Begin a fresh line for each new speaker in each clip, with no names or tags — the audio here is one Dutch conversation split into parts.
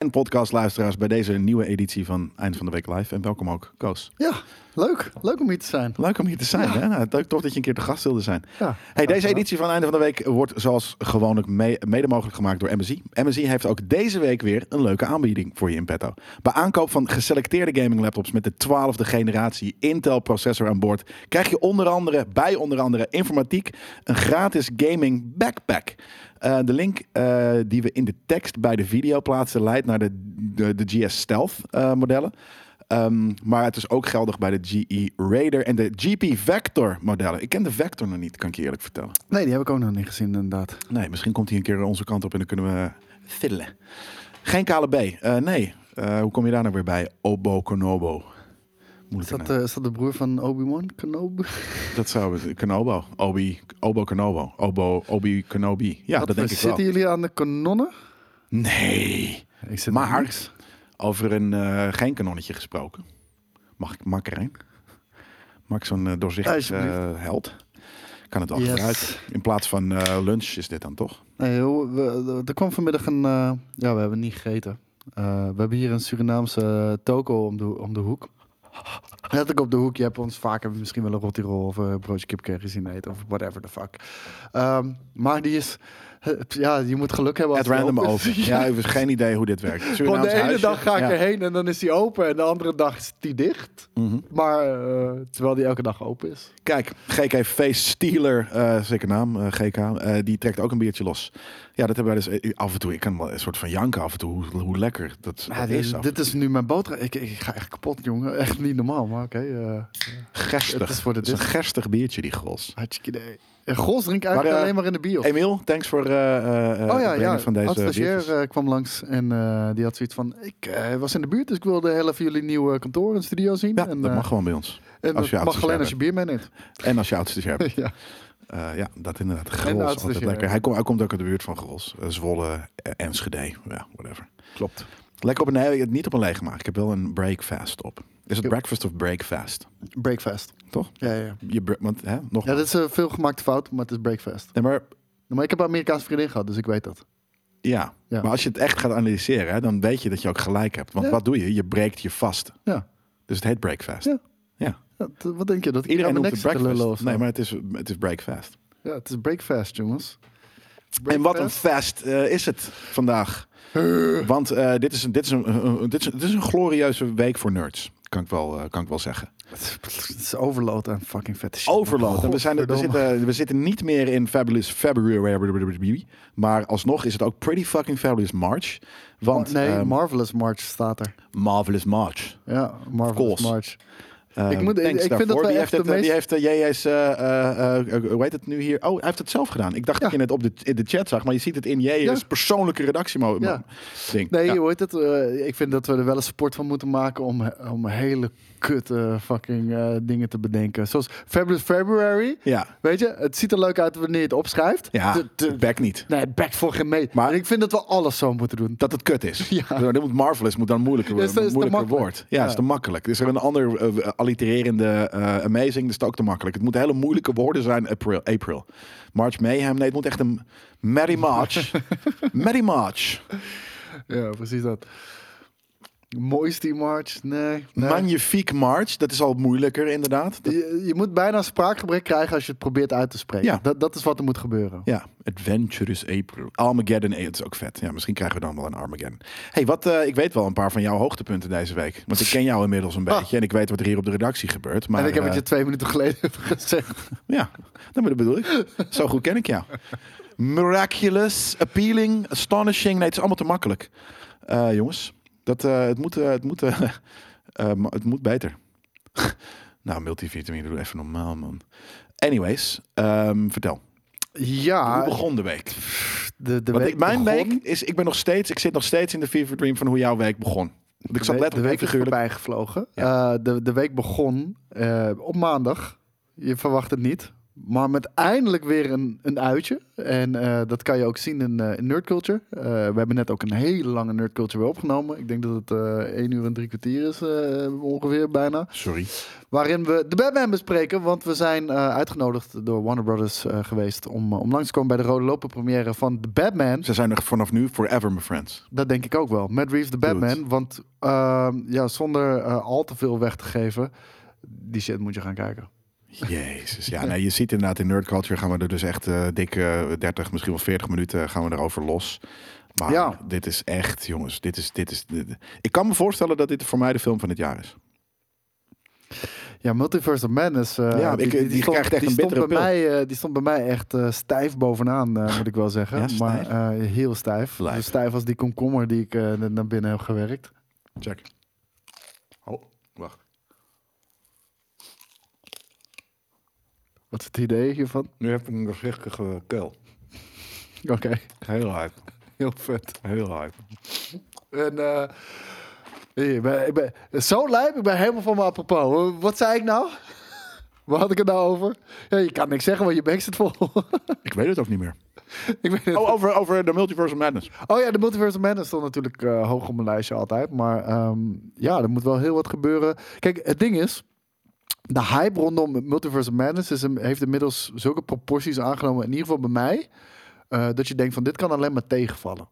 En podcastluisteraars bij deze nieuwe editie van Eind van de Week Live. En welkom ook, Koos.
Ja, leuk. Leuk om hier te zijn.
Leuk om hier te zijn. Hè? Nou, leuk toch dat je een keer te gast wilde zijn.
Ja,
Hey, deze editie van Einde van de Week wordt zoals gewoonlijk mee- mede mogelijk gemaakt door MSI. MSI heeft ook deze week weer een leuke aanbieding voor je in petto. Bij aankoop van geselecteerde gaming laptops met de 12e generatie Intel processor aan boord, krijg je onder andere bij onder andere informatiek een gratis gaming backpack. Eh, de link eh, die we in de tekst bij de video plaatsen leidt naar de, de, de GS Stealth eh, modellen. Ehm, maar het is ook geldig bij de GE Raider en de GP Vector modellen. Ik ken de Vector nog niet, kan ik je eerlijk vertellen.
Nee, die heb ik ook nog niet gezien inderdaad.
Nee, misschien komt hij een keer onze kant op en dan kunnen we fiddelen. Geen kale B. Eh, nee. Eh, hoe kom je daar nou weer bij? Obo Konobo.
Is
Moeilijke
dat,
naam.
eh, is dat de broer van Obi-Wan Kenobi?
Dat zou het. Kanobo. Obi, Obo Konobo. Obo, Obi Kenobi. Ja,
Wat
dat
voor-
denk ik wel.
Zitten jullie aan de kanonnen?
Nee.
Ik zit
Maar- Over een eh, geen kanonnetje gesproken. Mag ik makker heen? Maak zo'n eh, doorzichtig
Alsjeblieft.
eh, held. Kan het wel
Yes.
gebruiken. In plaats van eh, lunch is dit dan toch?
Nee, joh, we- er kwam vanmiddag een... eh, ja, we hebben niet gegeten. Eh, we hebben hier een Surinaamse eh, toko om de, ho- om de hoek. Net ook op de hoek. Je hebt ons vaker misschien wel een rotirol of een broodje kipkerry zien eten. Of whatever the fuck. Ehm, maar die is... eh, Ja, je moet geluk hebben als
Het random
over.
over. Ja, ik heb geen idee hoe dit werkt.
Gewoon
Surinaams
de ene
huisje.
dag ga ik
Ja.
erheen en dan is die open. En de andere dag is die dicht.
Mhm.
Maar eh, terwijl die elke dag open is.
Kijk, GKV Steeler, eh zeker naam, eh, GK, eh, die trekt ook een biertje los. Ja, dat hebben wij dus eh, af en toe. Ik kan wel een soort van janken af en toe, hoe, hoe lekker dat, dat is. af.
dit is nu mijn boterham. Ik, ik ga echt kapot, jongen. Echt niet normaal, maar oké. eh
gerstig.
het
Het
is
is,
voor de
een gerstig biertje, die gros.
hartstikke idee. En Gros drink eigenlijk
Maar, eh,
alleen maar in de bier.
Emiel, thanks voor eh, eh, eh,
oh
het
ja,
brengen
ja.
van
Ad
deze
stagiair
biertjes.
eh, kwam langs en eh, die had zoiets van... Ik eh, was in de buurt, dus ik wilde heel even jullie nieuwe kantoor en studio zien.
ja,
en,
dat
eh,
mag gewoon bij ons.
en
als je
dat mag
oud-stagiair
alleen als je bier meeneemt.
En als je oudste hebt.
ja.
Eh, ja, dat inderdaad.
de
Grols,
oudste
altijd
stagiair.
lekker. Hij, komt hij komt ook uit de buurt van Grols. Eh, Zwolle, eh, Enschede, ja, whatever.
Klopt.
Lekker op een, nee, niet op een leeg gemaakt. Ik heb wel een breakfast op. Is het
Jo.
breakfast of breakfast?
Breakfast.
Toch?
Ja, ja.
Je, bre- want, hè, nog
ja, dit is een veelgemaakte fout, maar het is breakfast.
Nee, maar,
Maar ik heb een Amerikaanse vriendin gehad, dus ik weet dat.
ja.
Ja.
maar als je het echt gaat analyseren, hè, dan weet je dat je ook gelijk hebt. Want
Ja.
wat doe je? Je breekt je vast.
Ja.
Dus het heet breakfast.
Ja. Ja, t- wat denk je? Dat ik
Iedereen
aan
noemt
mijn
het
nek zit te lullen
breakfast.
of zo?
Nee, maar het is, het is breakfast.
Ja, het is breakfast, jongens.
En wat een
Breakfast.
fest eh, is het vandaag. Want eh, dit, is een, dit, is een, een- een- dit, is, dit is een glorieuze week voor nerds. Kan ik wel, eh, kan ik wel zeggen.
Het is overload aan fucking vette shit.
Overload. En we, zijn, we,
Godverdomme.
zitten, we zitten niet meer in Fabulous February. Maar alsnog is het ook Pretty Fucking Fabulous March. Want
Oh, nee,
ehm,
Marvelous March staat er.
Marvelous March.
Ja, Marvelous
course.
March.
Eh,
Ik moet- ik-
thanks
ik vind dat
daarvoor.
wij
die
echt
heeft het,
de
eh, Die heeft de JJ's, eh, eh, eh, hoe heet het nu hier? Oh, hij heeft het zelf gedaan. Ik dacht
Ja.
dat je het op de, in de chat zag, maar je ziet het in JJ's
Ja.
persoonlijke redactie.
Ja.
Ding.
Nee,
Ja.
hoe heet het? Eh, ik vind dat we er wel een sport van moeten maken om, om hele kutte fucking eh, dingen te bedenken. Zoals Fabulous February.
Ja.
Weet je, het ziet er leuk uit wanneer je het opschrijft.
Ja,
De- de-
back niet.
nee, back voor geen meet.
Maar-
Maar ik vind dat we alles zo moeten doen.
Dat het kut is.
Ja.
Dan moet Marvelous moet dan moeilijker,
Is te- is te
moeilijker
makkelijk.
woord. Ja, is
Ja.
te makkelijk. Is er een ander eh, allitererende eh, Amazing? Dat is het ook te makkelijk. Het moet hele moeilijke woorden zijn. April. April. March Mayhem. Nee, het moet echt een Merry March. Merry March.
Ja, precies dat. Moisty March, nee. nee.
Magnifique March. Dat is al moeilijker inderdaad. Dat-
Je, je moet bijna een spraakgebrek krijgen als je het probeert uit te spreken.
Ja.
Dat, dat is wat er moet gebeuren.
Ja, Adventurous April. Armageddon, eh, het is ook vet. Ja, misschien krijgen we dan wel een Armageddon. hey, wat, eh, ik weet wel een paar van jouw hoogtepunten deze week. Want ik ken jou inmiddels een
Ah.
beetje. En ik weet wat er hier op de redactie gebeurt. Maar,
en ik heb het
eh,
je twee minuten geleden gezegd.
Ja, dat bedo- bedoel ik. Zo goed ken ik jou. Miraculous, appealing, astonishing. Nee, het is allemaal te makkelijk. Eh, jongens, dat, eh, het, moet, eh, het, moet, eh, eh, ma- het moet beter. nou, multivitamine, doe even normaal, man. Anyways, ehm, vertel. Hoe
Ja,
begon de week?
de, de
Want
week
ik, mijn
begon.
week is, ik ben nog steeds, ik zit nog steeds in de fever dream van hoe jouw week begon. Want ik
De
zat
we- de
letterlijk en
week is
figuurlijk.
voorbij gevlogen. Eh, de, de week begon eh, op maandag. Je verwacht het niet. Maar met eindelijk weer een, een uitje. En eh, dat kan je ook zien in, eh, in Nerd Culture. Eh, we hebben net ook een hele lange Nerd Culture weer opgenomen. Ik denk dat het eh 1 uur en drie kwartier is, eh, ongeveer bijna.
Sorry.
Waarin we de Batman bespreken. Want we zijn eh, uitgenodigd door Warner Brothers eh, geweest om, eh, om langs te komen bij de Rode Lopen première van de Batman.
Ze zijn er vanaf nu forever, my friends.
Dat denk ik ook wel. Matt Reeves, de
Goed.
Batman. Want ehm, ja, zonder eh, al te veel weg te geven, die shit moet je gaan kijken.
Jezus. Ja, nee, je ziet inderdaad in Nerd Culture gaan we er dus echt eh dikke 30, misschien wel 40 minuten eh, gaan we erover los. Maar
Ja.
dit is echt, jongens, dit is, dit is... dit- ik kan me voorstellen dat dit voor mij de film van het jaar is.
Ja, Multiverse of Madness. eh,
Ja, ik- die krijgt echt
die
een
stond
bittere
bij mij, eh, Die stond bij mij echt eh, stijf bovenaan, eh, moet ik wel zeggen.
Ja, stijf?
maar eh, heel stijf.
Lijf.
Zo stijf als die komkommer die ik eh, net naar binnen heb gewerkt.
Check. Oh, wacht.
Wat is het idee hiervan?
Nu heb ik een gezichtige kuil.
Oké,
Heel hype.
heel vet.
Heel hype.
En, eh, ik ben, ik ben, zo lijp, ik ben helemaal van me apropos. Wat zei ik nou? Waar had ik het nou over? Ja, je kan niks zeggen, want je bek zit vol.
Ik weet het ook niet meer.
ik weet het.
Oh, over, over de Multiverse of Madness.
Oh ja, de Multiverse of Madness stond natuurlijk eh, hoog op mijn lijstje altijd. Maar ehm, ja, er moet wel heel wat gebeuren. Kijk, het ding is... De hype rondom Multiverse of Madness is, heeft inmiddels zulke proporties aangenomen... in ieder geval bij mij... eh, dat je denkt van dit kan alleen maar tegenvallen.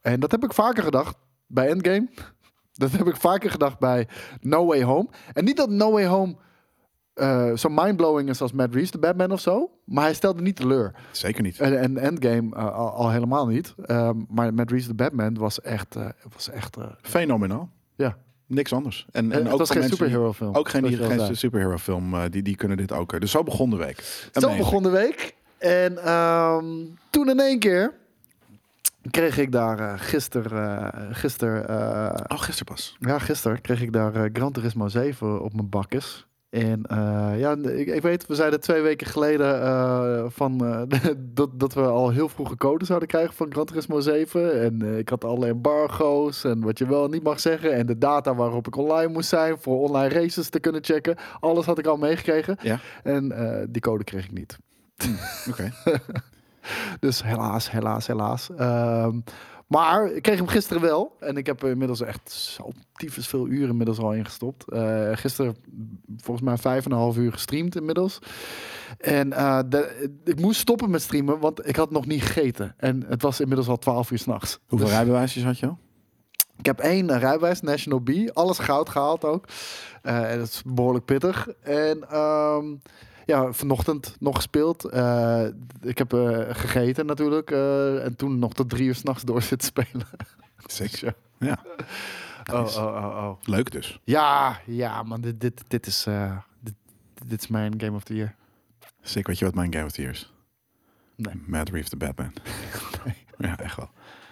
En dat heb ik vaker gedacht bij Endgame. Dat heb ik vaker gedacht bij No Way Home. En niet dat No Way Home eh, zo mindblowing is als Matt Reeves, de Batman of zo. Maar hij stelde niet teleur.
Zeker niet.
En, en Endgame eh, al, al helemaal niet. Ehm, maar met Reese the Batman was echt... eh, was echt eh,
Fenomenaal.
ja.
Niks anders. En, en
Het
ook
was
voor
geen
mensen die-
superhero film.
Ook geen,
zoals je al
geen
zei.
superhero film. eh, die, die kunnen dit ook. eh, Dus zo begon de week.
Zo
Amazing.
begon de week. En ehm, toen in één keer kreeg ik daar eh gisteren... eh, gisteren eh,
Oh, gisteren pas.
ja, gisteren kreeg ik daar eh, Gran Turismo 7 op mijn bakkes. En eh, ja, ik, ik weet, we zeiden twee weken geleden eh, van, eh, dat, dat we al heel vroeg een code zouden krijgen van Gran Turismo 7. En eh, ik had alle embargo's en wat je wel en niet mag zeggen. En de data waarop ik online moest zijn voor online races te kunnen checken. Alles had ik al meegekregen.
Ja.
En eh, die code kreeg ik niet.
Oké.
Dus helaas, helaas, helaas. Ehm, maar ik kreeg hem gisteren wel. En ik heb er inmiddels echt zo tyfus veel uren inmiddels al ingestopt. Eh gisteren volgens mij vijf en een half uur gestreamd inmiddels. En eh, de- ik moest stoppen met streamen, want ik had nog niet gegeten. En het was inmiddels al twaalf uur s'nachts. Dus
Hoeveel rijbewijsjes had je al?
Ik heb één rijbewijs, National B. Alles goud gehaald ook. Eh, en dat is behoorlijk pittig. En ehm, ja, vanochtend nog gespeeld. Eh, ik heb eh, gegeten natuurlijk. eh, en toen nog tot drie uur s'nachts door zitten spelen.
Zeker. Ja. Nice.
oh, oh.
Leuk dus.
Ja, ja, man. Dit, dit, dit, is, eh, dit, dit is mijn Game of the Year.
Zeker weet je wat mijn Game of the Year is?
Nee.
Matt Reeves de Batman. Ja, echt wel.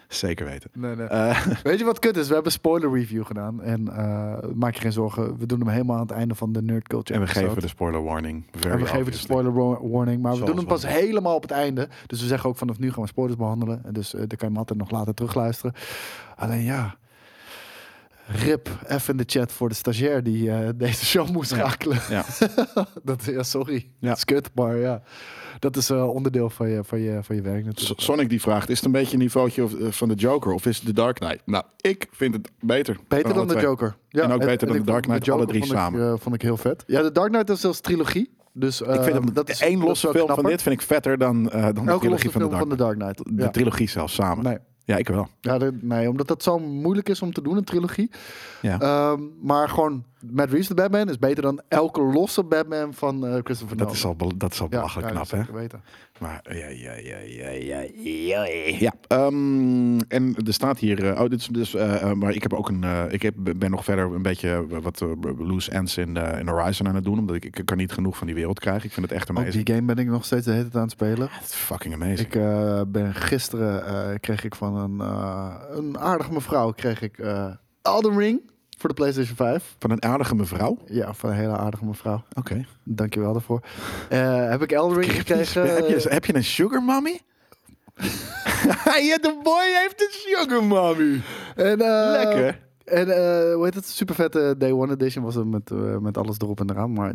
Zeker weten.
Nee, nee.
Eh,
Weet je wat kut is? We hebben een spoiler review gedaan. En eh, maak je geen zorgen. We doen hem helemaal aan het einde van de Nerd Culture
en we
episode.
geven de spoiler warning. Very
En we geven de
obviously.
spoiler wa- warning, maar we
Zoals
doen hem pas
wel.
helemaal op het einde. Dus we zeggen ook vanaf nu gaan we spoilers behandelen. En dus eh dan kan je hem altijd nog later terugluisteren. Alleen ja, rip even in de chat voor de stagiair die eh, deze show moest
Ja.
schakelen.
Ja.
dat, ja, sorry.
Ja.
Dat is kut, maar ja. Dat is eh, onderdeel van je, van, je, van je werk
S-
natuurlijk.
Sonic die vraagt, is het een beetje een niveautje of, eh, van de Joker of is het de Dark Knight? Nou, ik vind het beter.
Beter dan
alle
de
twee.
Joker. Ja,
En ook beter dan
ik
de
vond
Dark Knight, alle
Joker
drie
vond ik,
samen.
eh, vond ik heel vet. Ja, de Dark Knight is zelfs trilogie. Dus
Ik vind
eh,
hem,
dat is
Ehm, één
dat
losse
is wel
film van
knapper.
dit vind ik vetter dan, eh, dan de
Elke
trilogie
losse
van de
film
Dark
van de Dark Knight.
De
Ja.
trilogie zelfs samen.
Nee.
Ja, ik wel.
Ja, de- nee, omdat dat zo moeilijk is om te doen, een trilogie.
Ja.
Ehm, maar gewoon, Matt Reeves de Batman is beter dan elke losse Batman van eh, Christopher
dat,
Nolan.
is al, bel- dat is al belachelijk
ja,
knap,
dat
hè?
zeker weten.
Maar eh, ja, ja, ja, ja, ja, ja. ja. ehm, en er staat hier, eh, oh, dit is dus, eh, eh, maar ik heb ook een, eh, ik heb, ben nog verder een beetje eh, wat eh, loose ends in, eh, in Horizon aan het doen, omdat ik, ik kan niet genoeg van die wereld krijgen. Ik vind het echt
Ook
amazing.
Oh, die game ben ik nog steeds de hele tijd aan het spelen.
Het is fucking amazing.
Ik eh, ben gisteren, eh, kreeg ik van een, eh, een aardige mevrouw, kreeg ik eh Elden Ring voor de PlayStation 5.
Van een aardige mevrouw.
Ja, van een hele aardige mevrouw.
Oké.
Dankjewel daarvoor. Eh, heb ik Elden Ring gekregen.
heb, je, heb je een sugar mommy? ja, de boy heeft een sugar mommy.
En, eh,
Lekker.
eh, En eh hoe heet het? Super vette Day One Edition was het met, eh, met alles erop en eraan. Maar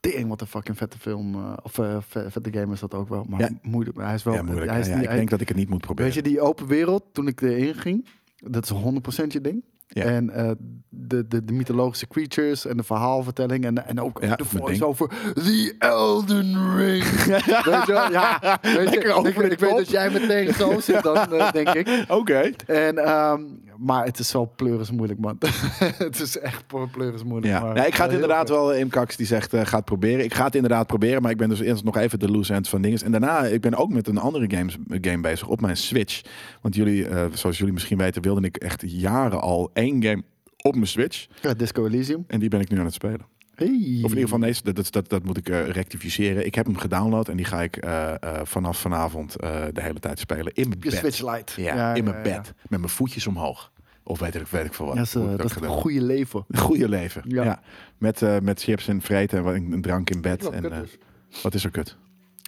Tering, wat een fucking vette film. eh, of eh, ve- vette game is dat ook wel. Maar
Ja.
moeilijk. Hij is wel
Ja, moeilijk.
Hij is
Ja,
niet-
ik
hij-
denk dat ik het niet moet proberen.
Weet je, die open wereld, toen ik erin ging, dat is 100% je ding.
Ja.
En eh, de, de, de mythologische creatures en de verhaalvertelling en, en ook
Ja,
de
mijn
voice-over The Elden Ring. weet je wel? Ja, weet je,
Lekker over
ik,
de
ik weet
top.
dat jij meteen zo zit dan, eh, denk ik.
Oké.
En, ehm, maar het is wel pleuris moeilijk, man. het is echt pleuris moeilijk.
Ja.
maar
Nee, ik ga het
heel
inderdaad
vet.
wel, Im Kaks die zegt, eh, ga het proberen. Ik ga het inderdaad proberen, maar ik ben dus eerst nog even de loose end van dingen. En daarna, ik ben ook met een andere games, eh, game bezig op mijn Switch. Want jullie, eh, zoals jullie misschien weten, wilde ik echt jaren al één game op mijn Switch.
Ja, Disco Elysium.
En die ben ik nu aan het spelen.
Hey.
Of in ieder geval, nee, dat, dat, dat, dat moet ik eh, rectificeren. Ik heb hem gedownload en die ga ik eh, eh, vanaf vanavond eh, de hele tijd spelen. In mijn
Op je
bed.
Switch Lite.
Ja, in mijn bed. Met mijn voetjes omhoog. Of weet ik, weet ik veel wat.
Ja, dat is, eh,
Hoe ik
dat is een
gedaan heb.
goede leven.
Goede leven. Ja.
Ja.
Met, eh, met chips en vreten en wat- een drank in bed.
Wat
En,
kut dus?
eh,
is.
wat is er kut?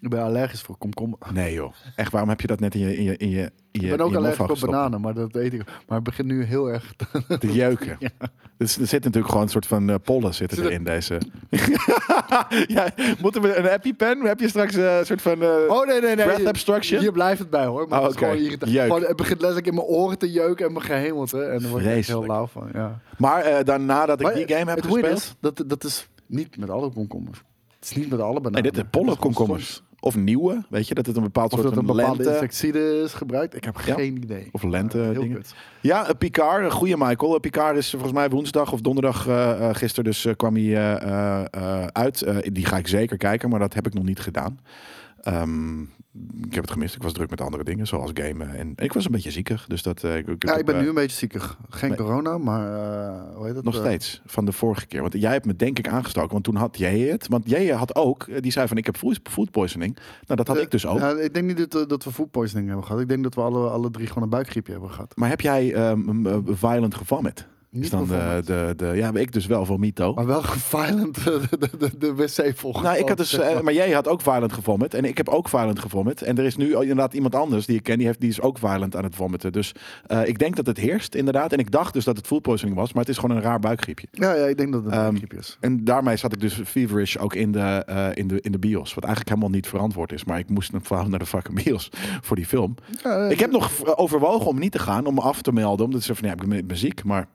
Ik ben allergisch voor komkommer.
Nee joh. Echt, waarom heb je dat net in je in je in je in je
Ik ben
in
ook
je
allergisch
moffel
voor
gestopt?
bananen, maar dat weet ik. Maar het begint nu heel erg. te-
Te jeuken. Dus er zit natuurlijk gewoon een soort van eh, pollen zitten
Zit
er
er-
in deze. ja, moeten we een happy pen? Heb je straks eh, een soort van eh,
Oh nee, nee, nee.
breath
hier-
abstraction?
Hier blijft het bij hoor. Maar
Oh,
het, is
oké.
gewoon irritant.
Jeuk.
Gewoon, het begint letterlijk in mijn oren te jeuken en mijn gehemelte. En daar word ik echt heel
Vreselijk.
lauw van. Ja.
Maar eh dan nadat ik
Maar
die game heb
het weird
gespeeld.
Is, dat, dat is niet met alle komkommers. Het Nou, is niet met alle
nee,
bananen.
dit zijn pollenkomkommers. Of nieuwe, weet je, dat het een bepaald
Of
soort
dat een
van
bepaalde
lente.
insecticide is gebruikt. Ik heb
Ja.
geen idee.
Of lente
Heel
dingen.
kut.
Ja, eh, Picard. eh, Goeie Michael. Eh, Picard is eh, volgens mij woensdag of donderdag eh, eh, gisteren. Dus eh, kwam hij eh, eh, eh, uit. Eh, die ga ik zeker kijken, maar dat heb ik nog niet gedaan. Ehm, ik heb het gemist. Ik was druk met andere dingen, zoals gamen. En ik was een beetje ziekig. Dus dat, eh, ik, ik
Ja,
heb,
ik ben
eh,
nu een beetje ziekig. Geen
nee.
corona, maar eh, hoe heet dat?
nog
Eh,
steeds van de vorige keer. Want jij hebt me denk ik aangestoken. Want toen had jij het. Want jij had ook. eh, Die zei van ik heb food food poisoning. Nou, dat had
eh,
ik dus ook.
nou, ik denk niet dat, eh, dat we food poisoning hebben gehad. Ik denk dat we alle, alle drie gewoon een buikgriepje hebben gehad.
Maar heb jij ehm, eh, violent gevomit?
Niet
Is dan eh, de,
gevonden.
de, de, ja, ik dus wel van Mito.
Maar wel geviolent eh, de, de, de, de wc volgen.
Nou, ik had dus, eh, maar jij had ook violent gevomit. En ik heb ook violent gevomit. En er is nu inderdaad iemand anders die ik ken, die, heeft, die is ook violent aan het vomiten. Dus eh, ik denk dat het heerst, inderdaad. En ik dacht dus dat het food poisoning was, maar het is gewoon een raar buikgriepje.
Ja, ja, ik denk dat het een
Ehm,
buikgriepje is.
En daarmee zat ik dus feverish ook in de, eh, in, de, in de bios. Wat eigenlijk helemaal niet verantwoord is. Maar ik moest een verhaal naar de fucking bios voor die film.
Ja, eh,
Ik heb nog v- overwogen om niet te gaan, om me af te melden. Omdat ze van, ja, ik ben, ik ben ziek. Maar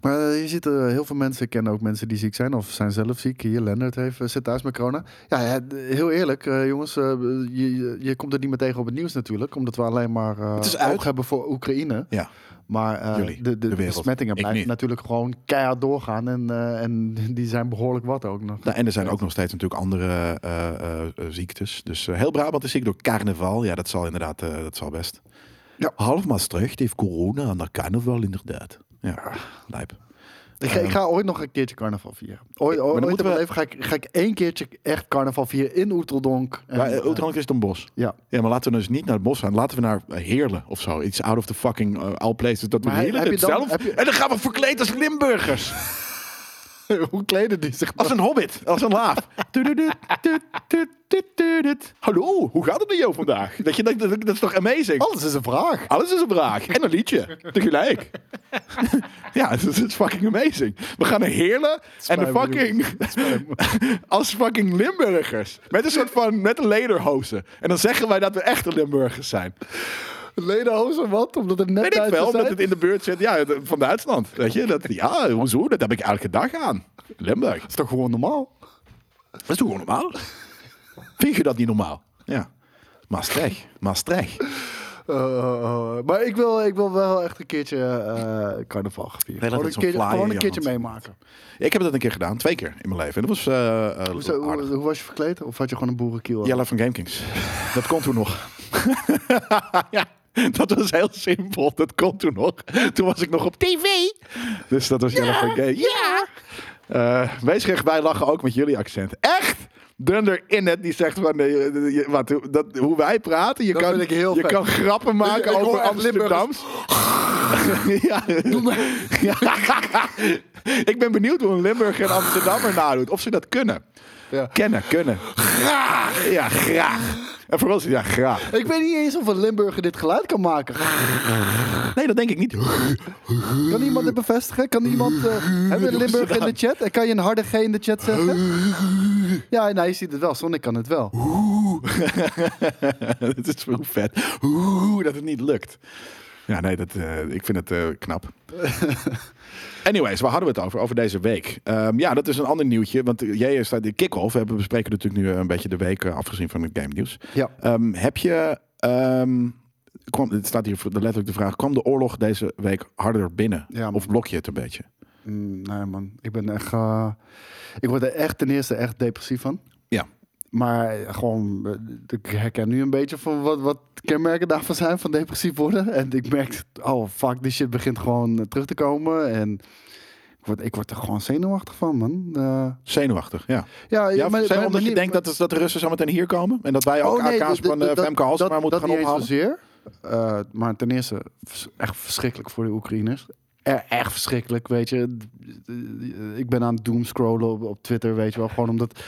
Maar eh, je ziet eh, heel veel mensen, ik ken ook mensen die ziek zijn of zijn zelf ziek. Hier, Lennart heeft, eh, zit thuis met corona. Ja, ja, d- heel eerlijk, eh, jongens, eh, je, je, je komt er niet meer tegen op het nieuws natuurlijk. Omdat we alleen maar eh
Het is
oog
uit.
hebben voor Oekraïne.
Ja.
Maar eh,
Jullie,
de, de,
de
de
wereld.
besmettingen
Ik
blijven
niet.
natuurlijk gewoon keihard doorgaan. En, eh, en die zijn behoorlijk wat ook nog.
Nou, en er zijn ook nog steeds natuurlijk andere eh, eh, eh, ziektes. Dus eh, heel Brabant is ziek door carnaval. Ja, dat zal inderdaad, eh, dat zal best.
Ja.
Half Maastricht heeft corona aan dat carnaval inderdaad. Ja, lijp.
Ik ga, ik ga ooit nog een keertje carnaval vieren.
Ehm.
Ooit, ooit,
dan
ooit
moeten
in mijn
we-
leven ga ik, ga ik één keertje echt carnaval vieren in Oeteldonk. En,
Maar
eh,
uh, is het een bos.
ja.
Ja, maar laten we dus niet naar het bos gaan. Laten we naar eh, Heerlen of zo. Iets out of the fucking eh, all places. Dat we
Maar
Heerlen
heb je
dit
dan-
zelf...
heb je-
En dan gaan we verkleed als Limburgers.
Hoe kleden die zich
Als een hobbit. Als een laaf. Tududu, tut, tut, tut, tudut. Hallo, hoe gaat het met jou vandaag? Dat, je, dat, dat, dat is toch amazing?
Alles is een vraag.
Alles is een vraag. En een liedje. Tegelijk. ja, het is, het is fucking amazing. We gaan naar Heerlen en de
mij
fucking... als fucking Limburgers. Met een soort van... Met een lederhozen. En dan zeggen wij dat we echte Limburgers zijn.
Ledenhozen wat? Omdat het net
Weet ik
Duitsers
wel,
zijn?
omdat het in de buurt zit. Ja, het- van Duitsland. Weet je? Dat, ja, hoezo? Dat heb ik elke dag aan. Limburg.
is toch gewoon normaal?
Dat is toch gewoon normaal? Vind je dat niet normaal? Ja. Maastricht. Maastricht.
Eh, maar ik wil, ik wil wel echt een keertje eh carnaval gaan
Nee, laat
vieren. Gewoon een
het zo'n
keertje,
flyer
gewoon
in
een
je
keertje
hand.
meemaken.
Ik heb dat een keer gedaan. Twee keer in mijn leven. En dat was eh, eh,
Hoe, zou- hoe,
aardig.
hoe was je verkleed? Of had je gewoon een boerenkiel? aan?
Jelle van GameKings. Dat kon toen nog. ja, dat was heel simpel. Dat kon toen nog. Toen was ik nog op tv. Dus dat was Jelle van Game. Ja! Eh, wees recht bij lachen ook met jullie accent. Echt? Dunder in het die zegt van eh, eh, je- wat, hoe- dat, hoe wij praten. Je,
Dat
kan,
vind ik heel
je
vet.
kan grappen maken
Ik hoor
over
echt
Amsterdams. ja. Ja. ik ben benieuwd hoe een Limburger en Amsterdammer nadoet. Of ze dat kunnen.
Ja.
Kennen, kunnen. Graag! Ja, graag. En voor ons, ja, graag.
Ik weet niet eens of een Limburger dit geluid kan maken.
Nee, dat denk ik niet.
Kan iemand dit bevestigen? Kan iemand... eh hebben we een Limburger in de chat? En kan je een harde G in de chat zeggen? Ja, nou, je ziet het wel. Sonic kan het wel.
Oeh. Het is zo vet. Oeh, dat het niet lukt. Ja, nee, dat, eh, ik vind het eh, knap. Anyways, waar hadden we het over? Over deze week. Ehm, ja, dat is een ander nieuwtje. Want eh, jij staat de kick-off. We bespreken natuurlijk nu eh, een beetje de week, eh, afgezien van het game nieuws.
Ja.
Ehm, heb je. ehm, kwam, het staat hier voor- letterlijk de vraag: kwam de oorlog deze week harder binnen?
Ja, man.
of blok je het een beetje?
Mm, nee, man. Ik ben echt... eh, ik word er echt ten eerste echt depressief van.
Ja.
Maar gewoon, eh, ik herken nu een beetje van wat, wat kenmerken daarvan zijn van depressief worden. En ik merk, oh fuck, die shit begint gewoon eh, terug te komen. En ik word, ik word er gewoon zenuwachtig van, man. Eh,
Zenuwachtig, ja. ja
ja, maar-
zijn
maar-
omdat
maar
je
niet-
denkt dat, dat de Russen zo meteen hier komen? En dat wij ook AK's
d- d-
van eh,
d- Oh, dus dat-
Femke Halsema
dat-
moeten
dat
gaan
niet eens
ophalen?
zozeer. Eh, maar ten eerste, vers- echt verschrikkelijk voor de Oekraïners. E- echt verschrikkelijk, weet je. D- d- Ik ben aan het doomscrollen op, op Twitter, weet je wel. Gewoon omdat...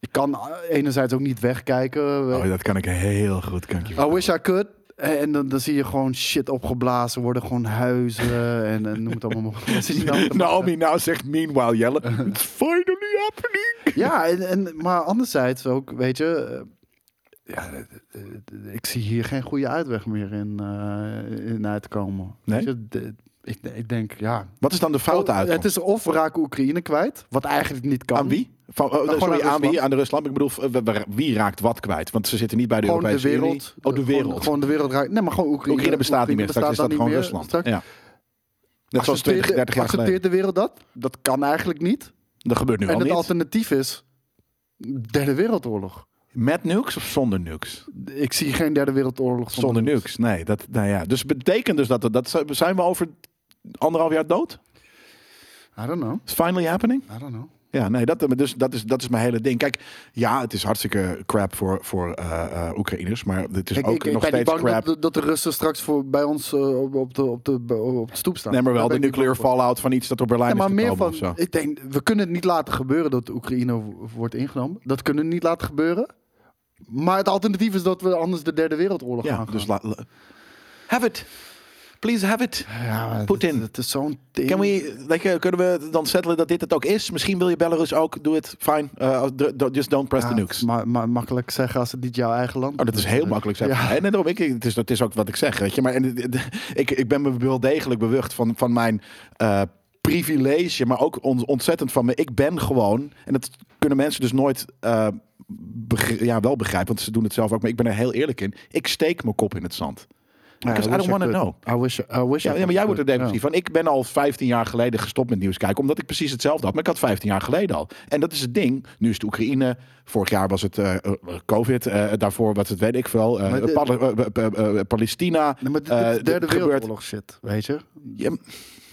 Ik kan eh, enerzijds ook niet wegkijken.
Oh, dat kan ik heel goed, kan ik je
I wish I could. En dan, dan zie je gewoon shit opgeblazen worden. Gewoon huizen en, en noem het allemaal maar. Dat is niet allemaal te
Naomi nou zegt meanwhile yellen. It's finally happening.
Ja, en, en, maar anderzijds ook, weet je... eh, ja, eh, eh, ik zie hier geen goede uitweg meer in, eh, in uitkomen.
Nee?
Weet je, de- ik, ik denk, ja...
Wat Oh, is dan de foute uit?
Het is of we raken Oekraïne kwijt, wat eigenlijk niet kan.
Aan wie? Van, oh,
Gewoon
sorry,
aan
aan wie?
Rusland.
Aan de Rusland. Ik bedoel, eh, we- we- wie raakt wat kwijt? Want ze zitten niet bij de
Gewoon de
Europese Unie.
wereld. eh,
Oh, de wereld.
Gewoon, gewoon de wereld raakt... Nee, maar gewoon Oekraïne.
Oekraïne bestaat niet meer.
Oekraïne
Straks is
bestaat
dat gewoon
dan niet meer.
Rusland.
Straks-
Ja. Net zoals 20, 30 jaar geleden.
Accepteert de wereld dat? Dat kan eigenlijk niet.
Dat gebeurt nu al
en het
niet.
alternatief is derde wereldoorlog.
Met nukes of zonder nukes?
Ik zie geen derde wereldoorlog zonder,
Zonder nukes. Nee, dat, nou ja. Dus betekent dus dat, we- dat zijn we over anderhalf jaar dood?
I don't know.
Is finally happening?
I don't know.
Ja, nee, dat, dus, dat, is, dat is mijn hele ding. Kijk, ja, het is hartstikke crap voor, voor eh, eh, Oekraïners, maar het is
Ik,
ook
ik, ik
nog
ben niet
steeds
bang
crap.
dat, de- dat de Russen straks voor, bij ons eh, op, op, de, op, de, op de stoep staan.
Nee, maar wel
Daar
de
ben ik niet
nuclear
bang voor.
fallout van iets dat op
Nee,
Berlijn
maar
is
meer
gekomen of
van,
zo.
ik denk, we kunnen het niet laten gebeuren dat Oekraïne wo- wordt ingenomen. Dat kunnen we niet laten gebeuren. Maar het alternatief is dat we anders de derde wereldoorlog
Ja,
gaan
dus
gaan.
la- la- have it. Please have it.
Ja, maar
Poetin.
Het, het is zo'n... tering-
Can we, like, eh, kunnen we dan settelen dat dit het ook is? Misschien wil je Belarus ook. Doe het. Fine. Eh, d- d- just don't press
Ja,
the nukes.
Maar, maar makkelijk zeggen als het niet jouw eigen land
Oh, dat is heel makkelijk. Zeg.
Ja.
En daarom, ik, het, is, het is ook wat ik zeg, weet je. Maar en, het- het- ik, ik ben me wel degelijk bewust van, van mijn eh, privilege, maar ook on- ontzettend van me. Ik ben gewoon, en dat kunnen mensen dus nooit eh, begri- ja, wel begrijpen, want ze doen het zelf ook, maar ik ben er heel eerlijk in. Ik steek mijn kop in het zand. Because I
wish
don't want to
could.
know.
I wish, I wish
Ja,
I
ja, maar jij
could.
wordt er depressief van. Ik ben al 15 jaar geleden gestopt met nieuws kijken. Omdat ik precies hetzelfde had. Maar ik had 15 jaar geleden al. En dat is het ding. Nu is het Oekraïne. Vorig jaar was het eh, eh, COVID. eh, daarvoor was het weet ik veel. eh,
Maar de-
Pal- eh, eh, eh, eh, Palestina.
Ja. Nee, maar dit,
Eh,
dit is
dit
derde
gebeurt-
wereldoorlog shit, weet je?
Ja,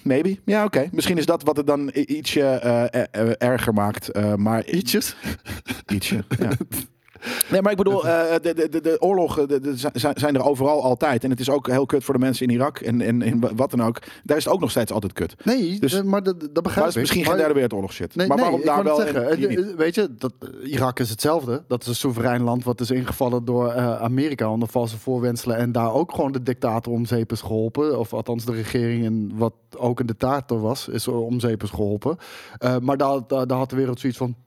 maybe. Ja, oké. Misschien is dat wat het dan i- ietsje eh, eh, eh, erger maakt. eh, maar
Ietsjes.
Ietsje. Ja. Nee, maar ik bedoel, eh, de, de, de, de oorlogen de, de, zi- zijn er overal altijd. En het is ook heel kut voor de mensen in Irak en, en, en wa- wat dan ook. Daar is het ook nog steeds altijd kut.
Nee,
Dus-
eh, maar dat, dat begrijp
Maar
ik.
het is misschien geen
Maar-
derde wereldoorlog shit.
Nee,
maar
nee,
waarom
ik
daar
wou
wel
net
en
zeggen,
hier
eh,
niet?
eh, Weet je, dat, eh, Irak is hetzelfde. Dat is een soeverein land wat is ingevallen door eh, Amerika onder valse voorwenselen. En daar ook gewoon de dictator om zeep is geholpen. Of althans de regering, en wat ook een dictator was, is om zeep is geholpen. Eh, maar daar, daar, daar had de wereld zoiets van...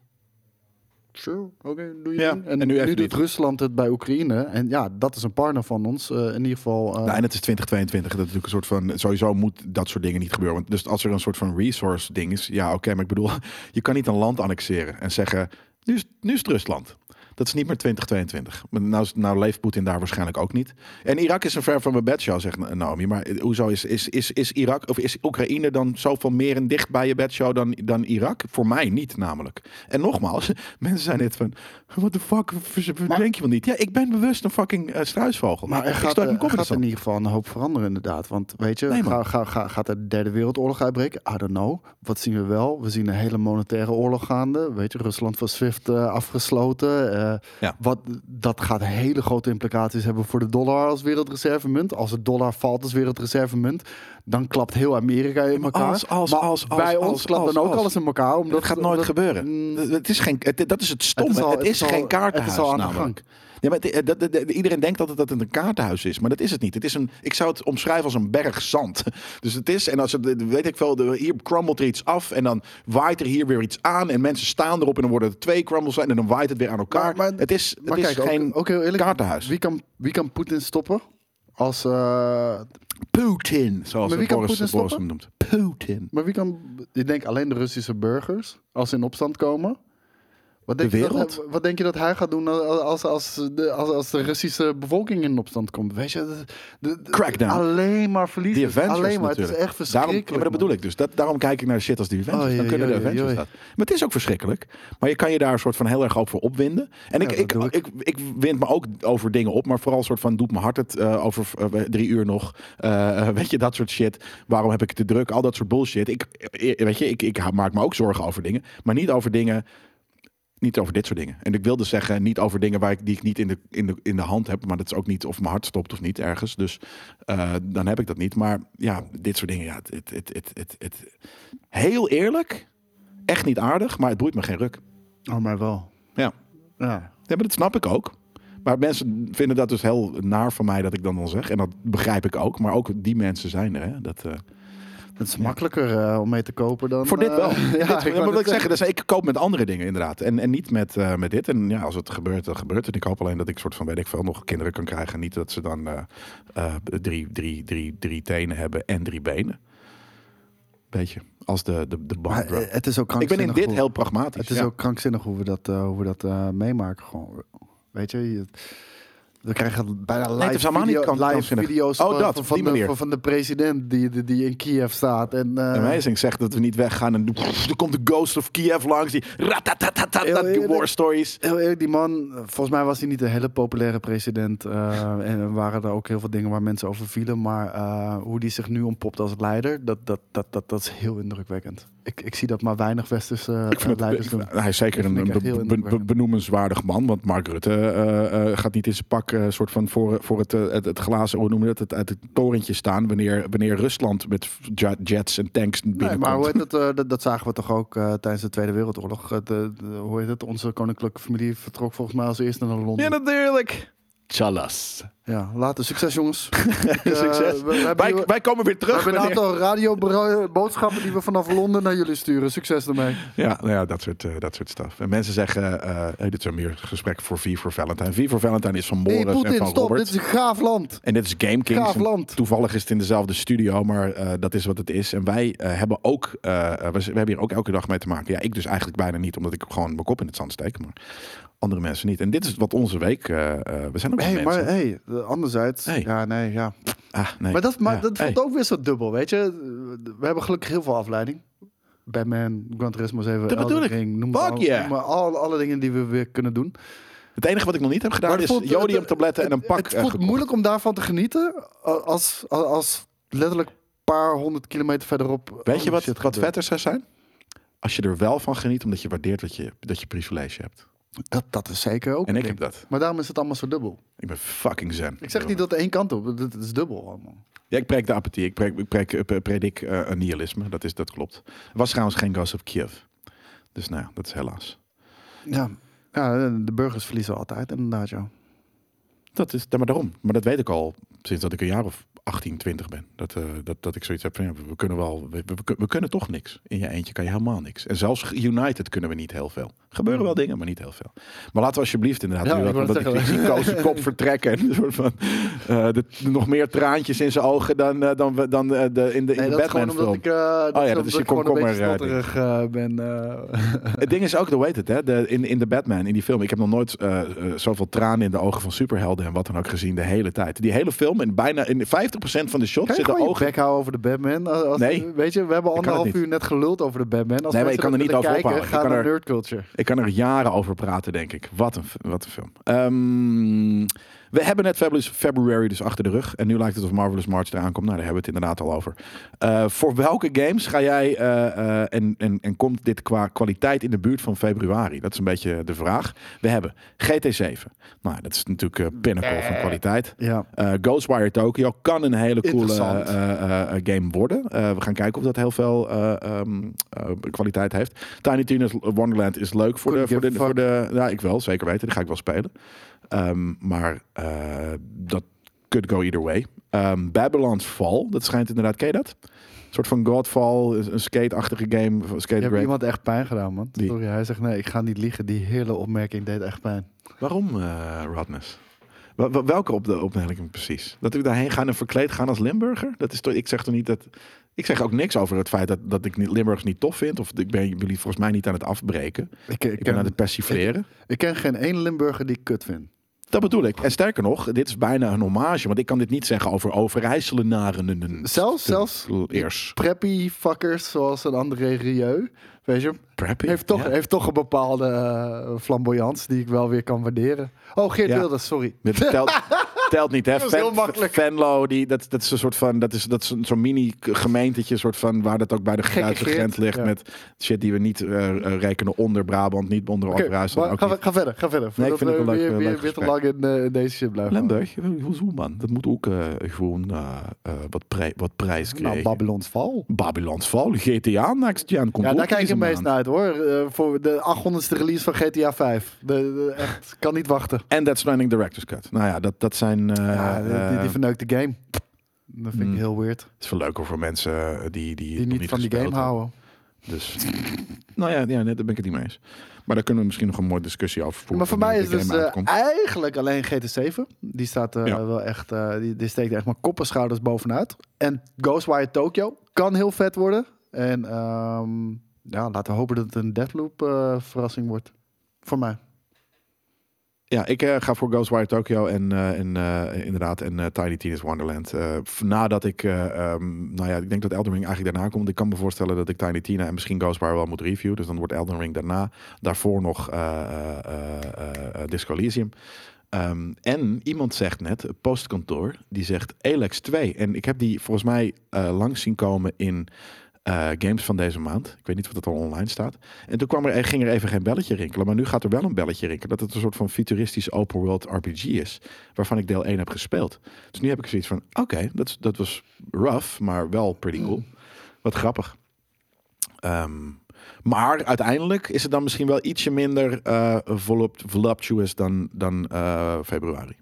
Sure, oké, doe je
Ja,
ding.
en nu even
doet
niet.
Rusland het bij Oekraïne. En ja, dat is een partner van ons. eh, in ieder geval... eh,
Nou, en het is 2022. Dat is natuurlijk een soort van. Sowieso moet dat soort dingen niet gebeuren. Want dus als er een soort van resource ding is. Ja, oké. maar ik bedoel, je kan niet een land annexeren en zeggen. Nu is, nu is het Rusland. Dat is niet meer 2022. Maar Nou, is- nou leeft Poetin daar waarschijnlijk ook niet. En Irak is een ver van mijn bedshow, zegt Naomi. Maar eh, hoezo is, is, is, is Irak of is Oekraïne dan zoveel meer en dicht bij je bedshow dan, dan Irak? Voor mij niet, namelijk. En nogmaals, mensen zijn net van: wat de fuck, denk je wel niet? Ja, ik ben bewust een fucking eh, struisvogel.
Maar er
ik
gaat,
stoot mijn
er
kop in de
gaat
zand.
in ieder geval een hoop veranderen, inderdaad. Want weet je,
Nee, man.
ga, ga, ga, gaat er de derde wereldoorlog uitbreken? I don't know. Wat zien we wel? We zien een hele monetaire oorlog gaande. Weet je, Rusland van SWIFT eh, afgesloten. Eh,
Ja.
wat, dat gaat hele grote implicaties hebben voor de dollar als wereldreservemunt. Als de dollar valt als wereldreservemunt, dan klapt heel Amerika in elkaar.
als, als,
maar
als, als,
bij ons
als,
klapt
als,
dan ook
als.
alles in elkaar. Omdat,
Dat gaat nooit
omdat-
gebeuren.
Mm,
Het is geen, het, dat is het stomme. Het is,
al-
geen
al-
kaartenhuis
Het is al aan de
namelijk.
gang.
Ja, maar het- eh, dat- dat- dat- iedereen denkt altijd dat het een kaartenhuis is, maar dat is het niet. Het is een, ik zou het omschrijven als een berg zand. Dus het is, en als het, weet ik veel, de- hier crummelt er iets af en dan waait er hier weer iets aan en mensen staan erop en dan worden er twee crumbles en dan waait het weer aan elkaar.
Maar- maar-
het is, het
Maar
is
kijk, ook-
geen
ook, heel eerlijk,
kaartenhuis.
wie kan, wie kan Poetin stoppen? Als, eh,
Putin, zoals
Maar wie kan
Boris,
Poetin
Boris hem
stoppen?
noemt. Putin.
maar wie kan, ik denk alleen de Russische burgers, als ze in opstand komen. Wat denk,
De
je dat-
wereld?
wat denk je dat hij gaat doen als, als, de, als, als de Russische bevolking in opstand komt? Weet je, de- de- de-
Crackdown.
alleen maar
Die
verliezen.
Avengers
alleen maar,
natuurlijk.
het is echt
daarom,
verschrikkelijk.
ja, maar dat bedoel ik dus. Dat, daarom kijk ik naar shit als die Avengers.
Oh,
dan
jee,
kunnen de
jee,
Avengers
jee.
dat. Maar het is ook verschrikkelijk. Maar je kan je daar een soort van heel erg ook voor opwinden. En ik,
dat
ik,
doe
ik.
ik.
Ik, wind me ook over dingen op. Maar vooral een soort van doet mijn hart het eh, over eh, drie uur nog. Eh, weet je, dat soort shit. Waarom heb ik het te druk? Al dat soort bullshit. Ik, eh, weet je, ik, ik maak me ook zorgen over dingen. Maar niet over dingen... Niet over dit soort dingen. En ik wilde zeggen, niet over dingen waar ik, die ik niet in de, in, de, in de hand heb. Maar dat is ook niet of mijn hart stopt of niet ergens. Dus eh, dan heb ik dat niet. Maar ja, dit soort dingen. Ja, het, het, het, het, het, het- Heel eerlijk. Echt niet aardig, maar het boeit me geen ruk.
Oh, maar wel.
Ja.
Ja.
Ja, maar dat snap ik ook. Maar mensen vinden dat dus heel naar van mij dat ik dan dan zeg. En dat begrijp ik ook. Maar ook die mensen zijn er. Hè? Dat, eh,
Het is makkelijker eh, om mee te kopen dan...
Voor dit
eh,
wel.
ja,
Dit-
wou
maar
net
wat ik zeg, dus ik koop met andere dingen inderdaad. En, en niet met, eh, met dit. En ja, als het gebeurt, dan gebeurt het. Ik hoop alleen dat ik soort van, weet ik veel, nog kinderen kan krijgen. Niet dat ze dan eh, eh, drie, drie, drie, drie tenen hebben en drie benen. Beetje. Als de, de, de
Maar,
band
eh, het is ook
Ik ben
krankzinnig.
in dit
hoe-
heel pragmatisch.
Het is
ja.
ook krankzinnig hoe we dat, eh, hoe we dat eh, meemaken. Gewoon, weet je, je- we krijgen bijna live,
het is helemaal niet
video-
krank-
live
krankzinnig.
video's
Oh,
van,
dat,
van,
op die
de,
manier.
van, van de president die, die, die in Kiev staat. En, eh,
Amazing zegt dat we niet weggaan en er komt de Ghost of Kiev langs. Die ratatatatat, die
Heel
war
eerlijk.
stories.
Heel eerlijk, die man, eh, volgens mij was hij niet een hele populaire president. eh, en er waren er ook heel veel dingen waar mensen over vielen. Maar eh, hoe die zich nu ontpopt als leider, dat, dat, dat, dat, dat is heel indrukwekkend. Ik, ik zie dat maar weinig westerse eh,
Ik vind het,
leiders
ik-
doen.
hij is zeker
Dat
een
vind ik echt
be-
heel
be- be-
indrukwekkend.
benoemenswaardig man. Want Mark Rutte eh, eh, gaat niet in zijn pak eh, soort van voor, voor het, eh, het, het glazen, hoe noem je dat, het, uit het torentje staan. Wanneer, wanneer Rusland met ja- jets en tanks
Nee,
binnenkomt.
maar hoe heet het, eh, dat, dat zagen we toch ook eh, tijdens de Tweede Wereldoorlog. Eh, de, de- hoe heet het? Onze koninklijke familie vertrok volgens mij als eerste naar Londen.
Ja,
Ja,
natuurlijk. Chalas.
later. Succes, jongens. Ik, eh,
Succes.
we- we hebben
Wij,
hier-
wij komen weer
we
terug.
hebben een
wanneer-
aantal radioboodschappen die we vanaf Londen naar jullie sturen. Succes ermee.
Ja, nou ja, dat soort, eh, dat soort stuff. En mensen zeggen, eh, eh, dit is meer gesprek voor V voor Valentine. V voor Valentine is van
Hey,
Boris en
Poetin,
van
stop.
Robert.
Dit is een gaaf land.
En dit is Game Kings.
Gaaf
En
land.
Toevallig is het in dezelfde studio, maar eh, dat is wat het is. En wij eh, hebben ook, eh, we, we hebben hier ook elke dag mee te maken. Ja, ik dus eigenlijk bijna niet, omdat ik gewoon mijn kop in het zand steek. Maar andere mensen niet. En dit is wat onze week. eh, eh, we zijn ook wel
Hey, maar
mensen.
hey, eh, anderzijds.
Hey.
Ja, nee, ja.
ah, nee.
Maar dat, maar,
Ja.
dat
Hey.
voelt ook weer zo dubbel, weet je. Eh, We hebben gelukkig heel veel afleiding. Batman, Gran Turismo 7,
Dat bedoel
Elden
ik.
Ring, noem,
Fuck
al,
yeah.
noem maar al, alle dingen die we weer kunnen doen.
Het enige wat ik nog niet heb gedaan
Maar het
is
voelt- het-
jodiumtabletten en een pak.
Het
eh,
voelt
gekocht.
moeilijk om daarvan te genieten a- als, a- als letterlijk een paar honderd kilometer verderop.
Weet je
andere
wat,
Oh, shit
wat
gebeurt.
vetter zou zijn? Als je er wel van geniet, omdat je waardeert wat je, dat je privilege hebt.
Dat, dat is zeker ook.
En
een
ik
ding.
heb dat.
Maar daarom is het allemaal zo dubbel.
Ik ben fucking zen.
Ik zeg niet dat de één kant op, het is dubbel allemaal.
Ja, ik preek de apathie. Ik, preek, ik preek, eh, pre- predik eh, een nihilisme. Dat, is, dat klopt. Er was trouwens geen Ghost of Kiev. Dus nou, ja, dat is helaas.
Ja. ja, de burgers verliezen altijd inderdaad, ja.
Dat is, ja, maar daarom. Maar dat weet ik al sinds dat ik een jaar of 18, 20 ben. Dat, eh, dat, dat ik zoiets heb van, ja, we kunnen wel, we, we- we kun- we kunnen toch niks. In je eentje kan je helemaal niks. En zelfs United kunnen we niet heel veel. Gebeuren wel dingen, maar niet heel veel. Maar laten we alsjeblieft inderdaad
Ja,
nu
ik
ook,
wou
omdat
net
die
zeggen.
Zico's kop vertrekken. En een soort van, eh, de- nog meer traantjes in zijn ogen dan, eh, dan, we- dan eh, de, in de, in
Nee,
de
dat is gewoon
Batman film. Oh
omdat ik, eh dat
ja, dat
is omdat
is je
ik gewoon een beetje
komkommer, eh,
stotterig eh, ben. eh.
Het ding is ook, hoe heet het, hè? De, in, in de Batman, in die film. Ik heb nog nooit eh, eh, zoveel tranen in de ogen van superhelden en wat dan ook gezien de hele tijd. Die hele film, en bijna in 50% van de shots
Kan je
zitten
gewoon je
ogen...
bek houden over de Batman? Als- als-
Nee.
Weet je, we hebben
het
anderhalf
niet.
uur net geluld over de Batman. Als
Nee, maar
mensen
ik kan
dat
er niet
willen
over
kijken,
ophouden. Ik
Ga
kan
naar
er-
Nerd Culture.
Ik kan er jaren over praten, denk ik. Wat een, f- wat een film. Ehm, we hebben net Fabulous February dus achter de rug. En nu lijkt het of Marvelous March eraan komt. Nou, daar hebben we het inderdaad al over. Eh, voor welke games ga jij eh, eh, en, en, en komt dit qua kwaliteit in de buurt van februari? Dat is een beetje de vraag. We hebben GT7. Nou, dat is natuurlijk eh pinnacle van kwaliteit.
Ja.
Eh, Ghostwire Tokyo kan een hele coole
Interessant.
eh, eh, eh, game worden. Eh, we gaan kijken of dat heel veel eh, ehm, eh, kwaliteit heeft. Tiny Tina's Wonderland is leuk voor de,
Couldn't
voor de,
give a
voor de. Ja, ik wel, zeker weten. Die ga ik wel spelen. Ehm, maar eh, dat could go either way. Ehm, Babylon's Fall, dat schijnt inderdaad, ken je dat? Een soort van Godfall, is een skate-achtige game. van
Je
Skate
hebt
Great.
iemand echt pijn gedaan, man.
Wie?
Sorry, hij zegt nee, ik ga niet liegen. Die hele opmerking deed echt pijn.
Waarom eh Rodness? Wa- wa- welke op de opmerking precies? Dat ik daarheen ga en verkleed gaan als Limburger? Dat is toch, ik zeg toch niet dat. Ik zeg ook niks over het feit dat, dat ik niet, Limburgs niet tof vind. Of ik ben jullie volgens mij niet aan het afbreken.
Ik, ik,
Ik ben aan
ken,
het persifleren.
ik ken geen één Limburger die ik kut vindt.
Dat bedoel ik. En sterker nog, dit is bijna een hommage. Want ik kan dit niet zeggen over Overijsselenaren.
Zelfs, zelfs
Eers.
preppy fuckers zoals een andere Rieu, weet je,
Preppy.
heeft toch,
Ja.
heeft toch een bepaalde eh, flamboyance die ik wel weer kan waarderen. Oh, Geert
Ja.
Wilders, sorry.
Dit telt, telt niet, hè?
Dat is heel makkelijk.
Venlo, die, dat, dat is een soort van, dat is, dat is een- zo'n mini-gemeentetje, soort van, waar dat ook bij de
Gekke
Duitse
Geert.
grens ligt.
Ja.
Met shit die we niet eh, eh, rekenen onder Brabant, niet onder
Oké,
Overijssel.
maar
ook
ga,
niet.
ga verder, ga verder.
Nee, ik
Voordat
vind het
we
een leuk-
weer,
leuk
weer, weer te lang
gesprek.
in eh, deze shit blijven.
Limburg, hoezo man? Dat moet ook eh, gewoon eh, eh, wat, prij- wat prijs krijgen.
Nou, Babylon's Val.
Babylons Val, GTA next gen, komt
Ja,
ook
daar kijk ik
deze
het meest
maand.
naar uit hoor. Eh, voor de 800ste release van GTA 5. De, de- echt, kan niet wachten.
En That's Running Director's Cut. Nou ja, dat, dat zijn... eh,
Ja, die, die,
eh,
die verneukt de game. Dat vind
Mm.
ik heel weird.
het is veel leuker voor mensen eh, die, die, het
Die
nog
niet van die
gespeeld hebben.
game houden.
Dus. nou ja, ja nee, daar ben ik het niet mee eens. Maar daar kunnen we misschien nog een mooie discussie over voeren.
Maar voor
wanneer
mij is
de
dus
game
eh,
uitkomt.
eigenlijk alleen GT7. Die staat eh,
Ja.
wel echt, eh, die, die steekt echt maar kop en schouders bovenuit. En Ghostwire Tokyo kan heel vet worden. En ehm, ja, laten we hopen dat het een Deathloop eh, verrassing wordt. Voor mij.
Ja, ik eh, ga voor Ghostwire Tokyo en, eh, en eh, inderdaad en eh, Tiny Tina's Wonderland. Eh, f- nadat ik, eh, ehm, nou ja, ik denk dat Elden Ring eigenlijk daarna komt. Ik kan me voorstellen dat ik Tiny Tina en misschien Ghostwire wel moet reviewen. Dus dan wordt Elden Ring daarna. Daarvoor nog eh, eh, eh, eh, eh, Disco Elysium. Ehm, en iemand zegt net, het postkantoor, die zegt Elex 2. En ik heb die volgens mij eh, langs zien komen in eh, games van deze maand. Ik weet niet of dat al online staat. En toen kwam er, ging er even geen belletje rinkelen. Maar nu gaat er wel een belletje rinkelen. Dat het een soort van futuristisch open world RPG is. Waarvan ik deel 1 heb gespeeld. Dus nu heb ik zoiets van, oké, dat, is- dat was rough, maar wel pretty cool. Wat grappig. Ehm, maar uiteindelijk is het dan misschien wel ietsje minder eh, volupt, voluptuous dan, dan eh, februari.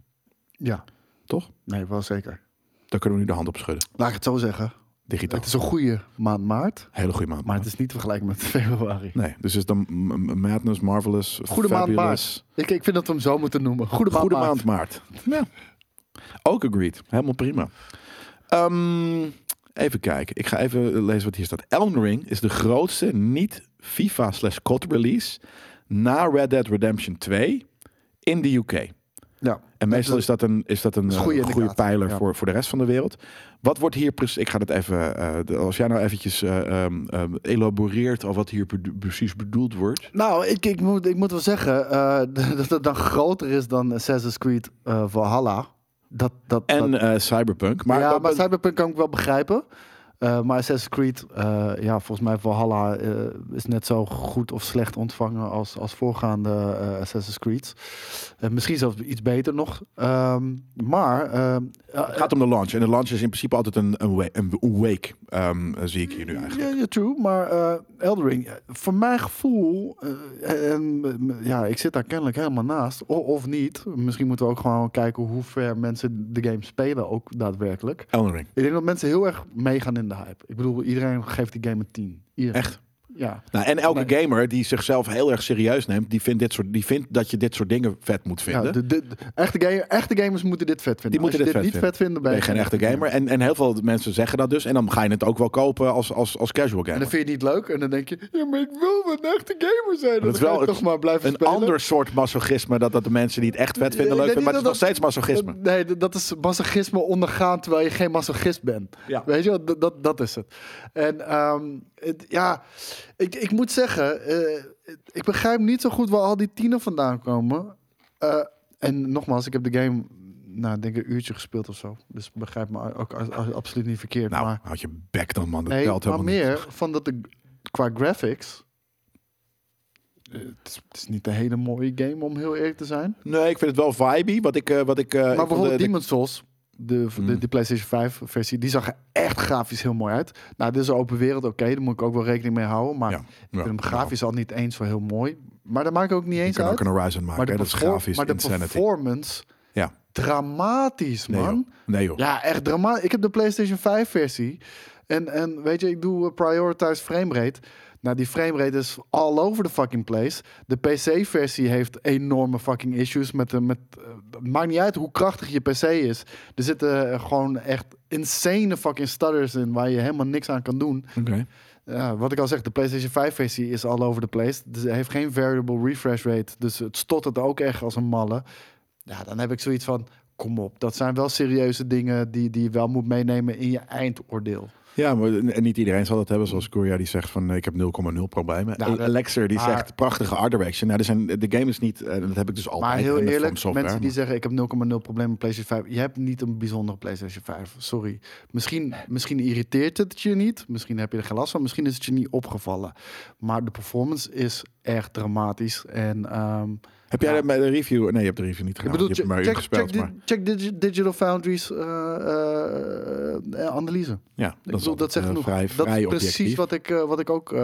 Ja.
Toch?
Nee, wel zeker.
Daar kunnen we nu de hand op schudden.
Laat ik het zo zeggen.
Digitaal.
Het is een goede maand maart.
Hele goede maand.
Maar het is niet vergelijkbaar met februari.
Nee, dus is dan m- m- Madness, Marvelous,
Goede maand
Fabulous.
Ik, ik vind dat we hem zo moeten noemen. Goede maand
Goede maand
maart.
maart. Ja. Ook agreed. Helemaal prima. Ehm, even kijken. Ik ga even lezen wat hier staat. Elden Ring is de grootste niet FIFA slash COD release na Red Dead Redemption 2 in de UK.
Ja.
En meestal is dat een, is dat een
is
eh,
een goede
goede,
indicator,
pijler
ja.
voor, voor de rest van de wereld. Wat wordt hier precies... Ik ga dat even... eh, de- als jij nou eventjes eh, ehm, ehm, elaboreert al wat hier bedo- precies bedoeld wordt.
Nou, ik, ik, moet, ik moet wel zeggen eh, dat het dan groter is dan Assassin's Creed eh Valhalla. Dat, dat,
En
dat-
eh, Cyberpunk. Maar,
ja, maar Cyberpunk kan ik wel begrijpen. Eh, maar Assassin's Creed, eh, ja, volgens mij Valhalla eh, is net zo goed of slecht ontvangen als, als voorgaande eh, Assassin's Creed. Eh, misschien zelfs iets beter nog. Ehm, maar ehm, eh,
Het gaat om de launch. En de launch is in principe altijd een, een, wa- een wake, ehm, eh, zie ik hier nu eigenlijk.
Ja, ja, true. Maar eh Eldering, eh, voor mijn gevoel, eh, en, eh, ja, ik zit daar kennelijk helemaal naast, o- of niet. Misschien moeten we ook gewoon kijken hoe ver mensen de game spelen, ook daadwerkelijk.
Elden Ring.
Ik denk dat mensen heel erg meegaan in de hype. Ik bedoel, iedereen geeft die game een 10. Iedereen.
Echt.
Ja.
Nou, en elke gamer die zichzelf heel erg serieus neemt, die vindt, dit soort, die vindt dat je dit soort dingen vet moet
ja
vinden.
de, de- de- echte, ga- echte gamers moeten dit vet vinden.
Die moeten
Als je
dit
dit,
vet
niet vet vinden,
ben
ben
je geen echte gamer. En, en heel veel mensen zeggen dat dus. En dan ga je het ook wel kopen als, als, als casual
En
gamer.
dan vind je het niet leuk en dan denk je, ja, maar ik wil wel een echte gamer zijn. Dan
is
ga
wel
je
het-
toch maar blijven
Een
spelen.
ander soort masochisme dat, dat de mensen die het echt vet vinden
Ik
leuk
denk
vinden. Maar het
niet
is nog steeds masochisme.
Dat- nee, dat- dat is masochisme ondergaan terwijl je geen masochist bent.
Ja.
Weet je wel, dat, dat, dat is het. En ehm, het- ja, ik, ik moet zeggen, eh, ik begrijp niet zo goed waar al die tienen vandaan komen. Eh, en nogmaals, ik heb de game, nou, ik denk een uurtje gespeeld of zo. Dus begrijp me ook a- a- absoluut niet verkeerd.
Nou,
maar
houd je bek dan man. Dat
nee,
telt
maar
helemaal niet.
meer van dat de, qua graphics. eh, Het is, het is niet een hele mooie game om heel eerlijk te zijn.
Nee, ik vind het wel vibey. Wat ik, eh, wat ik, eh, ik vond
Maar
de-
bijvoorbeeld
de-
Demon's Souls de, de,
Mm.
die PlayStation 5 versie, die zag er echt grafisch heel mooi uit. Nou, dit is een open wereld, oké, daar moet ik ook wel rekening mee houden. Maar
Ja,
ik vind hem grafisch al niet eens zo heel mooi. Maar dat maakt ook niet
Je
eens
kan
uit.
ook een Horizon maken.
maar de,
hè, dat is
perfor-
grafisch
maar de
insanity.
performance,
Ja.
dramatisch
Nee,
man.
joh. Nee joh.
Ja, echt dramatisch. Ik heb de PlayStation 5 versie. En, en weet je, ik doe eh, prioritized framerate. Nou, die framerate is all over the fucking place. De PC-versie heeft enorme fucking issues. Met, de- met, eh, het maakt niet uit hoe krachtig je PC is. Er zitten eh, gewoon echt insane fucking stutters in... waar je helemaal niks aan kan doen.
Oké.
Ja, wat ik al zeg, de PlayStation 5-versie is all over the place. Dus hij heeft geen variable refresh rate. Dus het stottert ook echt als een malle. Ja, dan heb ik zoiets van... Kom op, dat zijn wel serieuze dingen die, die je wel moet meenemen in je eindoordeel.
Ja, maar n- en niet iedereen zal dat hebben. Zoals Korea die zegt van eh, ik heb 0,0 problemen.
Nou,
Nou,
dat-
Alexer die
maar-
zegt prachtige art direction. Nou, er zijn, de game is niet, eh, dat heb ik dus altijd.
Maar heel
en de
eerlijk,
FromSoftware,
mensen die zeggen ik heb 0,0 probleem met PlayStation 5. Je hebt niet een bijzondere PlayStation 5, sorry. Misschien, misschien irriteert het je niet, misschien heb je er geen last van, misschien is het je niet opgevallen. Maar de performance is echt dramatisch. En ehm,
Heb jij
Ja.
dat bij de review? Nee, je hebt de review niet
Ik
gedaan.
bedoel,
Nou, je hebt
check,
er maar in
check,
gespeeld.
check di-
maar
check digi- Digital Foundries eh, eh, eh, analyse. Ik
ja, dat,
bedoel, dat
zegt
zegt genoeg.
Vrij,
dat
vrij
is precies
objectief.
wat ik, eh, wat ik ook eh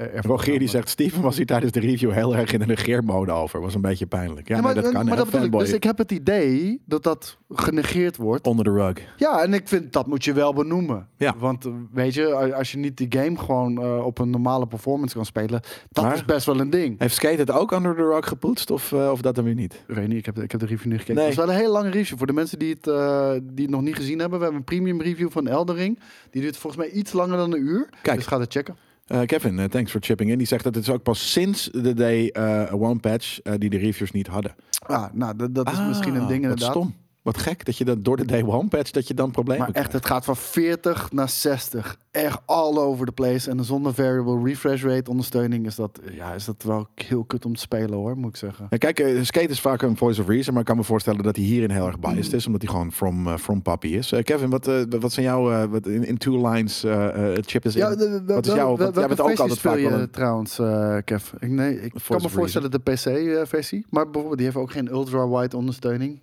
ervaar.
Rogier die zegt, Steven was hier tijdens de review heel erg in de negeermode over. Was een beetje pijnlijk. Ja,
Ja, maar
nee, dat kan.
maar
hè.
dat bedoel ik.
Fanboy
Dus ik heb het idee dat dat genegeerd wordt.
onder de rug.
Ja, en ik vind dat moet je wel benoemen.
Ja.
Want eh, weet je, a- als je niet die game gewoon eh, op een normale performance kan spelen, dat
Maar-
is best wel een ding.
Heeft Skate het ook onder de rug gepoetst of, eh, of dat dan weer niet?
Ik weet niet, ik heb, de- ik heb de review niet gekeken.
Nee.
Het was wel een hele lange review. Voor de mensen die het, eh, die het nog niet gezien hebben, we hebben een premium review van Eldering. Die duurt volgens mij iets langer dan een uur.
Kijk.
Dus ga dat checken.
Eh, Kevin, eh, thanks for chipping in. Die zegt dat het is ook pas sinds de day eh, one patch eh, die de reviews niet hadden.
Ah, nou, dat, dat is misschien een
Ah,
ding
Wat
inderdaad.
stom. Wat gek dat je dat door de day one patch dat je dan problemen
Maar echt, het gaat van 40 naar 60. Echt all over the place. En zonder variable refresh rate ondersteuning is dat, ja, is dat wel heel kut om te spelen hoor, moet ik zeggen.
Ja, Kijk, eh, Skate is vaak een voice of reason, maar ik kan me voorstellen dat hij hierin heel erg biased is, omdat hij gewoon from, eh, from puppy is. Eh, Kevin, wat, eh, wat zijn jouw, eh, wat in, in two lines, eh, eh, chip is in?
de- de-
Wat is
wel-
jouw-
wel-
want jij bent
welke
ook
versie
altijd vaak
speel je
wel een-
trouwens, eh, Kev? Ik, nee, ik
Voice
kan me
of
voorstellen de PC-versie. Maar bijvoorbeeld, die heeft ook geen ultra-wide ondersteuning.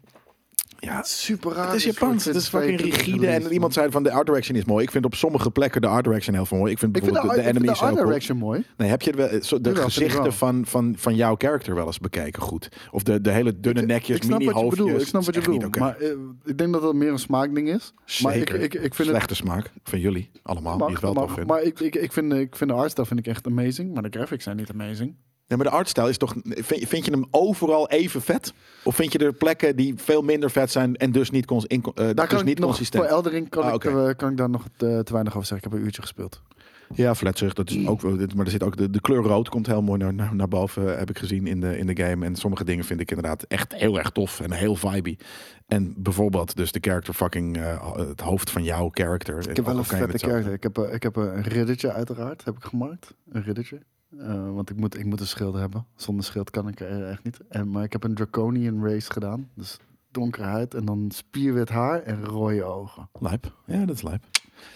Ja,
Super raar.
het is
Dus
Japans,
ik
het
vind
is fucking
twee
rigide. En
releases,
iemand zei van de art direction is mooi. Ik vind op sommige plekken de art direction heel veel mooi. Ik vind
man. Ik vind
bijvoorbeeld
de,
de,
ik vind de
enemies
art
heel cool.
direction mooi.
Nee, heb je de, eh, zo- de
Jawel, vind ik wel.
gezichten van, van, van jouw character wel eens bekeken goed? Of de, de hele dunne nekjes,
Ik snap wat je
mini-hoofdjes.
bedoelt. Ik snap wat je bedoelt.
Maar,
Maar eh, ik denk dat dat meer een smaakding is. Maar ik, ik, ik vind het
Slechte smaak van jullie allemaal, die
mag,
het wel
mag,
tof vinden.
maar ik, ik, ik, vind, eh, ik vind de artstyle vind ik echt amazing. Maar de graphics zijn niet amazing.
Nee, maar de artstijl is toch. Vind, vind je hem overal even vet? Of vind je er plekken die veel minder vet zijn en dus niet, cons, in, eh,
Daar kan
dus
ik
niet
nog,
consistent?
Voor Eldering kan,
Ah,
ik,
oké.
eh, kan ik daar nog te, te weinig over zeggen. Ik heb een uurtje gespeeld.
Ja, fletsig. Dat
Mm.
is ook, wel- dit- maar er zit ook de, de kleur rood komt heel mooi naar, naar, naar boven, eh, heb ik gezien in de, in de game. En sommige dingen vind ik inderdaad echt heel erg tof en heel vibey. En bijvoorbeeld dus de character fucking, eh, ho- het hoofd van jouw character.
Ik heb wel een vette character. Ik heb, eh, ik heb een riddertje uiteraard, heb ik gemaakt. Een riddertje. Eh, want ik moet, ik moet een schild hebben. Zonder schild kan ik eh, echt niet. En, maar ik heb een draconian race gedaan. Dus donkere huid en dan spierwit haar en rode ogen.
Lijp. Ja, dat is lijp.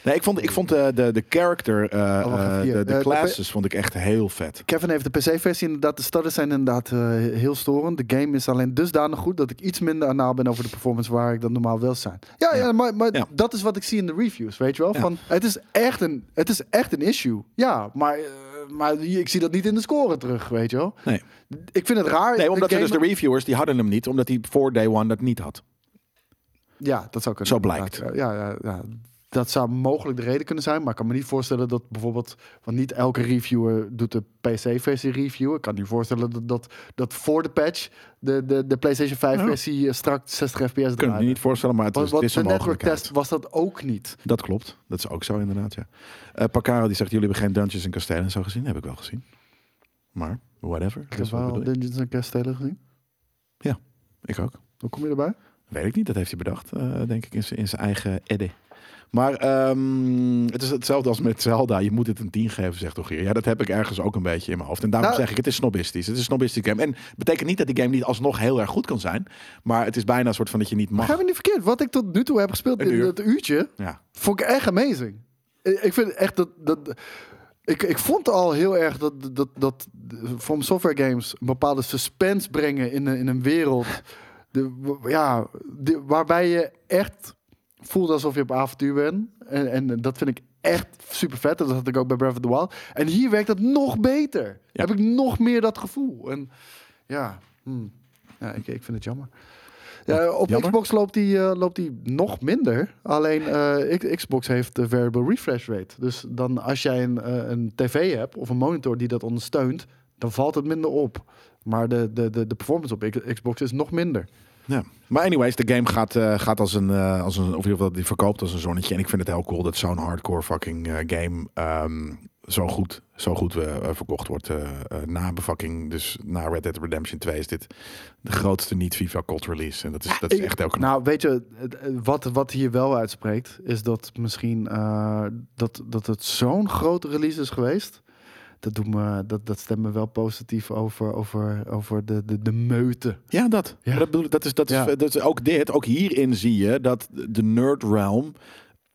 Nee, ik vond, ik vond de, de, de character, eh,
wacht
eh,
even hier.
de,
Eh,
de
de
classes vond ik echt heel vet.
Kevin heeft de PC-versie inderdaad. De starters zijn inderdaad eh, heel storend. De game is alleen dusdanig goed dat ik iets minder anaal ben over de performance waar ik dan normaal wel zijn. Ja, ja.
Ja.
maar, maar
Ja.
dat is wat ik zie in de reviews, weet je wel?
Ja.
Van, het, is echt een, het is echt een issue. Ja, maar, eh, maar ik zie dat niet in de score terug, weet je wel?
Nee.
Ik vind het raar.
Nee, omdat
de
ze
game-
dus de reviewers, die hadden hem niet. Omdat hij voor day one dat niet had.
Ja, dat zou kunnen.
Zo blijkt.
inderdaad. Ja, ja, ja. Dat zou mogelijk de reden kunnen zijn, maar ik kan me niet voorstellen dat bijvoorbeeld, want niet elke reviewer doet de PC-versie review. Ik kan me voorstellen dat, dat, dat voor de patch de, de, de PlayStation 5-versie strak 60 FPS
Kunnen we
draaide.
niet voorstellen, maar het,
Want,
is, het
want
is
de
een
network
mogelijkheid.
test was dat ook niet.
Dat klopt. Dat is ook zo inderdaad, ja. Eh Pacaro die zegt, jullie hebben geen Dungeons en Kastelen en zo gezien. Heb ik wel gezien. Maar, whatever.
Ik
Dat
heb
is wat
wel
bedoel ik.
Dungeons en Kastelen gezien.
ik ook.
Hoe kom je erbij?
Weet ik niet, dat heeft hij bedacht, eh, denk ik, in zijn- in zijn eigen eddy. Maar ehm, het is hetzelfde als met Zelda. Je moet het een 10 geven, zegt toch hier. Ja, dat heb ik ergens ook een beetje in mijn hoofd. En daarom
Nou-
zeg ik, het is snobistisch. Het is een snobistisch game. En betekent niet dat die game niet alsnog heel erg goed kan zijn. Maar het is bijna een soort van dat je niet mag.
Begrijp me niet verkeerd. Wat ik tot nu toe heb gespeeld
Een
in
uur.
dat uurtje,
Ja.
Vond ik echt amazing. Ik ik vind echt dat. dat ik, ik vond al heel erg dat, dat, dat From Software Games een bepaalde suspense brengen in, een- in een wereld. De, ja, de- waarbij je echt voelt alsof je op avontuur bent. En, en dat vind ik echt super vet. Dat had ik ook bij Breath of the Wild. En hier werkt dat nog beter.
Ja.
Heb ik nog meer dat gevoel. En ja, hmm. ja ik, ik vind het jammer. Ja, op
jammer?
Xbox loopt die, eh, loopt die nog minder. Alleen eh, ik- Xbox heeft de variable refresh rate. Dus dan als jij een, eh, een tv hebt of een monitor die dat ondersteunt, dan valt het minder op. Maar de, de, de, de performance op X- Xbox is nog minder.
Ja. Maar anyways, de game gaat, eh, gaat als, een, eh, als een... Of in ieder geval, die verkoopt als een zonnetje. En ik vind het heel cool dat zo'n hardcore fucking eh, game... ehm, zo goed, zo goed eh, eh, verkocht wordt eh eh, na befucking... Dus na Red Dead Redemption 2 is dit de grootste niet-FIFA cult release. En dat is, dat is
Ik-
echt heel knap.
Nou, weet je, het- eh, wat, wat hier wel uitspreekt, is dat misschien eh, dat, dat het zo'n grote release is geweest. Dat, doet me, dat, dat stemt me wel positief over, over, over de, de, de meute.
Ja, dat.
Ja.
Maar Dat, bedoel ik, dat, is, dat, is, eh,
Ja.
dat is ook dit. Ook hierin zie je dat de nerd realm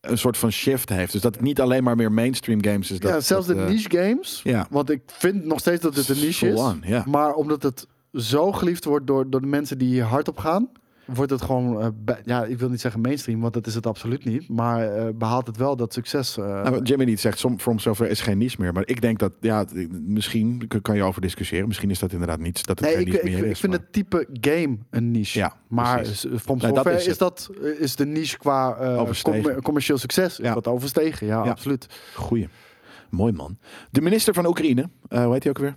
een soort van shift heeft. Dus dat het niet alleen maar meer mainstream games is. Dat,
ja, zelfs
dat,
de
eh,
niche games.
Ja.
Want ik vind nog steeds dat het een niche
Full
is.
on, ja.
Maar omdat het zo geliefd wordt door, door de mensen die hier hard op gaan, wordt het gewoon, eh, bij- ja, ik wil niet zeggen mainstream, want dat is het absoluut niet. Maar eh, behaalt het wel dat succes. eh,
Nou, wat Jimmy niet zegt, som- From Software is geen niche meer. Maar ik denk dat, ja, t- misschien k- kan je over discussiëren. Misschien is dat inderdaad niets. Dat het
Nee,
geen
ik,
niche
ik,
meer
ik
is.
vind
maar-
het type game een niche.
Ja,
maar
precies.
s- From
Nee, dat
Software
is
is,
het.
dat eh, is de niche qua eh,
Overstegen.
commer- commercieel succes. Is
Ja.
dat overstegen? Ja,
Ja.
absoluut.
Goeie. Mooi man. De minister van Oekraïne, eh, hoe heet hij ook weer?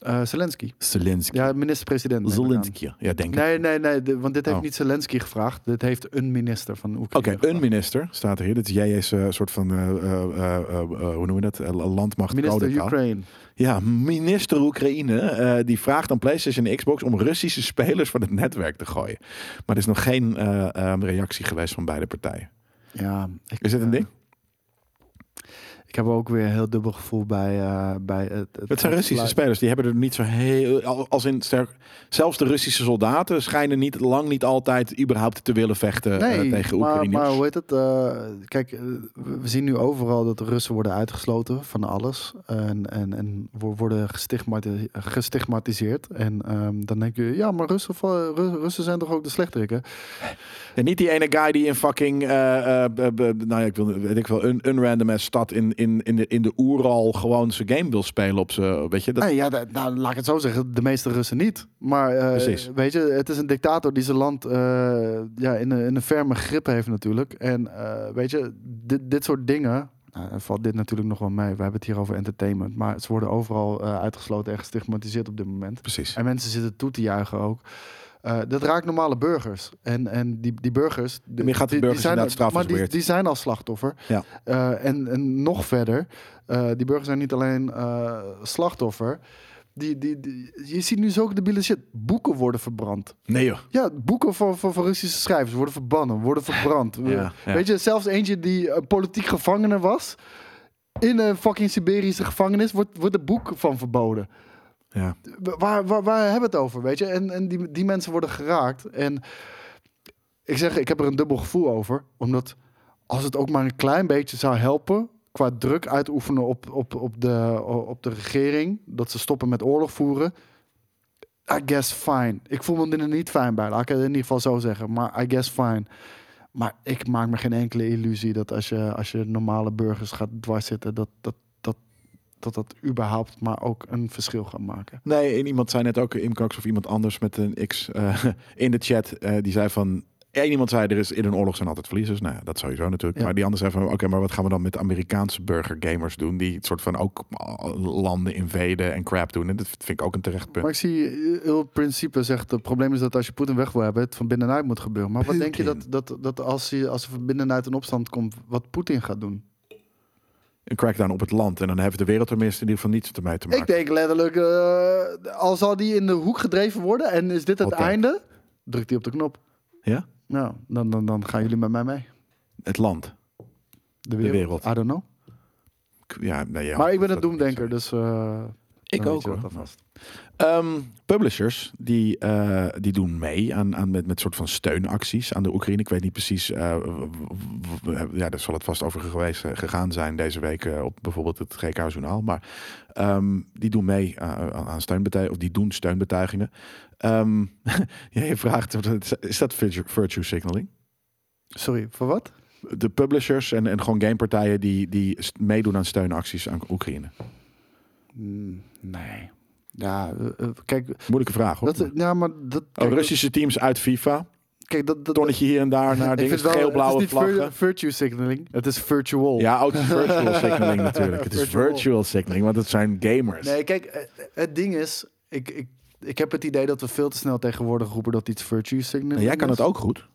Eh, Zelensky.
Zelensky.
Ja, minister-president. neem ik aan.
Zelensky. Ja, denk ik.
Nee, nee, nee. de- want dit heeft
Oh.
niet Zelensky gevraagd. Dit heeft een minister van Oekraïne.
Oké,
gevraagd.
een minister staat er hier. Dat is jij is een soort van, eh, eh, eh, eh, hoe noem je dat? Eh, landmacht.
Minister
codetaal.
Ukraine.
Ja, minister Oekraïne eh, die vraagt aan PlayStation en Xbox om Russische spelers van het netwerk te gooien. Maar er is nog geen eh, ehm, reactie geweest van beide partijen.
Ja, ik,
Is dit een
eh,
ding?
Ik heb ook weer een heel dubbel gevoel bij, eh, bij het, het,
Het zijn Russische
uitsluiten.
spelers, die hebben er niet zo heel. al- Als in sterk, zelfs de Russische soldaten schijnen niet lang niet altijd überhaupt te willen vechten eh,
Nee,
tegen
maar,
Oekraïners.
maar hoe heet het? eh, kijk, eh, we we zien nu overal dat de Russen worden uitgesloten van alles. En, en, en wo- worden gestigmati- gestigmatiseerd. En ehm, dan denk je, ja, maar Russen, va- Ru- Russen zijn toch ook de slechterikken?
En niet die ene guy die in fucking, eh, eh, b- b- nou ja, ik wil, weet ik wel, een, een random ass stad in, in, in de, in de Oeral gewoon zijn game wil spelen op ze, weet je? Dat,
Nee, ja, da- nou, laat ik het zo zeggen. De meeste Russen niet. Maar eh,
Precies.
weet je, het is een dictator die zijn land eh, ja, in, een, in een ferme grip heeft natuurlijk. En eh, weet je, dit, dit soort dingen... Nou, dan valt dit natuurlijk nog wel mee. We hebben het hier over entertainment. Maar ze worden overal eh, uitgesloten en gestigmatiseerd op dit moment.
Precies.
En mensen zitten toe te juichen ook. Eh, dat raakt normale burgers. En, en die, die burgers... die-
meer gaat de
die-
burgers
die zijn,
inderdaad strafbaar
Maar die,
geweerd.
die zijn al slachtoffer.
Ja.
Eh, en, en nog verder, eh, die burgers zijn niet alleen eh, slachtoffer. Die, die, die- je ziet nu zulke debiele shit. Boeken worden verbrand.
Nee joh.
Ja, boeken van, van, van Russische schrijvers worden verbannen, worden verbrand.
Ja, ja.
Weet je, zelfs eentje die eh, politiek gevangene was... in een fucking Siberische gevangenis wordt, wordt er boek van verboden
Ja.
waar, waar, waar hebben we het over, weet je? En, en die, die mensen worden geraakt. En ik zeg, ik heb er een dubbel gevoel over. Omdat als het ook maar een klein beetje zou helpen... qua druk uitoefenen op, op, op, de, op de regering... dat ze stoppen met oorlog voeren... I guess fine. Ik voel me er niet fijn bij, laat ik het in ieder geval zo zeggen. Maar I guess fine. Maar ik maak me geen enkele illusie dat als je, als je normale burgers gaat dwarszitten... Dat, dat, dat, dat dat überhaupt maar ook een verschil gaat maken.
Nee, en iemand zei net ook, Im Cox of iemand anders met een X eh, in de chat, eh, die zei van, één iemand zei, er is in een oorlog zijn altijd verliezers. Nou ja, dat sowieso natuurlijk.
Ja.
Maar die ander zei van, oké, maar wat gaan we dan met Amerikaanse burgergamers doen, die het soort van ook eh, landen invaden en crap doen. En dat vind ik ook een terecht punt.
Maar ik zie eh, heel principe zegt: het probleem is dat als je Poetin weg wil hebben, het van binnenuit moet gebeuren. Maar wat denk je dat,
Putin.
dat, dat als, hij, als er van binnenuit een opstand komt, wat Poetin gaat doen?
Een crackdown op het land. En dan heeft de wereld tenminste in ieder geval niets ermee te maken.
Ik denk letterlijk: eh, al zal die in de hoek gedreven worden en is dit het
Hot take.
einde, drukt hij op de knop.
Ja?
Nou, dan, dan, dan gaan jullie met mij mee.
Het land.
De wereld.
wereld.
I don't know.
Ik- Ja, nee, ja,
maar ik ben
dat-
een doemdenker, dus. eh,
Ik
dan
ook
weet je dat
hoor.
alvast.
Ehm, publishers die, eh, die doen mee aan, aan met, met soort van steunacties aan de Oekraïne. Ik weet niet precies, eh, w- w- w- ja, daar zal het vast over geweest, eh, gegaan zijn deze week eh, op bijvoorbeeld het GK-journaal. Maar ehm, die doen mee eh, aan, aan steunbetuigingen, of die doen steunbetuigingen. Ehm, ja, je vraagt, is dat virtue, virtue signaling?
Sorry, voor wat?
De publishers en, en gewoon gamepartijen die, die st- meedoen aan steunacties aan Oekraïne.
Mm, Nee. Ja, eh, eh, kijk,
Moeilijke vraag hoor.
dat, ja, maar dat.
Oh,
kijk,
Russische teams uit FIFA.
dat- Kijk, dat, dat,
Tonnetje hier en daar naar dingen.
wel-
Geel-blauwe
het is niet vir-
vlaggen.
virtue signaling. Het is virtual.
Ja, ook virtual signaling natuurlijk. Het is
Virtual.
virtual signaling, want het zijn gamers.
Nee, kijk, eh, het ding is, ik, ik, ik heb het idee dat we veel te snel tegenwoordig roepen dat iets virtue signaling
En Nou, jij kan
is.
het ook goed.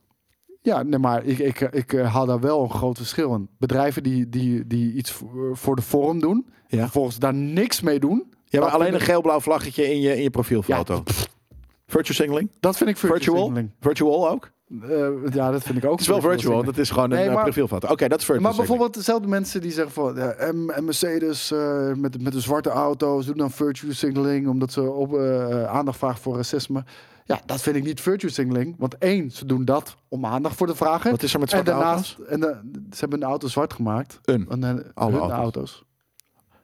Ja, nee, maar ik, ik, ik eh, haal daar wel een groot verschil in. Bedrijven die, die, die iets voor voor de vorm doen,
Ja.
vervolgens daar niks mee doen,
Ja, maar
Dat
alleen
vind
een geel-blauw vlaggetje in je, in je profielfoto. Virtual signaling?
dat vind ik virtue
Virtual?
signaling.
Virtual ook?
Eh, ja, dat vind ik ook.
Het is wel virtual, want het is gewoon een
Nee,
eh,
maar-
profielfoto. Oké, dat is virtual
Maar
signaling.
bijvoorbeeld dezelfde mensen die zeggen van ja, M en Mercedes eh, met, met de zwarte auto's doen dan virtue signaling omdat ze op, eh, aandacht vragen voor racisme. Ja, dat vind ik niet virtue signaling. Want één, ze doen dat om aandacht voor te vragen.
Wat is er met
en
zwarte
daarnaast,
auto's?
en, eh, ze hebben de auto zwart gemaakt.
Een.
En, eh,
Alle
hun
auto's.
auto's.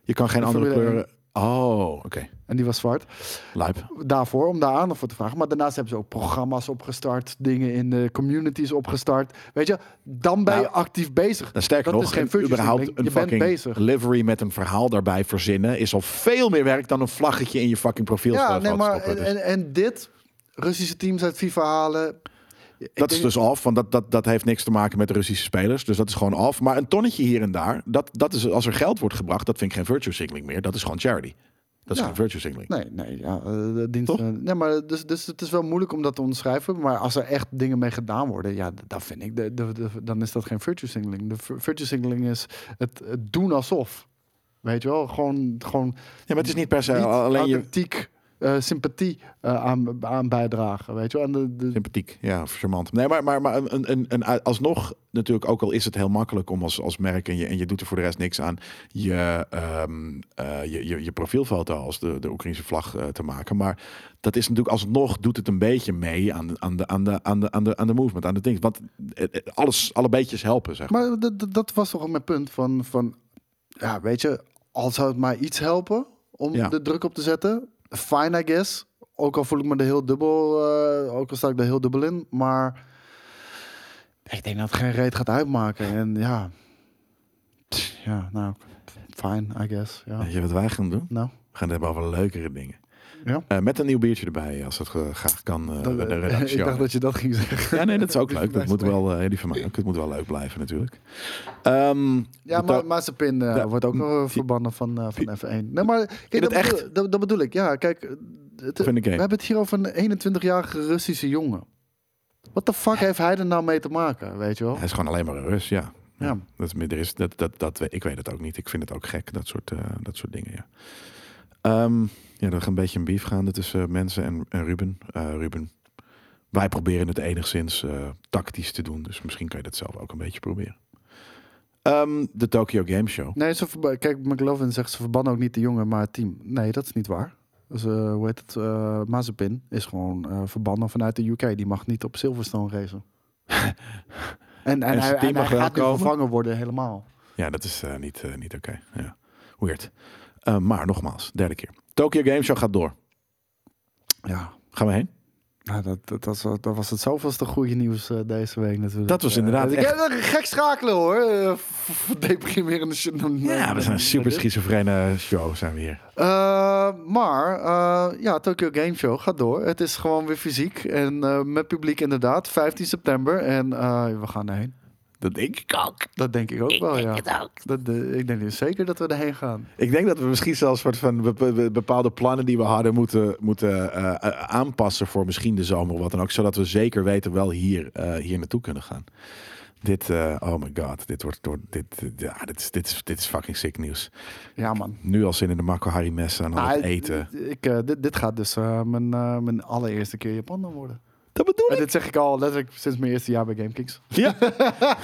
Je kan geen
de
andere
Formule
kleuren... Oh, oké.
En die was zwart.
Lijp.
Daarvoor, om daar aandacht voor te vragen. Maar daarnaast hebben ze ook programma's opgestart. Dingen in de communities opgestart. Weet je, dan ben je
Nou,
actief bezig.
Nou, sterker
Dat
nog,
is geen
en
virtue
überhaupt
signaling.
een
Je bent
fucking
bezig.
livery met een verhaal daarbij verzinnen... is al veel meer werk dan een vlaggetje in je fucking profielfoto
Ja, nee, maar
stoppen. Dus
en, en, en dit, Russische teams uit FIFA halen. Ik
dat
denk-
is dus af, want dat, dat, dat heeft niks te maken met de Russische spelers. Dus dat is gewoon af. Maar een tonnetje hier en daar, dat, dat is, als er geld wordt gebracht... dat vind ik geen virtue signaling meer. Dat is gewoon charity. Dat is
Ja.
geen virtue signaling.
Nee, nee, ja, eh, de dienst.
Toch?
eh, nee, maar dus, dus het is wel moeilijk om dat te onderschrijven. Maar als er echt dingen mee gedaan worden, ja, d- dan vind ik, de, de, de- dan is dat geen virtue signaling. De vir- virtue signaling is het, het doen alsof. Weet je wel, gewoon, gewoon
Ja, maar het is niet per se
niet
alleen je...
authentiek eh, sympathie eh, aan, aan bijdragen. Weet je wel, en de, de,
Sympathiek, ja, of charmant. Nee, maar, maar, maar een, een, een, alsnog natuurlijk, ook al is het heel makkelijk om als, als merk en je, en je doet er voor de rest niks aan, je, ehm, eh, je, je, je profielfoto als de, de Oekraïnse vlag eh, te maken. Maar dat is natuurlijk alsnog, doet het een beetje mee aan de, aan de, aan de, aan de, aan de, aan de movement, aan de ding. Want eh, eh, alles, alle beetjes helpen, zeg maar.
Maar dat- dat- dat was toch ook mijn punt van, van ja, weet je, al zou het maar iets helpen om
Ja.
de druk op te zetten. Fine, I guess. Ook al voel ik me er heel dubbel, eh, ook al sta ik er heel dubbel in, maar ik denk dat het geen reet gaat uitmaken. En ja, Pff, ja, nou, fine, I guess. Ja.
Weet je wat wij gaan doen?
Nou,
We gaan het hebben over leukere dingen.
Ja.
Eh, met een nieuw biertje erbij, als dat ge- graag kan. eh, bij de redactie.
ik dacht dat je dat ging zeggen.
Ja, nee, dat is ook leuk. Dat moet
Nice.
wel, eh die van mij ook. Het moet wel leuk blijven natuurlijk. Ehm,
Ja,
de
maar
to-
Mazepin eh,
Ja,
wordt ook wel verbannen van, eh, van F1. Nee, maar kijk,
het
dat,
echt?
Bedoel, dat, dat bedoel ik. Ja, kijk, het,
Of in de game.
we hebben het hier over een 21-jarige Russische jongen. Wat de fuck heeft hij er nou mee te maken, weet je wel?
hij is gewoon alleen maar een Rus, ja.
Ja.
Dat is, meer- er is, dat, dat, dat, we- ik weet het ook niet. Ik vind het ook gek, dat soort, eh, dat soort dingen, ja. Ehm, ja, er gaat een beetje een beef gaande tussen mensen en, en Ruben. Eh, Ruben, wij proberen het enigszins eh, tactisch te doen. Dus misschien kan je dat zelf ook een beetje proberen. Ehm, de Tokyo Game Show.
Nee, ze verba- kijk, McLovin zegt ze verbannen ook niet de jongen, maar het team. Nee, dat is niet waar. Dus, eh, hoe heet het? eh Mazepin is gewoon eh, verbannen vanuit de UK. Die mag niet op Silverstone racen. en en,
zijn
hij,
team
en
mag
hij
wel
gaat nu
komen.
vervangen worden helemaal.
Ja, dat is eh, niet, eh, niet oké. Ja. Weird. Eh, maar nogmaals, derde keer. Tokyo Game Show gaat door.
Ja,
Gaan we heen?
Nou, dat, dat, was, dat was het zoveelste goede nieuws eh, deze week natuurlijk.
Dat was
Eh,
inderdaad
ik
echt-
heb een gek schakelen hoor. Eh, f- f- Deprimerende shit.
Ja, we zijn een super schizofrene show zijn we hier.
Eh, maar eh, ja, Tokyo Game Show gaat door. Het is gewoon weer fysiek en eh, met publiek inderdaad. 15 september en eh, we gaan erheen.
Dat denk ik ook.
Dat denk ik ook wel, ja. Dat, eh, ik denk dus zeker dat we erheen gaan.
Ik denk dat we misschien zelfs soort van be- be- bepaalde plannen die we hadden moeten, moeten eh, eh, aanpassen voor misschien de zomer of wat dan ook. Zodat we zeker weten wel hier, eh, hier naartoe kunnen gaan. Dit, eh, oh my god, dit wordt door. Dit, dit- ja, dit, is, dit, is, dit is fucking sick nieuws.
Ja, man.
Nu al zin in de Marco Harry messen en al het Nou,
Ah,
eten.
Ik, eh, dit, dit gaat dus eh, mijn, eh, mijn allereerste keer Japan dan worden.
Dat bedoel
En dit zeg ik al letterlijk sinds mijn eerste jaar bij GameKings.
Ja.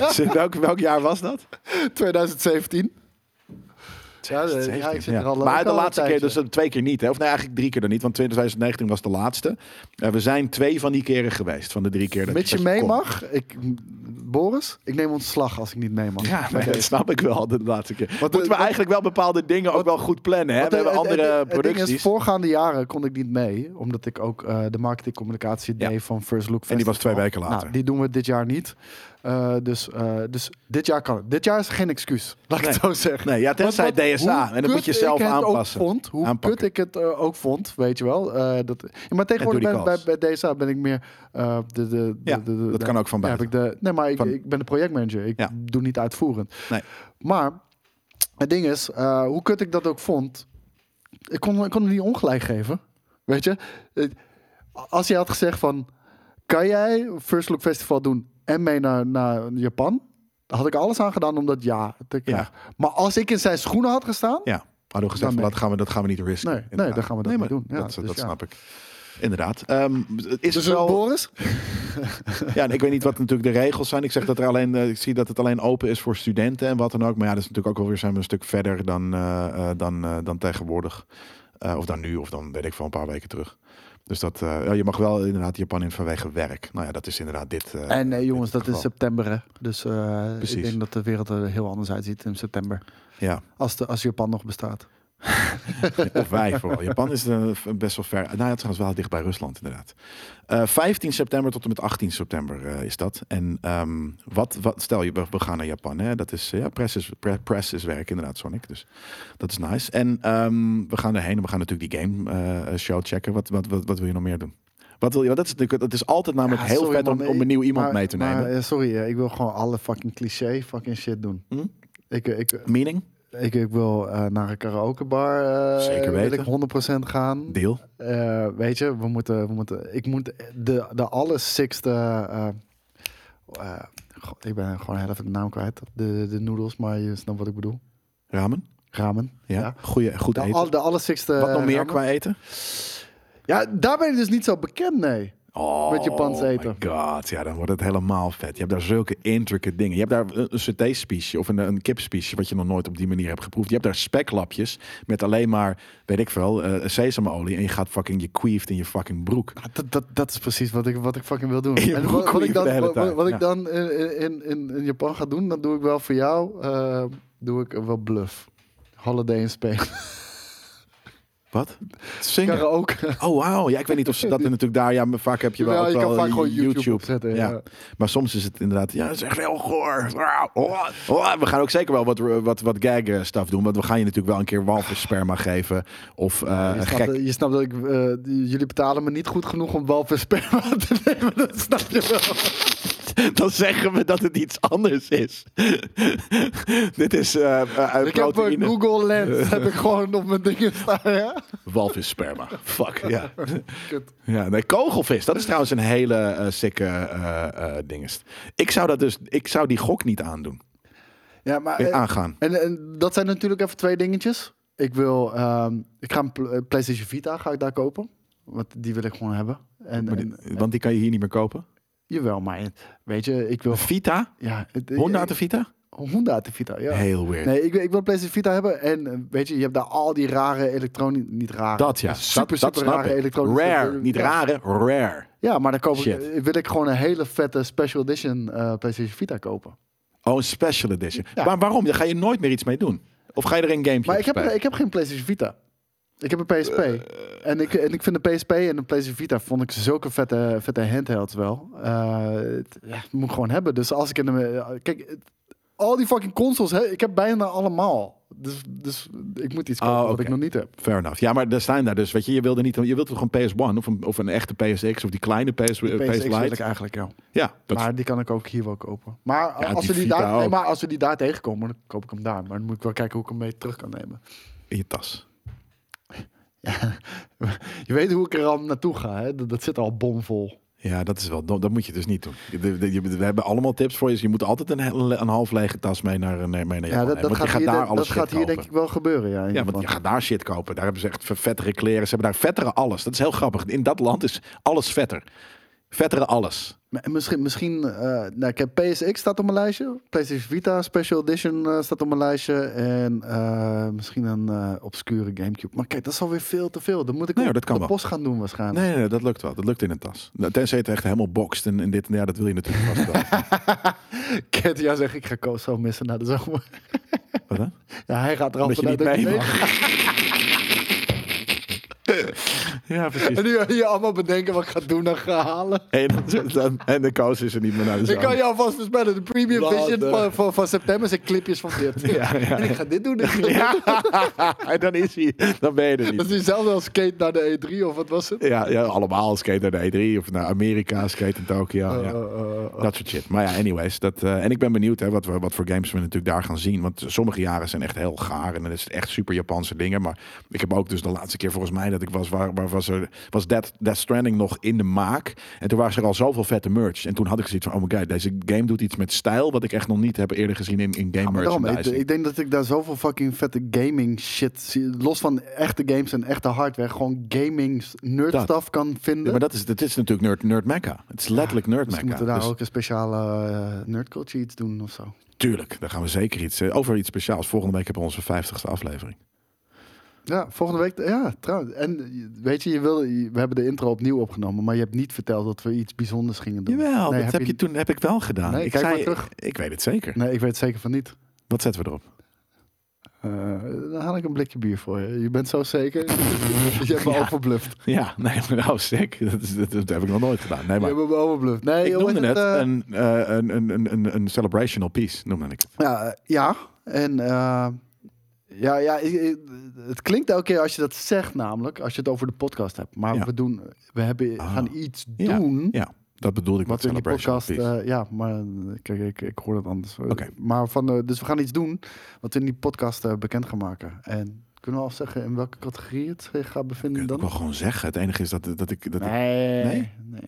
Zin- welk, welk jaar was dat?
2017. Ja, de- Eh, ja, ik zit er al ook
maar de
al een eh.
laatste keer,
tijdje.
dus dat twee keer niet. Hè? Of nee, eigenlijk drie keer dan niet. Want 2019 was de laatste. Eh, we zijn twee van die keren geweest. Van de drie keer. Dat,
Mits je
dat
mee
kon.
mag, ik, Boris, ik neem ontslag als ik niet mee mag.
Ja, nee, dat snap ik wel, de laatste keer. Moeten we
eh, wat-
eigenlijk wel bepaalde dingen ook wel goed plannen. Hè?
Want,
We hebben
eh, het- het-
andere
het ding is,
producties.
voorgaande jaren kon ik niet mee, omdat ik ook eh, de marketingcommunicatie
Ja.
deed van First Look
En die was
Festival.
twee weken later.
Nou, die doen we dit jaar niet. Eh, Eh, dus, eh, dus dit jaar kan het. Dit jaar is geen excuus, laat ik het zo zeggen.
Nee, ja,
Want
tenzij
wat-
DSA.
hoe
En dat moet je
kut
zelf
ik het ook
aanpassen.
vond, hoe
Aanpakken.
kut ik het eh, ook vond, weet je wel. eh, dat, ja, maar tegenwoordig
Ja,
ben,
doe die
bij, bij DSA ben ik meer... eh, de, de, de,
Ja,
de- de-
dat
de-
kan ook van
ja, heb
buiten.
ik de, nee, maar ik,
Van-
ik ben de projectmanager. Ik
Ja.
doe niet uitvoerend.
Nee.
Maar het ding is, eh, hoe kut ik dat ook vond... Ik kon, ik kon hem niet ongelijk geven. Weet je? Eh, Het- Als jij had gezegd van... Kan jij First Look Festival doen en mee naar, naar Japan? Daar had ik alles aan gedaan om dat ja te krijgen. Maar als ik in zijn schoenen had gestaan...
Ja, hadden we gezegd,
Dan
van,
ben
dat, gaan we, dat gaan we niet risken.
Nee,
inderdaad.
nee, dan gaan we dat
Nee,
niet
maar
doen. Ja,
dat
dus
dat
ja.
snap ik. Inderdaad. Ehm, is
Dus
het wel...
Boris?
Ja, en ik weet niet wat natuurlijk de regels zijn. Ik zeg dat er alleen, eh, ik zie dat het alleen open is voor studenten en wat dan ook. Maar ja, dat is natuurlijk ook wel weer zijn we een stuk verder dan, eh, eh, dan, eh, dan tegenwoordig. Eh, of dan nu, of dan weet ik van een paar weken terug. Dus dat, eh, ja, je mag wel inderdaad Japan in vanwege werk. Nou ja, dat is inderdaad dit. eh,
En nee,
dit
jongens, dat is
geval.
september. Hè? Dus eh,
Precies.
ik denk dat de wereld er heel anders uitziet in september.
Ja,
Als, de, als Japan nog bestaat.
of wij vooral. Japan is eh, best wel ver. Nou ja, het is wel dicht bij Rusland inderdaad. Eh, 15 september tot en met 18 september eh, is dat. En ehm, wat, wat, stel je, we, we gaan naar Japan. Hè? Dat is, eh, ja, press is, pre- press is werk inderdaad, Sonic. Dus dat is nice. En ehm, we gaan erheen en we gaan natuurlijk die game eh, show checken. Wat, wat, wat, wat wil je nog meer doen? Wat wil je? Want dat is, natuurlijk- dat is altijd namelijk
Ja,
heel
sorry,
vet om,
man,
om een nieuw iemand
maar-
mee te nemen.
maar, eh, sorry, eh, ik wil gewoon alle fucking cliché fucking shit doen.
Hm?
Ik, ik,
Meaning?
ik, ik wil eh, naar een karaokebar. eh,
Zeker weten.
Wil ik 100% gaan.
Deal.
Eh, weet je, we moeten, we moeten. Ik moet de, de allersixte. eh, eh, god, ik ben gewoon heel even de naam kwijt. De, de noedels, maar je snapt wat ik bedoel.
Ramen?
Ramen.
Ja.
Ja.
Goeie, goed
De,
eten.
al, de allersixte.
wat nog meer
ramen.
qua eten?
Ja, daar ben ik dus niet zo bekend, nee.
Oh,
Met Japans eten.
my god, ja, dan wordt het helemaal vet. Je hebt daar zulke intricate dingen. Je hebt daar een een saté-spiesje of een, een kipspiesje... wat je nog nooit op die manier hebt geproefd. Je hebt daar speklapjes met alleen maar, weet ik veel, eh, sesamolie... en je gaat fucking, je queeft in je fucking broek.
Ah, Dat, dat, dat is precies wat ik, wat ik fucking wil doen.
In je
En
broek
wat, wat
liever
ik dan,
de hele
wat, wat- wat ik
tijd,
dan in, in, in, in Japan ga doen, dat doe ik wel voor jou. eh, doe ik wel bluff. Holiday in Spain.
Wat? Zingen?
Karaoke.
Oh, wauw. Ja, ik weet niet of ze dat natuurlijk daar... Ja, maar vaak heb je wel,
Ja,
ook
je kan
wel
vaak
eh,
gewoon YouTube opzetten, ja.
Maar soms is het inderdaad... Ja, het is echt heel goor. Ah, oh, oh. We gaan ook zeker wel wat, wat, wat gag-stuff doen. Want we gaan je natuurlijk wel een keer walvissperma geven. Of eh,
je,
een
snapt,
gek...
je snapt dat ik, eh, die- jullie betalen me niet goed genoeg om walvisperma te nemen. Dat snap je wel.
dan zeggen we dat het iets anders is. Dit is eh eh, uit
Ik heb een
proteïne.
Google Lens. heb ik gewoon op mijn dingen staan. Ja?
Walvissperma. Fuck, ja.
Kut.
ja. Nee, kogelvis. Dat is trouwens een hele eh sikke eh, eh, dingest. Ik zou, dat dus, ik zou die gok niet aandoen.
Ja, maar,
Eh,
eh,
aangaan.
En, en dat zijn natuurlijk even twee dingetjes. Ik wil, ehm, ik ga een pl- eh, PlayStation Vita ga ik daar kopen, want die wil ik gewoon hebben. En,
Maar
en-
die- Want die kan je hier niet meer kopen.
jawel, maar het- weet je, ik wil
Vita?
ja, het-
Honda de Vita?
Honda uit de Vita, ja.
Heel weird.
Nee, ik, wil- ik wil PlayStation Vita hebben en eh, weet je, je hebt daar al die rare elektronische, niet rare,
Dat ja.
super
dat, dat
super
snap
rare
ik.
elektronische,
Rare. Niet
ja.
rare, rare.
Ja, maar dan koop ik,
Shit.
eh, wil ik gewoon een hele vette special edition eh, PlayStation Vita kopen.
Oh, een special edition.
Ja.
Maar waarom? Daar ga je nooit meer iets mee doen. Of ga je er een gamepje
Maar
op
ik heb,
spelen?
ik heb geen PlayStation Vita. Ik heb een PSP.
Eh.
en, ik, en ik vind de PSP en de PlayStation Vita vond ik zulke vette, vette handhelds wel. Eh, het- ja, het moet ik gewoon hebben. Dus als ik in de. Kijk, het- al die fucking consoles, hè, ik heb bijna allemaal. Dus, dus ik moet iets kopen
Oh,
wat ik
oké.
nog niet heb.
Fair enough. Ja, maar daar staan daar dus. Weet je, je wilde niet. Je wilt toch een PS1 of een, of een echte PSX of die kleine PS, eh, PS,
PSX wil ik
Lite.
eigenlijk ja.
Ja, dat,
Maar die kan ik ook hier wel kopen. Maar,
Ja,
als,
die
we die
Vita
daar, nee,
ook.
maar als we die daar tegenkomen, dan koop ik hem daar. Maar dan moet ik wel kijken hoe ik hem mee terug kan nemen.
in je tas.
Je weet hoe ik er al naartoe ga. Hè? Dat, dat zit al bomvol.
Ja, dat is wel. dom. Dat moet je dus niet doen. Je- de- je- we hebben allemaal tips voor je. Dus je moet altijd een, he- een half lege tas mee naar, nee, mee naar
Ja,
Japan
dat,
nemen,
dat
want
gaat,
je gaat
hier,
daar
dat-
alles
dat gaat hier denk ik wel gebeuren. Ja, in
Ja,
Japan.
want je gaat daar shit kopen. Daar hebben ze echt vettere kleren. Ze hebben daar vettere alles. Dat is heel grappig. In dat land is alles vetter. Vettere alles.
Maar Misschien, misschien eh, nou, ik heb PSX staat op mijn lijstje. PlayStation Vita Special Edition eh, staat op mijn lijstje. En eh, misschien een eh, obscure Gamecube. Maar kijk, dat is alweer veel te veel. Dan moet ik
Nee,
op
dat kan
de
wel.
post gaan doen waarschijnlijk.
Nee, nee, dat lukt wel. Dat lukt in een tas. Nou, Tenzij het echt helemaal boxt en, en dit en ja, dat wil je natuurlijk vast wel.
Ik heb jou zeggen, ik ga Koos zo missen na de zomer.
Wat dan?
Ja, hij gaat er al
Omdat je
vanuit
niet
dat
mee
ik het
mag. Ja, precies.
En nu hier allemaal bedenken wat ik ga doen en ga halen.
En, dan, en de koos is er niet meer naar de
Ik
zon.
kan jou vast voorspellen. De premium
Wat
vision
een-
van, van, van september zijn clipjes van dit.
Ja, ja.
En ik ga dit doen. dit doen.
Ja, en dan is hij. Dan ben je er
Dat
niet.
is hetzelfde als skate naar de E3 of wat was het?
Ja, ja, allemaal skate naar de E3 of naar Amerika, skate in Tokio.
Eh,
ja.
eh, eh, eh.
Dat soort shit. Maar ja, anyways. Dat, eh, en ik ben benieuwd hè, wat, we, wat voor games we natuurlijk daar gaan zien. Want sommige jaren zijn echt heel gaar. En dan is het echt super Japanse dingen. Maar ik heb ook dus de laatste keer volgens mij dat ik was... Waar, waar was, er, was Death, Death Stranding nog in de maak. En toen was er al zoveel vette merch. En toen had ik zoiets van... Oh my god, deze game doet iets met stijl... wat ik echt nog niet heb eerder gezien in, in game
Maar daarom, ik,
merchandising.
ik denk dat ik daar zoveel fucking vette gaming shit zie. Los van echte games en echte hardware. Gewoon gaming nerd
Dat.
stuff kan vinden.
Ja, maar dat is, dat is natuurlijk nerd, nerd mecca. Het is letterlijk nerd
Misschien
mecca.
moeten we daar
Dus
ook een speciale eh, nerd culture iets doen of zo.
tuurlijk, daar gaan we zeker iets... eh, over iets speciaals. Volgende week hebben we onze 50ste aflevering.
Ja, volgende week. Ja, trouwens. En eh, weet je, je wilde, je- we hebben de intro opnieuw opgenomen, maar je hebt niet verteld dat we iets bijzonders gingen doen.
Jawel,
Nee,
dat heb je, toen heb ik wel gedaan.
Nee,
ik,
kijk
zei,
maar terug.
ik weet het zeker.
Nee, ik weet zeker van niet.
Wat zetten we erop?
Eh, dan haal ik een blikje bier voor je. Je bent zo zeker. je hebt me
Ja.
overbluft.
Ja, nee, maar nou sick. Dat, is, dat, dat heb ik nog nooit gedaan. Nee,
Je
maar
hebt me overbluft. Nee,
ik
hoe
noemde het
heet eh?
een, eh, een, een, een, een, een celebrational piece, noemde ik het.
Ja, eh, ja. en eh, ja, ja, ik- ik- het klinkt elke keer als je dat zegt, namelijk als je het over de podcast hebt. Maar
Ja.
we doen, we hebben,
Ah.
gaan iets
Ja.
doen.
Ja, dat bedoelde ik
Wat
met
we in die
celebrational piece.
podcast, eh, ja, maar eh, kijk, ik, ik hoor dat anders.
Oké.
Maar van, eh, dus we gaan iets doen wat we in die podcast eh, bekend gaan maken. En kunnen we al zeggen in welke categorie het zich gaat
Kun je
bevinden
het ook wel
eh, dan?
gewoon zeggen. Het enige is dat, dat ik... Dat ik- nee.
Nee,
Nee?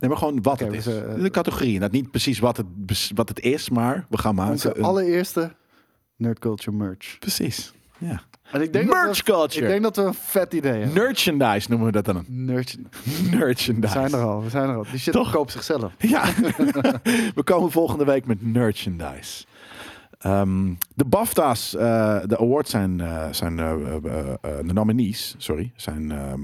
nee.
maar gewoon wat
Oké,
het
we
is.
zeggen, eh,
de categorie. Dat niet precies wat het, bes- wat het Ah, is, maar we gaan maken.
Onze
een-
allereerste Nerd Culture merch.
Precies. Ja.
En ik denk, dat
Merch
we, ik
culture.
denk dat we een vet idee hebben.
Merchandise noemen we dat dan.
Nerd. We
Merchandise.
zijn er al, we zijn er al. Die shit
Toch?
verkoopt zichzelf.
Ja, we komen volgende week met merchandise. Ehm, de BAFTA's, eh, de awards zijn, eh, zijn eh, eh, eh, de nominees, sorry, zijn ehm,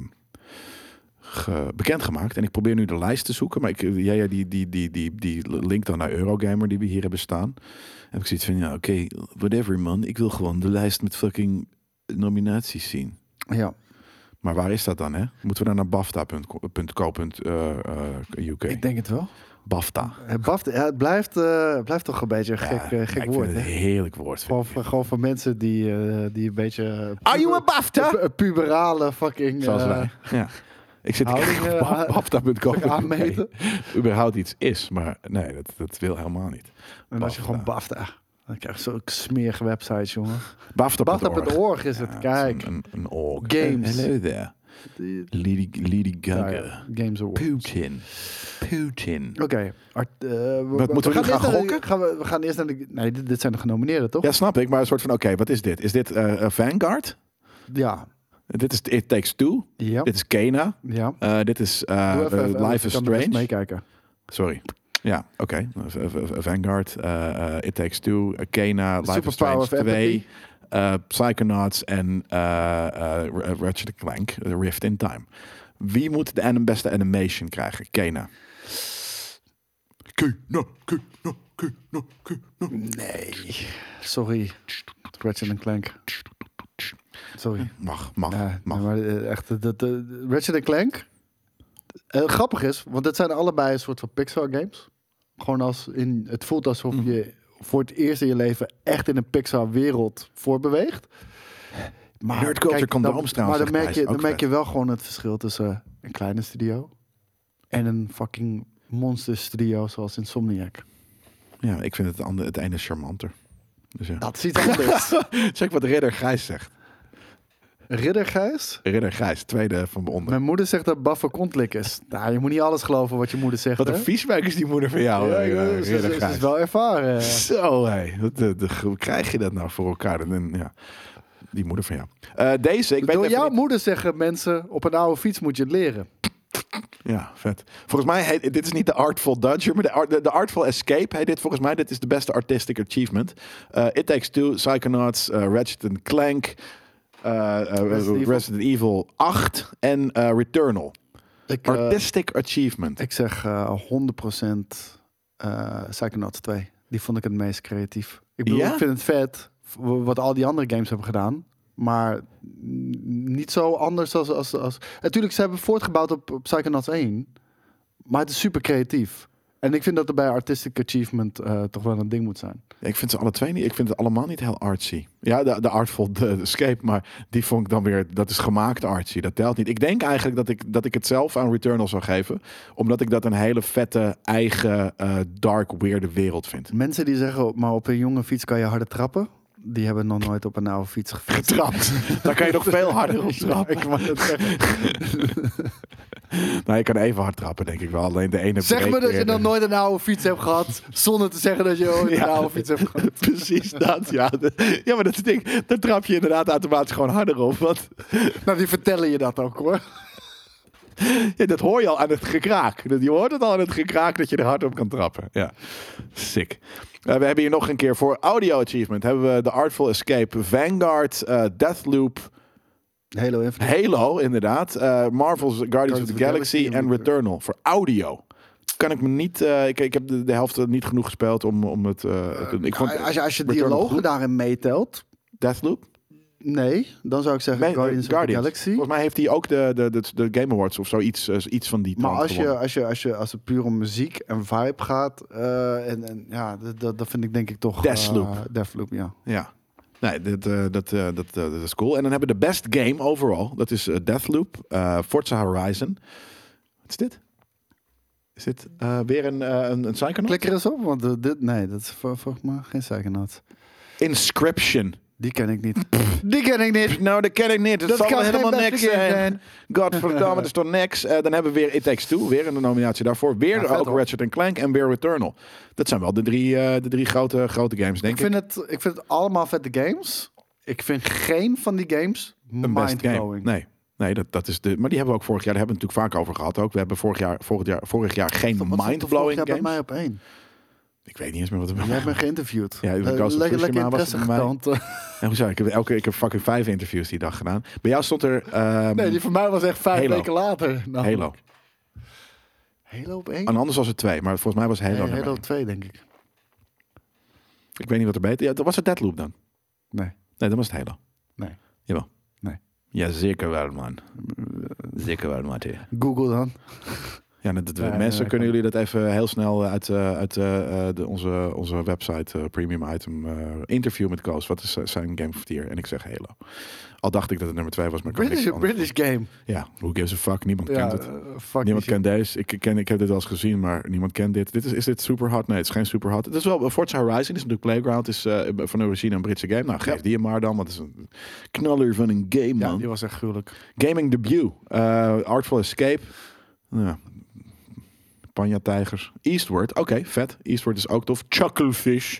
ge- bekendgemaakt. En ik probeer nu de lijst te zoeken, maar ik, jij jij die, die, die, die, die link dan naar Eurogamer die we hier hebben staan. En ik zoiets van, ja oké, whatever man, ik wil gewoon de lijst met fucking nominaties zien.
Ja.
Maar waar is dat dan hè? Moeten we dan naar eh, BAFTA.co.uk?
Ik denk het wel.
BAFTA.
Eh, BAFTA, ja, het blijft, eh, het blijft toch een beetje een
Ja,
gek, eh,
ja,
gek
ik
woord.
Vind
hè?
het een heerlijk woord. vind
Gewoon
ik.
voor, gewoon voor mensen die, eh, die een beetje... eh,
Are you a BAFTA?
pu- puberale fucking...
Zoals
eh,
wij. Ja. Ik zit
houding,
echt op
eh,
baf- bafta.com
ook aanmeten.
nee, überhaupt iets is, maar nee, dat, dat wil helemaal niet.
En als je gewoon BAFTA... Dan krijg je zo'n smerige website, jongen.
Bafta.org.
BAFTA.org is het,
Ja,
kijk.
Een, een, een org.
Games.
Hello there.
Die-
Lady, Lady
daar,
Gaga.
Games Award.
Putin. Putin.
Oké. art- eh, we,
moeten we nu gaan
eerst naar de-
gokken?
gaan we, we gaan eerst naar de... Nee, dit, dit zijn de genomineerden, toch?
Ja, snap ik, maar een soort van, oké, wat is dit? Is dit eh, eh, Vanguard?
Ja.
Dit is It Takes Two.
Ja.
Dit is Kena.
ja.
Eh, dit is eh,
Doe even-
eh,
even-
Life is
ik kan er best
Strange.
meekijken.
Sorry. Ja, oké. V- v- v- Vanguard, eh, eh, It Takes Two, eh, Kena, Life is
Superpower
Strange
of Empathy.
2, eh, Psychonauts en eh, eh, R- Ratchet Clank, eh, Rift in Time. Wie moet de anim- beste animation krijgen? Kena. Kena, Kena, Kena, Kena.
Nee. Sorry. Ratchet Clank. Sorry.
Mag, mag,
Ja,
mag.
nee, maar eh, echt, eh, dat, eh, Ratchet Clank. Eh, grappig is, want dat zijn allebei een soort van Pixar games. Gewoon als in, het voelt alsof
Mhm.
je voor het eerst in je leven echt in een Pixar wereld voorbeweegt. Maar
Nerd culture kan
dan-
daarom trouwens,
Maar dan
zegt
merk, je,
Thijs,
dan
ook
merk je wel gewoon het verschil tussen een kleine studio en een fucking monster studio zoals Insomniac.
Ja, ik vind het, ander, het ene charmanter. Dus ja.
Dat is iets anders.
Check wat Ridder Gijs zegt.
Riddergijs,
Ridder Gijs, tweede van onder.
Mijn moeder zegt dat Baffer kontlik is. Nou, je moet niet alles geloven wat je moeder zegt.
Wat een
hè?
vieswerk is die moeder van jou.
Oh, Ja,
eh,
joh, ze-
Ridder
ze- ze is
Gijs.
wel ervaren. eh.
Zo, hé. Wat eh, de- de- Hoe krijg je dat nou voor elkaar? Dat- en, ja. Die moeder van jou. Eh, deze, ik weet
Door
even
jouw
niet-
moeder zeggen mensen, op een oude fiets moet je het leren.
Ja, vet. Volgens mij, heet, dit is niet de Artful Dodger, maar de, Art- de, de Artful Escape heet dit volgens mij. Dit is de beste artistic achievement. Eh, It Takes Two, Psychonauts, eh, Ratchet and Clank, eh, eh,
Resident Evil.
Resident Evil 8 en eh, Returnal.
Ik, eh,
Artistic achievement.
ik zeg eh 100% eh Psychonauts 2. Die vond ik het meest creatief. Ik bedoel,
Ja?
ik vind het vet w- wat al die andere games hebben gedaan. Maar n- niet zo anders als... als, als... Natuurlijk, ze hebben voortgebouwd op, op Psychonauts 1. Maar het is super creatief. En ik vind dat er bij Artistic Achievement eh, toch wel een ding moet zijn.
Ik vind ze alle twee niet. Ik vind het allemaal niet heel artsy. Ja, de, de Artful de, de Escape, maar die vond ik dan weer. Dat is gemaakt artsy. Dat telt niet. Ik denk eigenlijk dat ik, dat ik het zelf aan Returnal zou geven, omdat ik dat een hele vette, eigen, eh, dark, weirde wereld vind.
Mensen die zeggen, maar op een jonge fiets kan je harde trappen. Die hebben nog nooit op een oude fiets gefietst.
Getrapt. Daar kan je nog veel harder op trappen. Ik wou net zeggen. nou, je kan even hard trappen, denk ik wel. Alleen de ene.
Zeg me
breekt
dat
weer
je nog
en-
nooit een oude fiets hebt gehad. Zonder te zeggen dat je ooit
Ja.
een oude fiets hebt gehad.
Precies dat, ja. Ja, maar dat is het ding. Daar trap je inderdaad automatisch gewoon harder op. Want
Nou, die vertellen je dat ook hoor.
Ja, dat hoor je al aan het gekraak. Dat- Je hoort het al aan het gekraak dat je er hard op kan trappen. Ja, sick. Eh, we hebben hier nog een keer voor Audio Achievement. Hebben we The Artful Escape, Vanguard, eh, Deathloop,
Halo Infinite.
Halo inderdaad. eh, Marvel's Guardians, of the, Galaxy, en
Return.
Returnal. Voor audio. Kan ik me niet... eh, ik, ik heb de, de helft niet genoeg gespeeld om, om het... eh, het- ik vond
nou als je, als je
Returnal
dialogen
goed.
daarin meetelt,
Deathloop?
nee, dan zou ik zeggen
Nee, eh,
Guardians,
Guardians.
of the Galaxy.
Volgens mij heeft hij ook de, de, de, de Game Awards of zo iets, eh, iets van die
Maar
trant
als je,
gewonnen.
als, je, als, je, als het puur om muziek en vibe gaat, eh, en, en ja, dat- dat, dat vind ik denk ik toch...
Deathloop.
eh, Deathloop, ja.
Ja. Nee, dat, eh, dat, eh, dat, eh, dat is cool. En dan hebben we de best game overall. Dat is eh, Deathloop, eh, Forza Horizon. Wat is dit? Is dit eh, weer een, eh een, een Psychonaut?
Klik er eens op, want eh, dit, nee, dat is vol- volgens mij geen Psychonaut.
Inscription.
Die ken ik niet. Die ken ik niet.
Nou, dat ken ik niet. Dat,
Dat
zal
kan geen
helemaal
beste
niks
game
zijn.
zijn.
Godverdamme, dat is toch niks. Eh, dan hebben we weer It Takes Two. Weer een nominatie daarvoor. Weer
Ja, vet,
ook
hoor.
Ratchet Clank en weer Returnal. Dat zijn wel de drie, eh, de drie grote, grote games, denk
Ik
ik.
vind, het, ik vind het allemaal vette games. Ik vind geen van die games
een best game.
mind-blowing.
Nee. Nee, dat, dat is de. Maar die hebben we ook vorig jaar. Daar hebben we het natuurlijk vaak over gehad. Ook. We hebben vorig jaar, vorig jaar, vorig jaar geen
Wat zat er vorig
mindblowing
jaar
games.
bij mij op één.
Ik weet niet eens meer wat er bij
Jij
mij.
hebt me geïnterviewd.
Ja,
Eh,
Ghost of
lekker, lekker
Tsushima was
interesse
het bij mij.
getoond.
En hoezo? Ik heb elke ik heb fucking vijf interviews die dag gedaan. Bij jou stond er ehm,
Nee, die voor mij was echt vijf
Halo.
weken later. Nou,
Halo.
Halo op één?
En anders was het twee, maar volgens mij was Halo.
Nee,
nummer
Halo
één.
2, denk ik.
Ik weet niet wat er beter. Ja, dat was het Deadloop dan.
Nee.
Nee, dan was het Halo.
Nee.
Jawel.
Nee.
Ja, zeker wel, man. Zeker wel, Mathieu.
Google dan.
Ja, dat, dat-
Ja,
mensen
ja,
kunnen jullie dat even heel snel eh, uit, eh, uit eh, eh, de, onze, onze website eh, premium item eh, interview met Koos. Wat is eh, zijn game of the year? En ik zeg Halo. Al dacht ik dat het nummer twee was, maar ik kan
British,
niks anders.
British game.
Ja, who gives a fuck? Niemand
Ja,
kent het.
eh, fuck
Niemand
die shit.
kent deze. Ik, ken, ik heb dit wel eens gezien, maar niemand kent dit. dit is, is dit super hot? Nee, het is geen super hot. Het is wel eh, Forza Horizon, is natuurlijk Playground, is eh, van origine een Britse game. Nou, geef
Ja.
die hem maar dan, want het is een knaller van een game,
Ja,
man.
die was echt gruwelijk.
Gaming Debut, eh, Artful Escape, ja. Panja Tijgers, Eastward, oké, vet. Eastward is ook tof. Chucklefish,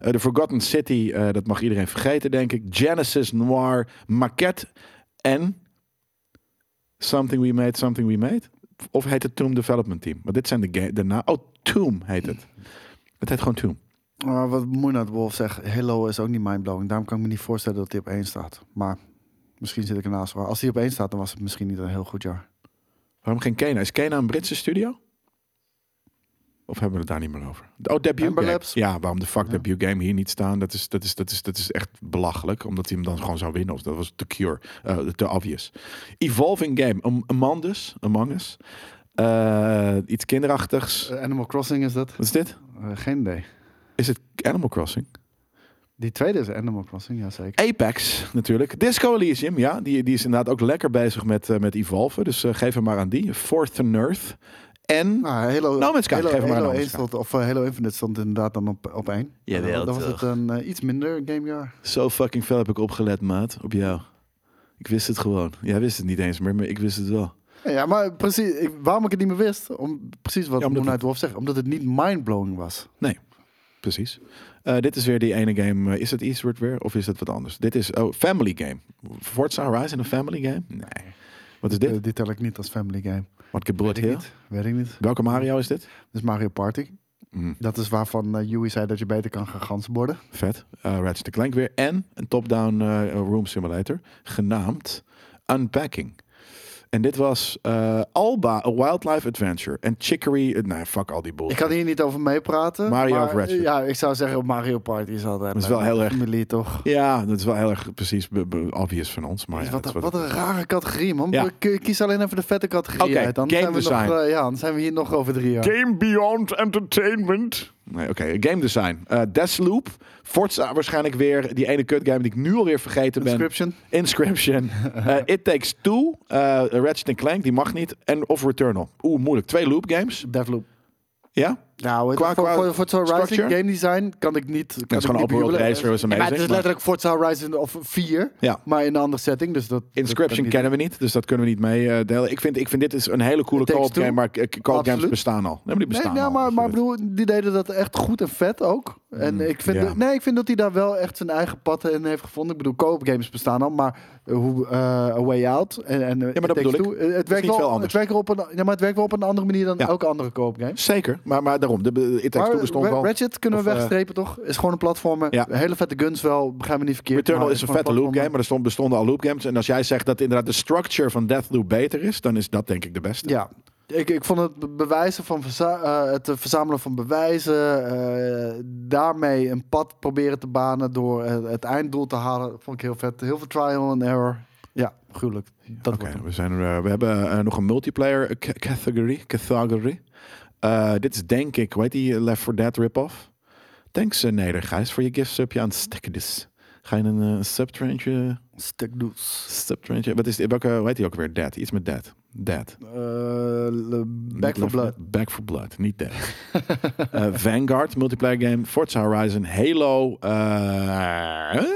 Eh, The Forgotten City, eh, dat mag iedereen vergeten, denk ik. Genesis Noir, Maquette en Something We Made, Something We Made. Of heet het Tomb Development Team? Want dit zijn de, ga- de na- Oh, Tomb heet het. Het heet gewoon Tomb.
Maar wat Moonlight Wolf zegt, Halo is ook niet mindblowing. Daarom kan ik me niet voorstellen dat die op één staat. Maar misschien zit ik ernaast. hoor. Als die op één staat, dan was het misschien niet een heel goed jaar.
Waarom geen Kena? Is Kena een Britse studio? Of hebben we het daar niet meer over? Oh, debut
Amber
game.
Labs.
Ja, waarom de fuck
Ja.
debut game hier niet staan? Dat is, dat, is, dat, is, dat is echt belachelijk. Omdat hij hem dan gewoon zou winnen. Of dat was te cure. eh, te obvious. Evolving game. Am- Among Us. Among Us. Eh, iets kinderachtigs.
Eh, Animal Crossing is dat?
Wat is dit?
Eh, geen idee.
Is het Animal Crossing?
Die tweede is Animal Crossing, ja zeker.
Apex natuurlijk. Disco Elysium, ja. Die, die is inderdaad ook lekker bezig met, eh, met evolven. Dus eh, geef hem maar aan die. Fourth and Earth. En
Nou, Halo,
No Man's Sky,
Halo,
geef maar
Halo
No Man's
1 stond, of eh, Halo Infinite stond inderdaad dan op, op één.
Jawel,
Dan was
toch.
het een eh, iets minder gamejaar.
Zo fucking veel heb ik opgelet, maat. Op jou. Ik wist het gewoon. Jij wist het niet eens meer, maar ik wist het wel.
Ja, maar precies, ik- waarom ik het niet meer wist, om, precies wat
Ja, omdat
Moonlight Wolf zegt, omdat het niet mindblowing was.
Precies. Eh, dit is weer die ene game. eh, is het Eastward weer of is het wat anders? Dit is oh, Family Game. Forza Horizon een Family Game? Nee. Wat is dit?
Eh, die tel ik niet als family game.
Wat gebeurt
Weet ik
hier?
niet. Weet ik niet.
Welke Mario is dit?
Dus Mario Party.
Mm,
Dat is waarvan eh Yui zei dat je beter kan gaan gansborden.
vet. Eh Ratchet Clank weer. En een top-down eh, room simulator. Genaamd Unpacking. En dit was eh, Alba, A Wildlife Adventure. En Chicory, eh, nee, fuck al die boel.
Ik kan hier niet over meepraten.
Mario
maar, eh,
of Ratchet?
Ja, ik zou zeggen Mario Party is altijd
Dat is wel
leuk.
heel erg-
Familie toch?
Ja, dat is wel heel erg precies be- be- obvious van ons. Maar ja,
wat,
dat
een,
is
wat een rare categorie, man.
Ja.
We k- Kies alleen even de vette categorie
Oké,
uit. Dan
game
zijn we
design.
Nog, eh, ja, dan zijn we hier nog over drie jaar.
Game Beyond Entertainment. Nee, oké. Game design. Eh Deathloop. Forza waarschijnlijk weer. Die ene kutgame die ik nu alweer vergeten ben.
Inscription.
Inscription. Eh, It Takes Two. eh Ratchet Clank. Die mag niet. En of Returnal. Oeh, moeilijk. Twee loop games.
Devloop.
Ja?
Nou, weet je,
Qua-
voor,
qua
voor Forza Horizon
structure?
game design kan ik niet. Kan
Dat is
ik
gewoon
niet
open world
bejubelen.
racer. was
Ja, maar
amazing.
het is
maar
letterlijk Forza Horizon of 4,
Ja.
maar in een andere setting. Dus dat,
Inscription
dat, dat
kennen we niet, dus dat kunnen we niet mee eh, delen. Ik vind, ik vind dit is een hele coole
It Takes
co-op game,
Two.
maar eh, co-op games
Absoluut.
bestaan al. Nee, maar die
niet.
bestaan
Nee, nou,
al,
maar,
dus
maar
dat-
bedoel, die deden dat echt goed en vet ook. En ik vind,
ja.
dat- nee, ik vind dat hij daar wel echt zijn eigen pad in heeft gevonden. Ik bedoel, co-op games bestaan al, maar eh, hoe eh, A Way Out en, eh, en
dat bedoel ik.
Het werkt,
niet veel
wel,
anders.
het, werkt wel op een, ja, maar het werkt wel op een andere manier dan
Ja.
elke andere co-op game.
Zeker, maar, maar daarom. De, de- It Takes Two bestond
Ra-
wel.
Ratchet kunnen we
Of, eh,
wegstrepen, toch? Is gewoon een platformer.
Ja.
Hele vette guns wel, begrijp me niet verkeerd.
Returnal
maar
is een
gewoon
vette loop game,
platformer.
maar er stond, bestonden al loop games. En als jij zegt dat inderdaad de structure van Deathloop beter is, dan is dat denk ik de beste.
Ja. Ik, ik vond het be- bewijzen van verza- eh, het eh, verzamelen van bewijzen, eh, daarmee een pad proberen te banen door eh, het einddoel te halen, vond ik heel vet. Heel veel trial and error. Ja, gruwelijk. Dat
Oké,
wordt hem.
we, zijn er, eh, we hebben eh, nog een multiplayer eh, ca- category. category. Eh, dit is denk ik, hoe heet die eh, Left 4 Dead rip-off? Thanks uh, Neder, Gijs, voor je gift subje aan Stekkedis. Ga je een eh subtrantje...
Stuk does.
subtrantje wat is dit? Welke, hoe heet die ook weer? Dead, iets met Dead. Dead.
Eh, le- back
Niet
for
Left
blood.
Back for Blood, niet Dead. Eh, Vanguard, multiplayer game. Forza Horizon, Halo. eh,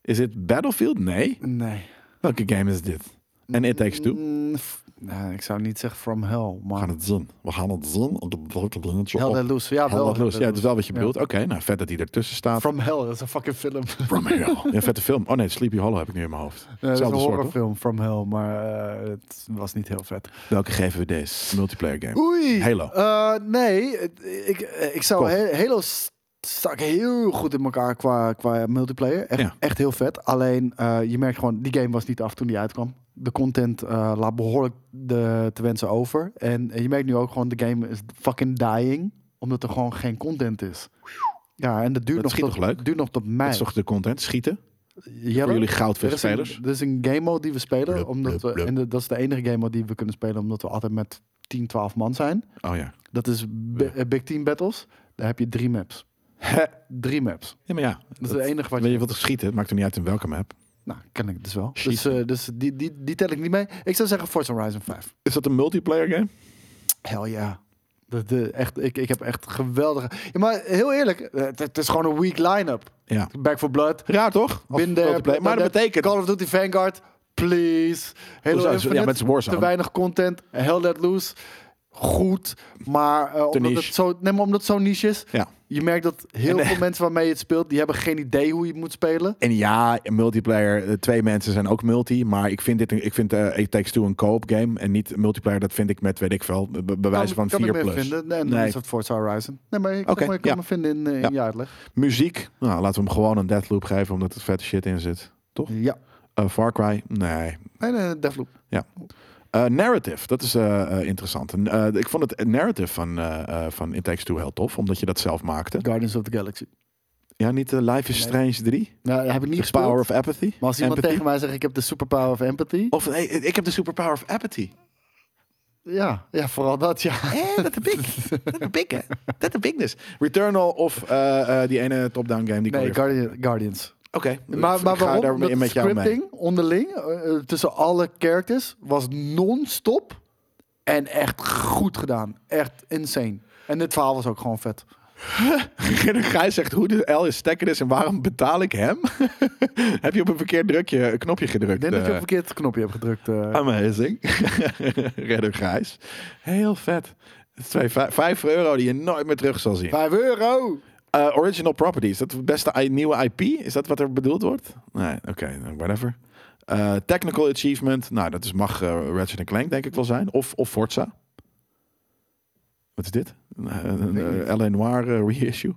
is het Battlefield? Nee.
Nee.
Welke game is dit? En It Takes Two?
Mm, f- nou, ik zou niet zeggen from hell,
We gaan
maar
het zien. We gaan het zien. Op de blote blindje.
hell
op.
that loose. Ja,
Hell
wel.
Let Loose. Ja, dat is wel wat je
Ja.
bedoelt. Oké, nou vet dat hij ertussen staat.
From hell, dat is een fucking film.
From Hell. Ja, vette film. Oh nee, Sleepy Hollow heb ik nu in mijn hoofd.
Nee, dat is een
Hetzelfde soort, toch?
horrorfilm From Hell, maar eh, het was niet heel vet.
Welke geven we deze? Multiplayer game.
Oei!
Halo.
Eh, nee, het- ik, ik zou
Kom.
He- Halo st- stak heel goed in elkaar qua, qua multiplayer. Echt,
Ja.
echt heel vet. Alleen eh, je merkt gewoon, die game was niet af toen die uitkwam. De content eh, laat behoorlijk de, te wensen over. En je merkt nu ook gewoon, de game is fucking dying. Omdat er gewoon geen content is. Ja, en dat duurt,
Dat
nog
schiet
tot,
toch leuk?
duurt nog tot mei.
Dat is toch de content? Schieten?
Jelle?
Voor jullie
Er is, een,
goudvisspelers.
er is een game mode die we spelen.
Blub,
omdat
blub,
we,
blub.
en de- dat is de enige game mode die we kunnen spelen. Omdat we altijd met 10, 12 man zijn.
Oh ja.
Dat is bi- eh, Big Team Battles. Daar heb je drie maps. Drie maps.
Ja, maar ja.
Dat is het enige wat
Weet
je...
je wat er schieten? Het maakt er niet uit in welke map.
Nou, ken ik dus wel.
Shit.
Dus, eh, dus die, die, die tel ik niet mee. Ik zou zeggen Forza Horizon 5.
Is dat een multiplayer game?
Hell ja. Dat de, echt, ik, ik heb echt geweldige... Ja, maar heel eerlijk. eh, Het, het is gewoon een weak line-up.
Ja.
Back for Blood.
Raar toch? Als
Bin there,
multiplayer. Maar dat betekent...
Call of Duty Vanguard, please.
Hoezo?
Halo
Ja,
Infinite,
maar het is Warzone.
te weinig content. Hell Let Loose, goed. Maar, eh, omdat,
niche.
het zo, nee, maar omdat het zo niche is,
Ja.
je merkt dat heel
En, eh,
veel mensen waarmee je het speelt, die hebben geen idee hoe je het moet spelen.
En ja, multiplayer, eh, twee mensen zijn ook multi. Maar ik vind dit, een- ik vind eh It Takes Two een co-op game. En niet multiplayer, dat vind ik met, weet ik veel, be- be- bij wijze van
Nou, kan
4
ik me
plus.
vinden. Nee, en dan
Nee.
is het Forza Horizon. Nee, maar ik,
Oké,
maar ik kan
ja.
me vinden in, eh, in
Ja.
je uitleg.
Muziek, nou, laten we hem gewoon een Deathloop geven, omdat er vette shit in zit.
Ja.
Eh, Far Cry, nee.
En eh Devloop.
Eh, narrative, dat is eh, eh, interessant. En, eh, ik vond het narrative van, eh, eh, van It Takes Two heel tof, omdat je dat zelf maakte.
Guardians of the Galaxy.
Ja, niet eh, Life is
Nee.
Strange 3?
Nou, dat heb ik niet
The
gespeeld.
Power of Apathy?
maar als iemand
Empathy?
tegen mij zegt, ik heb de superpower of empathy.
Of hey, ik heb de superpower of apathy.
Ja, ja, vooral dat, ja.
Hé, dat heb ik. Dat heb ik, hè. Dat heb ik dus. Returnal of eh, eh, die ene top-down game. Die ik
Nee,
alweer-
Guardian- Guardians.
Oké.
Maar, maar
ik ga
waarom?
daar
Omdat
met
de
jou mee.
scripting onderling eh, eh, tussen alle characters was non-stop en echt goed gedaan. Echt insane. En dit verhaal was ook gewoon vet.
Gijs zegt hoe de L is stekker is en waarom betaal ik hem? heb je op een verkeerd drukje, een knopje gedrukt?
Ik denk dat je
eh?
op het verkeerd knopje hebt gedrukt. eh.
Amazing. Redder Gijs. Heel vet. Het is twee- vij- Vijf euro die je nooit meer terug zal zien.
Vijf euro!
Eh, original property, is dat de beste i- nieuwe IP? Is dat wat er bedoeld wordt? Nee, oké, nou, whatever. Eh, technical achievement, nou dat is, mag eh, Ratchet Clank denk ik wel zijn. Of, of Forza. Wat is dit? Een eh, eh, LA Noir eh, reissue?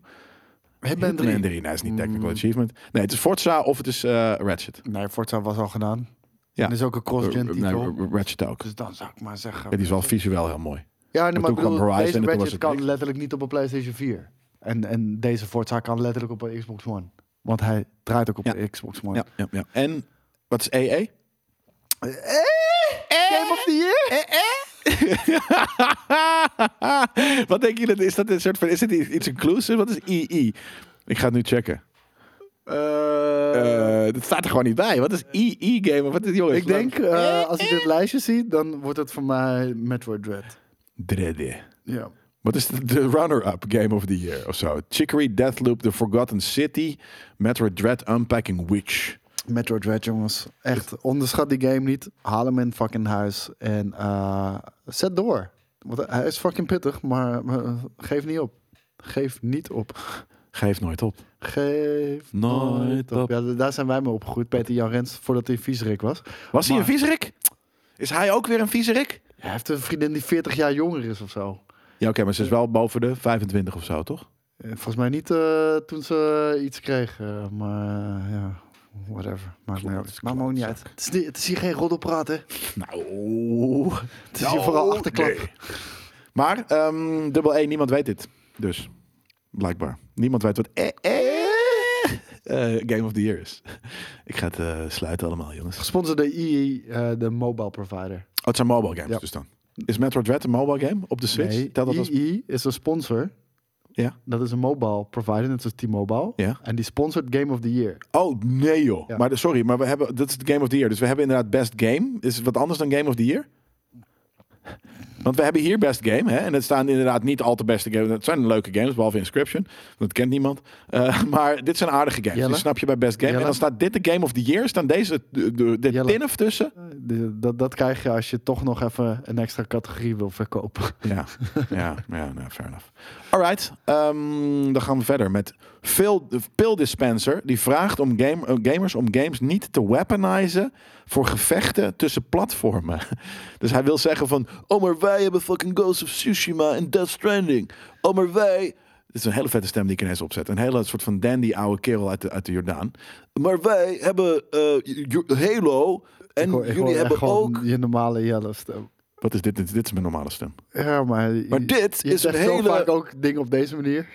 Hitman 3.
Nee, nee, nee, is niet technical achievement. Nee, het is Forza of het is eh, Ratchet.
Nee, Forza was al gedaan.
Ja.
En er is ook een cross-gen
Eh, nee,
titel.
Ratchet ook.
Dus dan zou ik maar zeggen... eh,
Ja, die is wel visueel heel mooi.
Ja,
Maar
nee, maar
toen
ik bedoel,
kwam Horizon en
deze
toen was
Ratchet
het
kan
niks.
letterlijk niet op een PlayStation 4. En, en deze Forza kan letterlijk op een Xbox One. Want hij draait ook op
Ja.
de Xbox One.
Ja, ja, ja. En wat is E EE?
Eh, Game of the Year?
wat denk je dat is? Dat een soort van, is dit iets inclusive? Wat is EE? Ik ga het nu checken.
Eh,
Eh, dat staat er gewoon niet bij. Wat is EE game? Of Wat is jongens?
ik denk, eh, als ik dit lijstje zie, dan wordt het voor mij Metroid Dread.
Dreadie.
Ja.
Wat is de, de runner-up game of the year of zo? Chicory, Deathloop, The Forgotten City, Metroid Dread, Unpacking Witch.
Metroid Dread, jongens. Echt, onderschat die game niet. Haal hem in fucking huis. En eh, zet door. Want hij is fucking pittig, maar, maar geef niet op. Geef niet op.
Geef nooit op.
Geef
Nooit op.
Ja, daar zijn wij mee opgegroeid. Peter Jan Rens, voordat hij viezerik was.
Was hij
Maar-
een viezerik? Is hij ook weer een viezerik?
Hij heeft een vriendin die 40 jaar jonger is of zo.
Ja, oké, maar ze is wel boven de 25 of zo, toch?
Eh, Volgens mij niet eh, toen ze iets kreeg. eh, maar eh, ja, whatever. Maakt me,
Klopt,
maakt me ook niet uit. Het is, niet- het is hier geen roddelpraat, hè?
Nou,
Het is hier vooral achterklap.
Maar, ehm, dubbel E, niemand weet dit. Dus, blijkbaar. Niemand weet wat eh, eh, eh, Game of the Year is. Ik ga het eh, sluiten allemaal, jongens. Oh,
Gesponsord door EE, eh, de mobile provider.
het zijn mobile games
Ja.
dus dan. Is Metroid Dread een mobile game op de Switch?
Nee,
Telt dat als...
EE E is een sponsor.
Ja.
Dat is een mobile provider, net zoals T-Mobile.
Ja.
En die sponsort Game of the Year.
Oh, nee joh.
Ja.
Maar de- sorry, maar we hebben, dat is het Game of the Year. Dus we hebben inderdaad Best Game. Is het wat anders dan Game of the Year? Want we hebben hier Best Game. Hè? En het staan inderdaad niet al te beste games. Het zijn leuke games, behalve Inscription. Dat kent niemand. Eh, maar dit zijn aardige games.
Jelle?
Die snap je bij Best Game.
Jelle?
En dan staat dit de Game of the Year. Staan deze, de, de, de
Jelle?
tinnef tussen.
Eh, de- dat, dat krijg je als je toch nog even een extra categorie wil verkopen.
Ja, ja, ja nou, fair enough. Alright, ehm, dan gaan we verder met Phil, de Pill Dispenser. Die vraagt om game, eh, gamers om games niet te weaponizen voor gevechten tussen platformen. Dus hij wil zeggen van, oh maar wij hebben fucking Ghost of Tsushima en Death Stranding. Oh maar wij... Dit is een hele vette stem die ik ineens opzet. Een hele soort van dandy oude kerel uit de, uit de Jordaan. Maar wij hebben eh, Ju- Halo en
Ik hoor- ik hoor
jullie
echt
hebben
gewoon
ook...
je normale Jelle stem.
Wat is dit? Dit is- dit is mijn normale stem.
Ja, maar,
Maar dit
je
is een
zegt zo
hele-
vaak ook dingen op deze manier.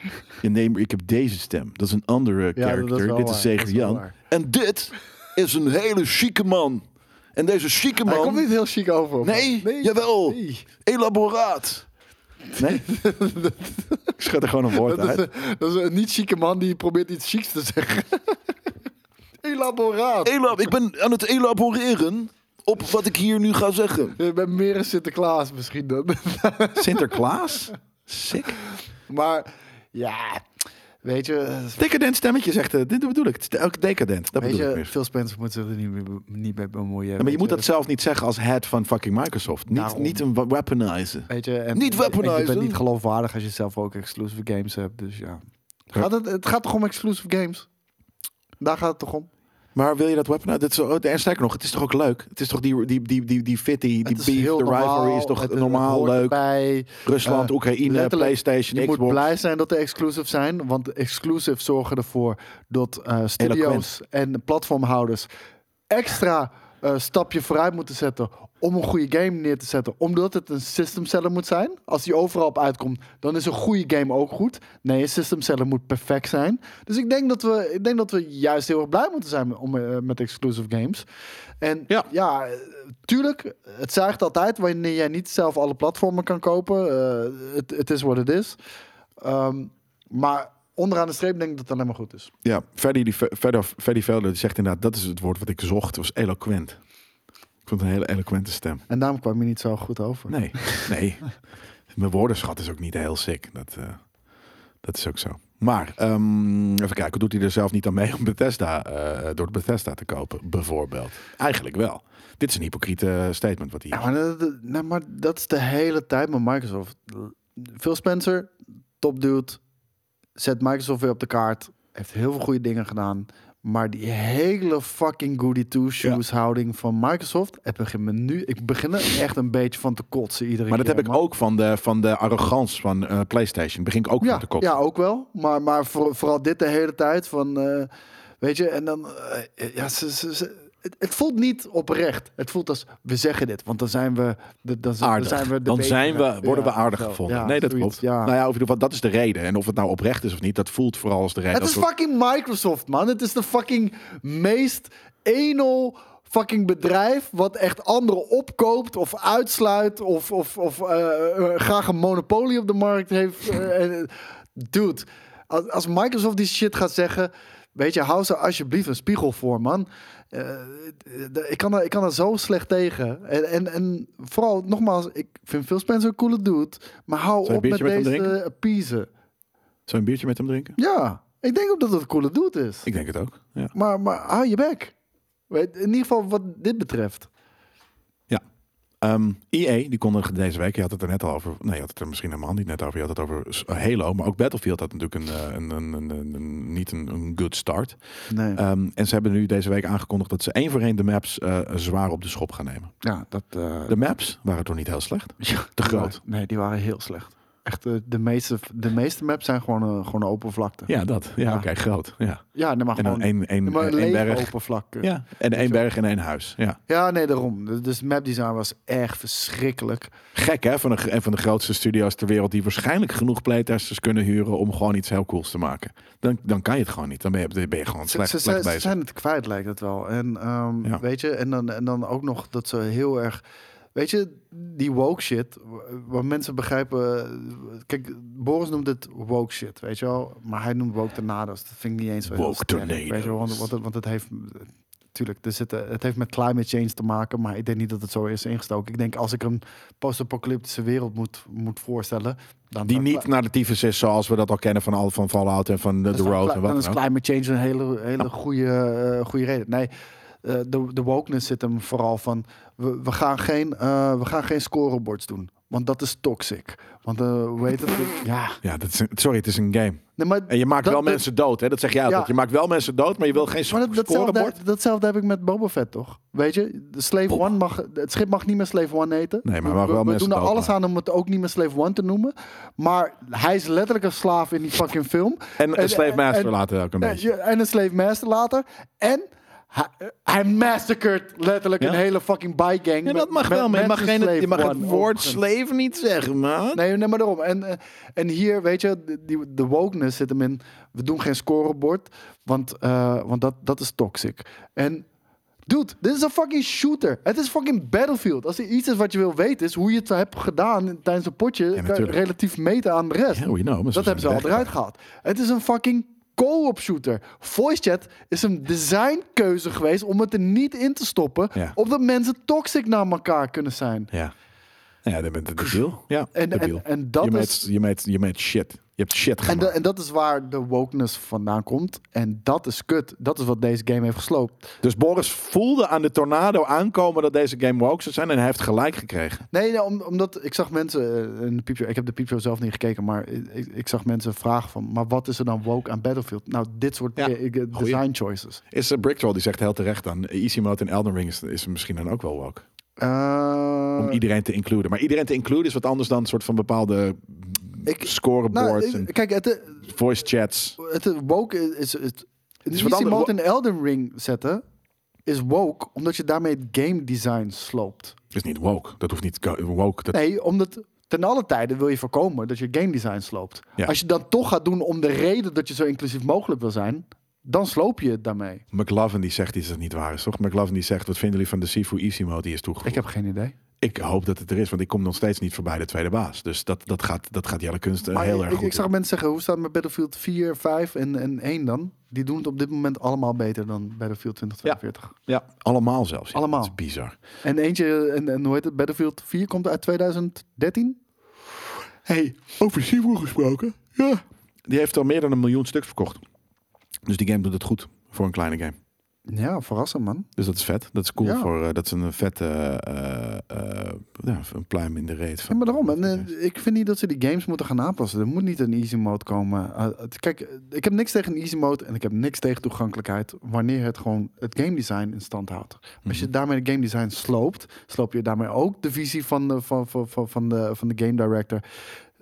Ja, nee, maar ik heb deze stem. Dat is een andere
dat is
character.
wel
dit
waar.
is Zeger
Dat is wel
Jan.
waar.
En dit is een hele chique man. En deze chique
Hij
man...
komt niet heel chic over. man.
Nee, jawel.
Nee.
Elaboraat. Nee? ik schud er gewoon een woord
Dat, is
uit.
een, dat is een niet chique man die probeert iets chics te zeggen. Elaboraat.
Elab ik ben aan het elaboreren op wat ik hier nu ga zeggen.
Je bent meer een Sinterklaas misschien dan.
Sinterklaas? Sick.
maar ja, weet je...
Decadent stemmetje zegt... eh, dit bedoel ik. Het is Ook decadent. Dat
Weet
bedoel ik
je,
meer.
Phil Spencer moet zich er niet, mee- niet mee bemoeien.
Ja, maar je
weet
moet dat zelf niet zeggen als head van fucking Microsoft. Niet,
Daarom.
niet een wa- weaponizen.
Weet je, en,
Niet
en-
weaponizen.
en Je bent niet geloofwaardig als je zelf ook exclusive games hebt. Dus ja. Gaat het, het gaat toch om exclusive games? Daar gaat het toch om?
Maar wil je dat weapon? Dat is, oh, en sterker nog, het is toch ook leuk? Het is toch die, die, die, die, die fitty, die
Het
beef,
is
de
heel
rivalry
normaal,
is toch
het- het
normaal
hoort
leuk?
erbij.
Rusland,
Eh,
Oekraïne,
letterlijk,
PlayStation,
Je
Xbox.
moet blij zijn dat de exclusive zijn, want de exclusive zorgen ervoor dat eh, studios en platformhouders extra eh, stapje vooruit moeten zetten om een goede game neer te zetten, omdat het een system seller moet zijn. Als die overal op uitkomt, dan is een goede game ook goed. Nee, een system seller moet perfect zijn. Dus ik denk dat we, ik denk dat we juist heel erg blij moeten zijn om, eh, met exclusive games. En
Ja.
ja, eh, tuurlijk, het zuigt altijd wanneer jij niet zelf alle platformen kan kopen. Eh, Het het is wat het is. Ehm, maar onderaan de streep denk ik dat het alleen maar goed is.
Ja, Freddy, die, Freddy, Freddy Velder die zegt inderdaad, dat is het woord wat ik zocht. Het was eloquent. Ik vond het een hele eloquente stem.
En daarom kwam je niet zo goed over.
Nee, nee. Mijn woordenschat is ook niet heel sick. Dat, eh, dat is ook zo. Maar, ehm, even kijken, doet hij er zelf niet aan mee om Bethesda, eh, door Bethesda te kopen, bijvoorbeeld? Eigenlijk wel. Dit is een hypocriete eh, statement wat hij
Ja, maar, dat, dat- nee, maar dat is de hele tijd met Microsoft. Phil Spencer, top dude, zet Microsoft weer op de kaart. Heeft heel veel goede dingen gedaan. Maar die hele fucking goody two-shoes houding van Microsoft... Het begint me nu... Ik begin er echt een beetje van te kotsen iedere
Maar dat
keer.
heb ik
man.
ook van de, van de arrogantie van eh, PlayStation. Begin ik ook van
Ja,
te kop.
ja, ook wel. Maar, maar voor, vooral dit de hele tijd van... eh, weet je, en dan... eh, ja, ze, ze, ze- het, het voelt niet oprecht. Het voelt als we zeggen dit, want dan zijn we, de, dan, zijn- dan
Aardig.
zijn we de
dan
betere.
zijn we, worden
Ja,
we aardig
zo.
gevonden.
Ja,
nee, dat
zoiets,
klopt.
ja.
Nou ja, of in ieder geval, dat is de reden. En of het nou oprecht is of niet, dat voelt vooral als de reden.
Het
Dat
is
wordt-
fucking Microsoft, man. Het is de fucking meest enel fucking bedrijf wat echt anderen opkoopt of uitsluit of, of, of eh, eh, graag een monopolie op de markt heeft. Eh, en, eh, dude, als, als Microsoft die shit gaat zeggen, weet je, hou ze alsjeblieft een spiegel voor, man. Eh, de- ik, kan er, ik kan er zo slecht tegen. En, en, en vooral, nogmaals, ik vind Phil Spencer een coole dude, maar hou
je een
op met,
biertje met hem
deze appeasen.
Zou je een biertje met hem drinken?
Ja, ik denk ook dat het een coole dude is.
Ik denk het ook. Ja.
Maar, maar hou je bek. Weet, in ieder geval wat dit betreft.
Ja. Ehm EA, die kondigde deze week, je had het er net al over, nee, je had het er misschien helemaal niet net over, je had het over S- eh, Halo, maar ook Battlefield had natuurlijk een, eh, een, een, een, een- een- niet een, een good start.
Nee.
Ehm, en ze hebben nu deze week aangekondigd dat ze één voor één de maps eh, zwaar op de schop gaan nemen.
ja, dat... eh,
De maps waren toch niet heel slecht? Te groot.
Nee, die waren heel slecht. Echt, eh, de, meeste, de meeste maps zijn gewoon, eh, gewoon een oppervlakte.
Ja, dat. Ja,
Ja.
oké, groot. Ja.
Ja, nee, maar
En dan
gewoon
één, één,
nee, maar een
één
lege
berg.
oppervlakte.
Ja, en één berg en één huis. Ja.
Ja, nee, daarom. Dus- Dus mapdesign was echt verschrikkelijk.
Gek hè, van een, een van de grootste studio's ter wereld die waarschijnlijk genoeg playtesters kunnen huren om gewoon iets heel cools te maken. Dan, dan kan je het gewoon niet. Dan ben je, dan ben je gewoon
Ze,
slecht,
ze,
slecht
ze- ze
bezig.
zijn het kwijt, lijkt het wel. En ehm,
Ja.
weet je, en dan, en dan ook nog dat ze heel erg. Weet je, die woke shit, wa- waar mensen begrijpen. Kijk, Boris noemt het woke shit, weet je wel. Maar hij noemt woke tornado's. Dat vind ik niet eens zo heel
Woke
sterk, Weet je wel, want,
tornado's.
want, het- want het heeft. Tuurlijk, er zitten, het heeft met climate change te maken, maar ik denk niet dat het zo is ingestoken. Ik denk als ik een post-apocalyptische wereld moet, moet voorstellen. Dan
Die
dan-
niet naar de tyfus is zoals we dat al kennen van, al, van Fallout en van eh, The
dan is
Road
cli-
en
dan
wat
is
dan ook.
climate change een hele, hele goede, eh, goede reden. Nee, eh, de, de wokeness zit hem vooral van... We, we, gaan geen, eh, we gaan geen scorebords doen. Want dat is toxic. Want eh, hoe heet het? Ja.
Ja, dat is een- sorry, het is een game.
Nee, maar
En je maakt
dat-
wel
dat-
mensen dood, hè? dat zeg jij altijd.
Ja.
Je maakt wel mensen dood, maar je wil geen
Maar dat, datzelfde,
scorebord.
datzelfde heb ik met Boba Fett, toch? Weet je, de Slave
Boba.
One mag, het schip mag niet meer Slave One heten.
Nee, maar
we,
mag
we-
wel
we
mensen
doen er
dood
alles
maken.
aan om het ook niet meer Slave One te noemen. Maar hij is letterlijk een slaaf in die fucking film.
En een slave master
en-
later ook een beetje.
Ja, Eh, en een slave master later. En hij, hij massacred letterlijk
Ja.
een hele fucking bike gang.
Ja, dat
met-
mag
met
wel, maar je mag,
mensen
geen, je
slave
mag het
one
woord
opgezet.
slave niet zeggen, man.
Nee, nee, maar daarom. En, eh, en hier, weet je, de- die, de wokeness zit hem in. We doen geen scorebord, want, eh, want dat, dat is toxic. En dude, dit is een fucking shooter. Het is fucking Battlefield. Als er iets is wat je wil weten, is hoe je het hebt gedaan tijdens een potje. kan je
natuurlijk.
relatief meten aan de rest.
Ja, hoe je nou, maar ze
dat hebben ze
zijn
al eruit gehaald. Het is een fucking co-op shooter. Voice chat is een designkeuze geweest om het er niet in te stoppen.
Ja.
Opdat mensen toxic naar elkaar kunnen zijn.
Ja. Nou ja, dan bent het debiel. Ja,
En- en-
debiel.
en dat
je
is-
Meet, je, meet, je meet shit. Je hebt shit
En,
gemaakt.
da- en dat is waar de wokeness vandaan komt. En dat is kut. Dat is wat deze game heeft gesloopt.
Dus Boris voelde aan de tornado aankomen dat deze game woke zou zijn en hij heeft gelijk gekregen.
Nee, nee om- omdat ik zag mensen eh, in de piepshow... Ik heb de piepshow zelf niet gekeken, maar ik, ik zag mensen vragen van... Maar wat is er dan woke aan Battlefield? Nou, dit soort
Ja,
eh, eh,
goeie.
design choices.
Is uh, Bricktroll die zegt heel terecht dan, Easy Mode en Elden Ring is, is misschien dan ook wel woke.
Eh,
Om iedereen te includen. Maar iedereen te includen is wat anders dan een soort van bepaalde
Ik- nou,
scoreboards
eh,
en
kijk, het,
voice chats.
het woke is... Het, het
is
is
wat
wat
ander-
mode in Elden Ring zetten is woke, omdat je daarmee het game design sloopt.
Dat is niet woke. Dat hoeft niet ko- woke. Dat,
Nee, omdat ten alle tijden wil je voorkomen dat je game design sloopt.
Ja.
Als je dat toch gaat doen om de reden dat je zo inclusief mogelijk wil zijn, dan sloop je het daarmee.
McLovin die zegt iets dat niet waar is, toch? McLovin die zegt, wat vinden jullie van de Sifu Easy Mode die is toegevoegd?
Ik heb geen idee.
Ik hoop dat het er is, want ik kom nog steeds niet voorbij de tweede baas. Dus dat, dat, gaat, dat gaat Jelle Kunst eh,
Maar
heel
ik,
erg
Ah, ik-
goed
ik zag
doen.
mensen zeggen, hoe staat het met Battlefield 4, 5 en, en 1 dan? Die doen het op dit moment allemaal beter dan Battlefield 2042.
Ja, allemaal zelfs. Ja,
Allemaal.
Dat is bizar.
En eentje, en, en hoe heet het, Battlefield 4 komt uit 2013?
Hey, over Sivu gesproken. Ja. Die heeft al meer dan een miljoen stuks verkocht. Dus die game doet het goed voor een kleine game.
Ja, verrassend man.
Dus dat is vet. Dat is cool.
Ja.
Voor, eh, dat is een vette eh, eh, ja, een pluim in de reet.
Ja,
Van,
maar daarom. En, eh, ik vind niet dat ze die games moeten gaan aanpassen. Er moet niet een easy mode komen. Eh, het- kijk, eh, ik heb niks tegen een easy mode en ik heb niks tegen toegankelijkheid. Wanneer het gewoon het game design in stand houdt. Als je daarmee de game design sloopt, sloop je daarmee ook de visie van de, van, van, van, van de, van de game director.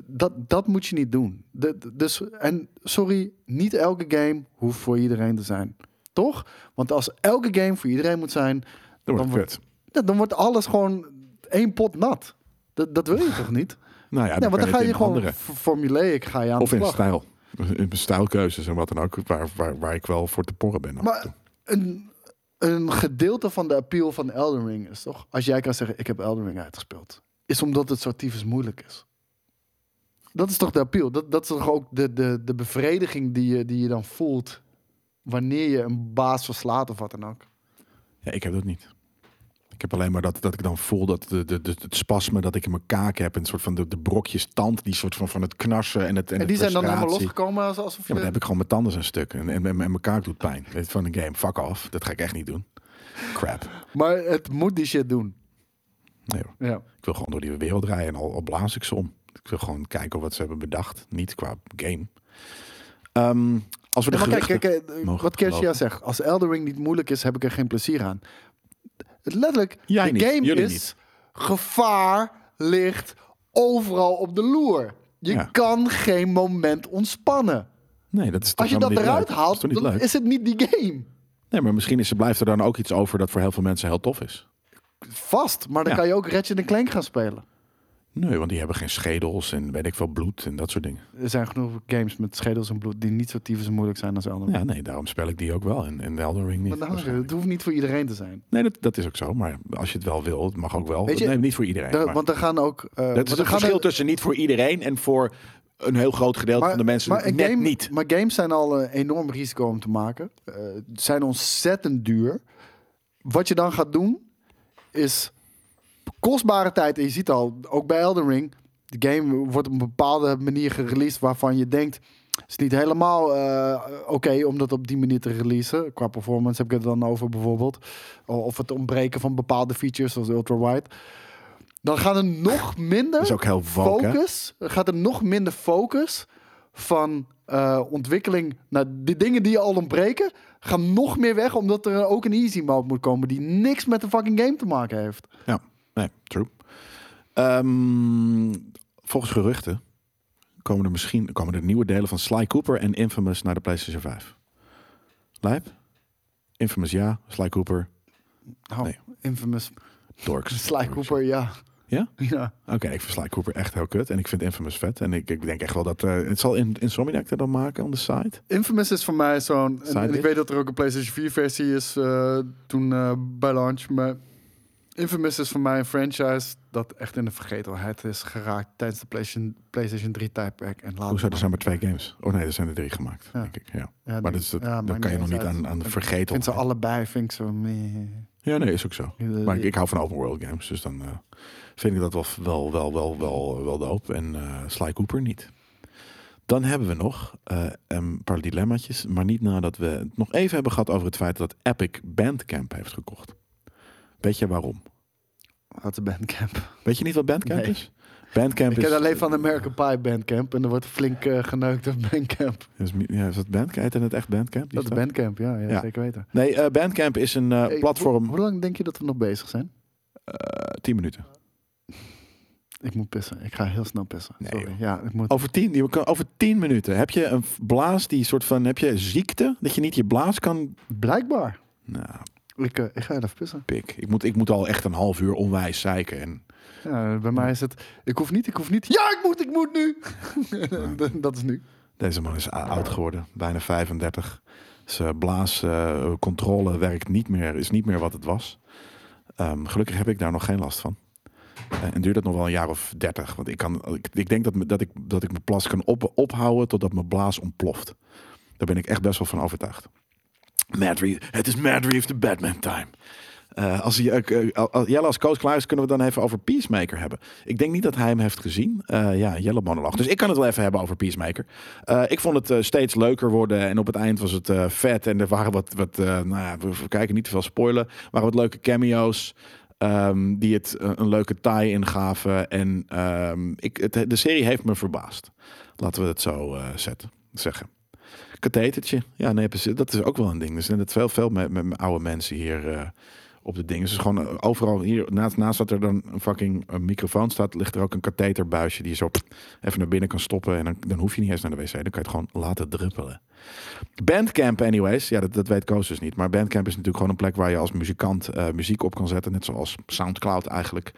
Dat, dat moet je niet doen. De- de- dus, en sorry, niet elke game hoeft voor iedereen te zijn. Toch? Want als elke game voor iedereen moet zijn,
Dat wordt
Dan wordt-
kut.
ja, dan wordt alles gewoon één pot nat. Dat, dat wil je toch niet?
Nou ja,
ja,
dan
want dan
kan het
ga je
in
gewoon
andere.
f- formulaic ga je aan
Of
de
in
slag.
stijl. In stijlkeuzes en wat dan ook. Waar, waar, waar ik wel voor te porren ben. af en toe.
Maar een, een gedeelte van de appeal van Elden Ring is toch... Als jij kan zeggen, ik heb Elden Ring uitgespeeld. Is omdat het zo tyfus moeilijk is. Dat is toch de appeal? Dat, dat is toch ook de, de, de bevrediging die je, die je dan voelt... wanneer je een baas verslaat of wat dan ook.
Ja, ik heb dat niet. Ik heb alleen maar dat, dat ik dan voel dat de, de, de, het spasme dat ik in mijn kaak heb. En soort van de, de brokjes tand. Die soort van, van het knarsen en het en,
En
de
die zijn dan helemaal
frustratie.
losgekomen als, alsof
Ja,
je...
maar dan heb ik gewoon mijn tanden zijn stuk. En, en, en, en mijn kaak doet pijn. Dit is Van een game. Fuck off. Dat ga ik echt niet doen. Crap.
maar het moet die shit doen.
Nee hoor.
Ja.
Ik wil gewoon door die wereld rijden. En al, al blaas ik ze om. Ik wil gewoon kijken wat ze hebben bedacht. Niet qua game. Ehm, als we de
Ja, maar kijk,
geruchten-
kijk, eh,
mogen
wat Kersia
verlopen.
zegt. Als Elden Ring niet moeilijk is, heb ik er geen plezier aan. Het- Letterlijk,
Jij
de
niet,
game
jullie
is...
niet.
Gevaar ligt overal op de loer. Je
Ja.
kan geen moment ontspannen.
Nee, dat is toch
Als je dat
helemaal niet
eruit
leuk.
haalt,
is toch niet
dan
leuk?
is het niet die game.
Nee, maar misschien is, blijft er dan ook iets over dat voor heel veel mensen heel tof is.
Vast, maar dan
Ja.
kan je ook Ratchet Clank gaan spelen.
Nee, want die hebben geen schedels en weet ik veel bloed en dat soort dingen.
Er zijn genoeg games met schedels en bloed die niet zo tyfus en moeilijk zijn als Elden Ring.
Ja, nee, daarom speel ik die ook wel en, en Elden Ring niet.
Maar nou,
waarschijnlijk.
het hoeft niet voor iedereen te zijn.
Nee, dat, dat is ook zo. Maar als je het wel wil, het mag ook wel.
Weet je,
nee, niet voor iedereen.
Daar-
maar-
want er gaan ook... eh,
dat
want er
is het
gaan
verschil
er-
tussen niet voor iedereen en voor een heel groot gedeelte van de mensen
een
net
game-
niet.
Maar games zijn al een enorm risico om te maken. Eh, zijn ontzettend duur. Wat je dan gaat doen, is kostbare tijd. En je ziet al, ook bij Elden Ring, de game wordt op een bepaalde manier gereleased waarvan je denkt, het is niet helemaal eh, oké om dat op die manier te releasen. Qua performance heb ik het dan over bijvoorbeeld. O- Of het ontbreken van bepaalde features zoals ultra-wide. Dan gaan er nog minder
Dat is ook heel woke, hè?
focus, gaat er nog minder focus van eh, ontwikkeling naar de dingen die je al ontbreken, gaan nog meer weg, omdat er ook een easy mode moet komen die niks met de fucking game te maken heeft.
Ja, nee, true. Ehm, volgens geruchten komen er misschien komen er nieuwe delen van Sly Cooper en Infamous naar de PlayStation 5. Lijp? Infamous ja, Sly Cooper,
Oh,
Nee.
infamous
Dorks.
Sly Cooper, ja.
Ja?
Ja.
Oké, ik vind Sly Cooper echt heel kut en ik vind Infamous vet. En ik, ik denk echt wel dat... eh, het zal in, Insomniac er dan maken on the side?
Infamous is voor mij zo'n... en-
Side
En ik
bitch.
weet dat er ook een PlayStation 4 versie is eh, toen eh, bij launch, maar... Infamous is voor mij een franchise dat echt in de vergetelheid is geraakt tijdens de PlayStation, PlayStation 3 tijdperk. En later.
Hoezo, er zijn maar twee games. Oh nee, er zijn er drie gemaakt,
Ah, Ja.
denk ik. Ja.
Ja,
Maar
die-
dat is, dat,
ja,
dan
maakt
kan je nog
eens
niet
uit.
aan, aan de
Ik vind ze
vergeten.
allebei, vind ik zo... meh.
Ja, nee, is ook zo.
Die-
Maar ik,
die-
ik hou van open world games, dus dan eh, vind ik dat wel, wel, wel, wel, wel, wel de hoop. En eh, Sly Cooper niet. Dan hebben we nog eh, een paar dilemmaatjes, maar niet nadat we het nog even hebben gehad over het feit dat Epic Bandcamp heeft gekocht. Weet je waarom?
Wat een bandcamp.
Weet je niet wat Bandcamp
Nee.
is? Bandcamp
Ik
is...
ken alleen van American Pie Bandcamp en er wordt flink eh, geneukt op Bandcamp.
is, ja, is dat Bandcamp? Heet het echt Bandcamp? die
Dat is
staat?
Bandcamp, ja, ja,
Ja.
zeker weten.
Nee, eh, Bandcamp is een eh,
Hey,
platform...
Hoe lang denk je dat we nog bezig zijn?
eh 10 minuten.
Ik moet pissen. Ik ga heel snel pissen.
Nee,
Sorry.
joh.
Ja, ik moet...
Over tien, die- over tien minuten. Heb je een blaas die soort van... Heb je ziekte? Dat je niet je blaas kan...
Blijkbaar.
Nou,
Ik, eh, ik ga heel even pissen.
pik. Ik moet, ik moet al echt een half uur onwijs zeiken. En,
Ja, bij mij is het... Ik hoef niet, ik hoef niet. Ja, ik moet, ik moet nu! Dat- dat is nu.
deze man is a- oud geworden. Bijna 35. Zijn blaascontrole werkt niet meer. Is niet meer wat het was. Ehm, gelukkig heb ik daar nog geen last van. Eh, en duurt dat nog wel een jaar of dertig. Want ik, kan, ik, ik denk dat, me- dat, ik, dat ik mijn plas kan op, ophouden totdat mijn blaas ontploft. Daar ben ik echt best wel van overtuigd. Mad Reeves, het is Mad Reeves de Batman time. Eh, als hij, eh, eh, al- al- Jelle als coach klaar is, kunnen we het dan even over Peacemaker hebben. Ik denk niet dat hij hem heeft gezien. Eh, ja, Jelle monoloog. Dus ik kan het wel even hebben over Peacemaker. Eh, ik vond het eh, steeds leuker worden en op het eind was het eh, vet. En er waren wat, wat eh, nou ja, we we kijken niet te veel spoilen, Er waren wat leuke cameo's. ehm, die het eh, een leuke tie ingaven. En ehm, ik, het, de serie heeft me verbaasd. Laten we het zo eh, zetten, zeggen. Dus Kathetertje. Ja, nee, precies. Dat is ook wel een ding. Er zijn het veel, veel met, met oude mensen hier eh, op de dingen. Dus het is gewoon eh, overal hier, naast, naast dat er dan een fucking eh, microfoon staat, ligt er ook een katheterbuisje die je zo pff, even naar binnen kan stoppen. En dan, dan hoef je niet eens naar de wc, dan kan je het gewoon laten druppelen. Bandcamp anyways, ja dat, dat weet Koos dus niet. Maar Bandcamp is natuurlijk gewoon een plek waar je als muzikant eh, muziek op kan zetten. Net zoals Soundcloud eigenlijk.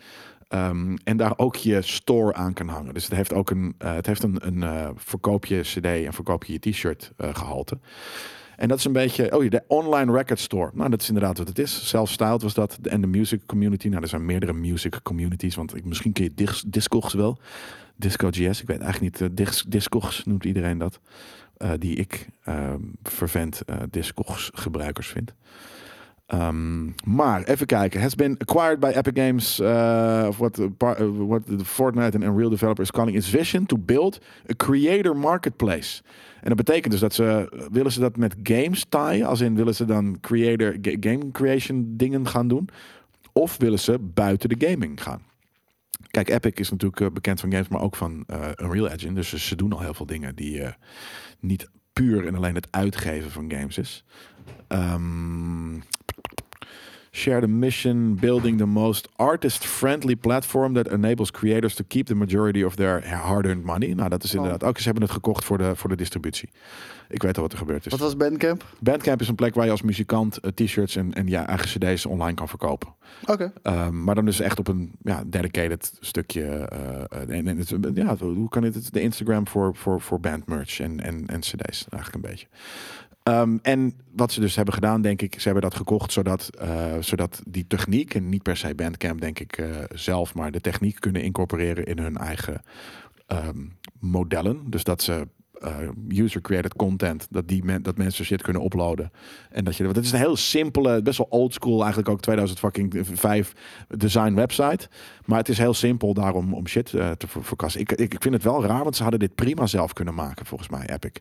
Ehm, en daar ook je store aan kan hangen. Dus het heeft ook een, eh, het heeft een, een eh, verkoop je cd en verkoop je je t-shirt eh, gehalte. En dat is een beetje, oh ja, de online record store. Nou, dat is inderdaad wat het is. Self-styled was dat. En de music community. Nou, er zijn meerdere music communities. Want ik- misschien ken je dis Discogs wel. Disco GS, ik weet eigenlijk niet. eh, Dis Discogs noemt iedereen dat. Eh, die ik ehm vervent eh Discogs gebruikers vind. Ehm, maar even kijken. Has been acquired by Epic Games. eh, of what, the par- eh, what the Fortnite and Unreal developer is calling its vision to build a creator marketplace. En dat betekent dus dat ze willen ze dat met games taaien, als in willen ze dan creator ga- game creation dingen gaan doen, of willen ze buiten de gaming gaan. Kijk, Epic is natuurlijk eh, bekend van games, maar ook van eh, Unreal Engine. Dus ze- ze doen al heel veel dingen die eh, niet puur en alleen het uitgeven van games is. Ehm, Share the mission, building the most artist-friendly platform that enables creators to keep the majority of their hard-earned money. Nou, dat is inderdaad ook. Ze hebben het gekocht voor de, voor de distributie. Ik weet al wat er gebeurd is.
Wat was Bandcamp?
Bandcamp is een plek waar je als muzikant eh, t-shirts en, en ja, eigen cd's online kan verkopen.
Oké.
Ehm, maar dan dus echt op een ja, dedicated stukje. eh, eh, en, en het, ja, hoe kan dit? het- De Instagram voor, voor, voor bandmerch en, en, en cd's eigenlijk een beetje. Ehm, en wat ze dus hebben gedaan, denk ik, ze hebben dat gekocht zodat, eh, zodat die techniek, en niet per se Bandcamp, denk ik eh, zelf, maar de techniek kunnen incorporeren in hun eigen ehm, modellen. Dus dat ze eh, user-created content, dat, die men, dat mensen shit kunnen uploaden. En dat je, want het is een heel simpele, best wel oldschool, eigenlijk ook 2005 design website. Maar het is heel simpel daarom om shit eh, te ver- verkassen. Ik, ik, ik vind het wel raar, want ze hadden dit prima zelf kunnen maken, volgens mij, Epic.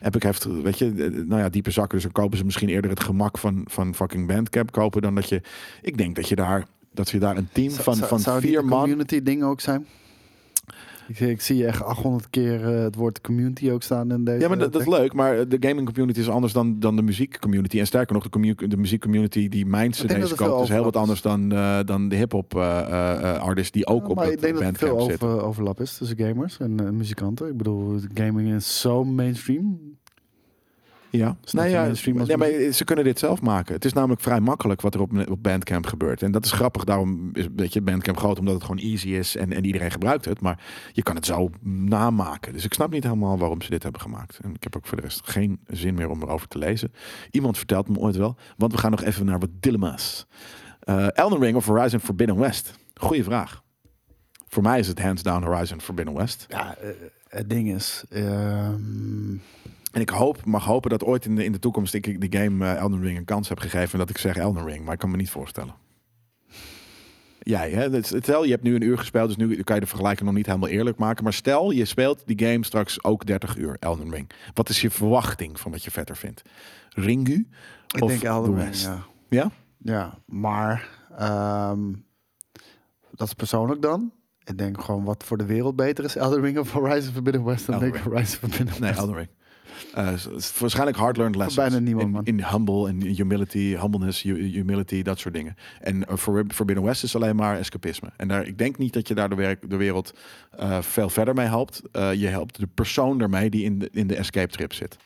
Epic heeft, weet je, eh, nou ja, diepe zakken. Dus dan kopen ze misschien eerder het gemak van, van fucking Bandcamp kopen dan dat je... Ik denk dat je daar, dat je daar een team
Zou-
van,
zou-
van
zou die
vier
de
man...
community ding ook zijn? Ik, zie- ik zie echt 800 keer eh, het woord community ook staan in deze.
Ja, maar dat, dat is leuk. Maar eh, de gaming community is anders dan, dan de muziek community. En sterker nog, de, commu- de muziek community die mijn
denk dat
cd's
er veel
koopt is heel wat
overlap
anders dan, eh, dan de hip-hop eh, eh, eh, artists die ook
Ja,
op
maar
het
ik denk dat er
bandcamp
veel
zitten.
over- overlap is tussen gamers en eh, muzikanten. Ik bedoel, gaming is zo mainstream.
Ja,
Snap
nou
je?
ja,
Mainstream als
nee, maar ze kunnen dit zelf maken. Het is namelijk vrij makkelijk wat er op, op Bandcamp gebeurt. En dat is grappig, daarom is weet je, Bandcamp groot, omdat het gewoon easy is en, en iedereen gebruikt het. Maar je kan het zo namaken. Dus ik snap niet helemaal waarom ze dit hebben gemaakt. En ik heb ook voor de rest geen zin meer om erover te lezen. Iemand vertelt me ooit wel, want we gaan nog even naar wat dilemma's. Eh, Elden Ring of Horizon Forbidden West? Goeie vraag. Voor mij is het hands down Horizon Forbidden West.
Ja, eh, het ding is... ehm,
En ik hoop, mag hopen dat ooit in de, in de toekomst ik ik die game eh, Elden Ring een kans heb gegeven. En dat ik zeg Elden Ring, maar ik kan me niet voorstellen. Jij, hè? Dat is- Stel, je hebt nu een uur gespeeld, dus nu kan je de vergelijking nog niet helemaal eerlijk maken. Maar stel, je speelt die game straks ook 30 uur, Elden Ring. Wat is je verwachting van wat je vetter vindt? Ringu
ik
of
denk
The
Elden Ring,
West?
ja.
Ja?
Ja, maar ehm, dat is persoonlijk dan. Ik denk gewoon wat voor de wereld beter is. Elden Ring of Horizon Forbidden West. Dan
Elden
denk ik Horizon Forbidden
Nee,
West.
Elden Ring. Eh, s- s- waarschijnlijk hard-learned lessons.
Bijna niemand,
in,
man.
In humble en humility, humbleness, hu- humility, dat soort dingen. En eh, Forb- Forbidden West is alleen maar escapisme. En daar, ik denk niet dat je daar de, werk, de wereld eh, veel verder mee helpt. Eh, je helpt de persoon ermee die in de, in de escape trip zit.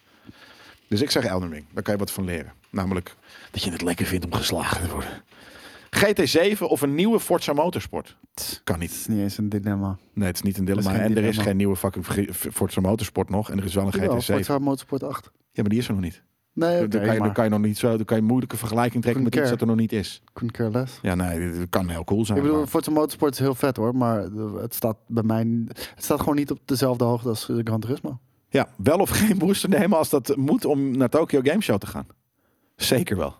Dus ik zeg Elden Ring. Daar kan je wat van leren. Namelijk dat je het lekker vindt om geslagen te worden. GT7 of een nieuwe Forza Motorsport? Kan niet.
Het is niet eens een dilemma.
Nee, het is niet een
is
dilemma.
geen
En er is
dilemma.
geen nieuwe fucking ge- Forza Motorsport nog. En er is wel een
Jawel,
GT7.
Forza Motorsport 8.
Ja, maar die is er nog niet.
Nee,
dan, Eh, kan je, dan kan je nog niet zo, dan kan je een moeilijke vergelijking trekken met iets
Concur.
dat er nog niet is.
Couldn't care less.
Ja, nee, dit kan heel cool zijn.
Ik bedoel,
maar-
Forza Motorsport is heel vet hoor, maar het staat bij mij... Het staat gewoon niet op dezelfde hoogte als eh, Gran Turismo.
Ja, wel of geen booster nemen als dat moet om naar Tokyo Game Show te gaan. Zeker wel.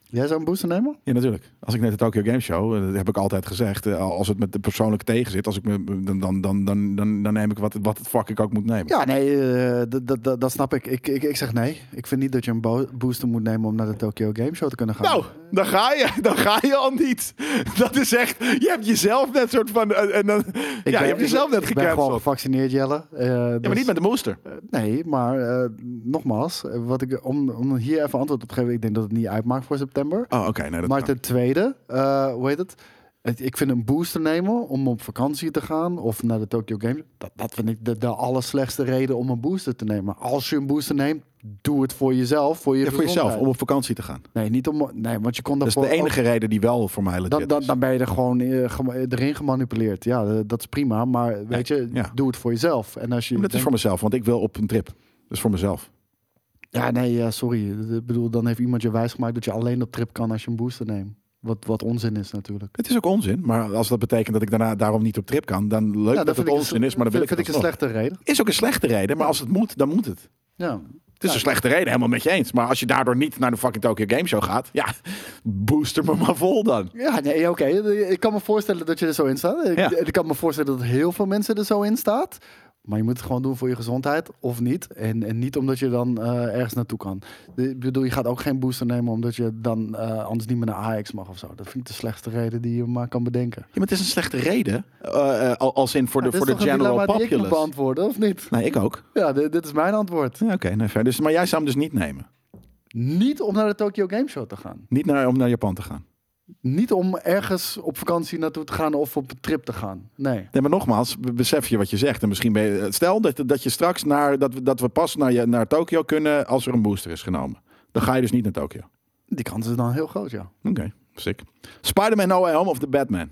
Jij zou een booster nemen?
Ja, natuurlijk. Als ik net de Tokyo Game Show, eh, dat heb ik altijd gezegd, eh, als het met de persoonlijke tegen zit, als ik me, dan, dan, dan, dan, dan, dan neem ik wat, wat het fuck ik ook moet nemen.
Ja, nee, eh, dat- dat- dat- dat snap ik. Ik, ik. ik zeg nee. Ik vind niet dat je een bo- booster moet nemen om naar de Tokyo Game Show te kunnen gaan.
Nou, dan ga je, dan ga je al niet. Dat is echt, je hebt jezelf net soort van, eh, en dan, ja,
ben-
je hebt jezelf net Eh,
Ik ben
gecanceld.
gewoon gevaccineerd, Jelle. Eh,
Ja, maar
dus-
niet met de booster.
Nee, maar eh, nogmaals, eh, wat ik, om, om hier even antwoord op te geven, ik denk dat het niet uitmaakt voor september.
Oh, oké. nee, dat
Maar
kan.
ten tweede, eh, hoe heet het? Het- Ik vind een booster nemen om op vakantie te gaan of naar de Tokyo Games. Dat, dat vind ik de, de allerslechtste reden om een booster te nemen. Als je een booster neemt, doe het voor jezelf. Voor, je
Ja, voor jezelf, om
gezondheid.
op vakantie te gaan.
Nee, niet om. Nee, want je kon
Dat is de
daarvoor ook-
enige dus- reden die wel voor mij legit
dan, dan,
is.
dan ben je er gewoon eh, gema- erin gemanipuleerd. Ja, eh, dat is prima. Maar weet je,
ja.
doe het voor jezelf. En als je.
Maar Dat is
denkt-
voor mezelf, want ik wil op een trip. Dat is voor mezelf.
Ja, nee, ja, sorry. Ik bedoel, dan heeft iemand je wijsgemaakt dat je alleen op trip kan als je een booster neemt. Wat, wat onzin is natuurlijk.
Het is ook onzin, maar als dat betekent dat ik daarna daarom niet op trip kan, dan leuk
Ja,
dat het
vind ik
onzin
een-
is, maar dan wil ik
vind
het
ik een
alsnog.
slechte reden.
Is ook een slechte reden, maar als het moet, dan moet het.
Ja.
Het is een slechte reden, helemaal met je eens. Maar als je daardoor niet naar de fucking Tokyo Game Show gaat, ja, booster me maar vol dan.
Ja, nee, oké. Ik kan me voorstellen dat je er zo in staat. Ik,
Ja.
ik kan me voorstellen dat heel veel mensen er zo in staat. Maar je moet het gewoon doen voor je gezondheid of niet. En, en niet omdat je dan eh, ergens naartoe kan. De- Ik bedoel, je gaat ook geen booster nemen omdat je dan eh, anders niet meer naar Ajax mag of zo. Dat vind ik de slechtste reden die je maar kan bedenken.
Ja, maar het is een slechte reden, eh, eh, al- als in voor de,
Ja, dit
voor
is
de
toch een
general
dilemma die ik moet
populace.
beantwoorden, of niet?
Nee, ik ook.
Ja, dit, dit is mijn antwoord.
Ja, Oké, nee, fair. dus, maar jij zou hem dus niet nemen.
Niet om naar de Tokyo Game Show te gaan.
Niet naar, om naar Japan te gaan.
Niet om ergens op vakantie naartoe te gaan of op een trip te gaan. Nee.
Nee, maar nogmaals, be- besef je wat je zegt. En misschien ben je, stel dat, dat je straks naar, dat, we- dat we pas naar, je- naar Tokio kunnen als er een booster is genomen. Dan ga je dus niet naar Tokio.
Die kans is dan heel groot, ja.
Oké, sick. Spider-Man No Way Home of The Batman?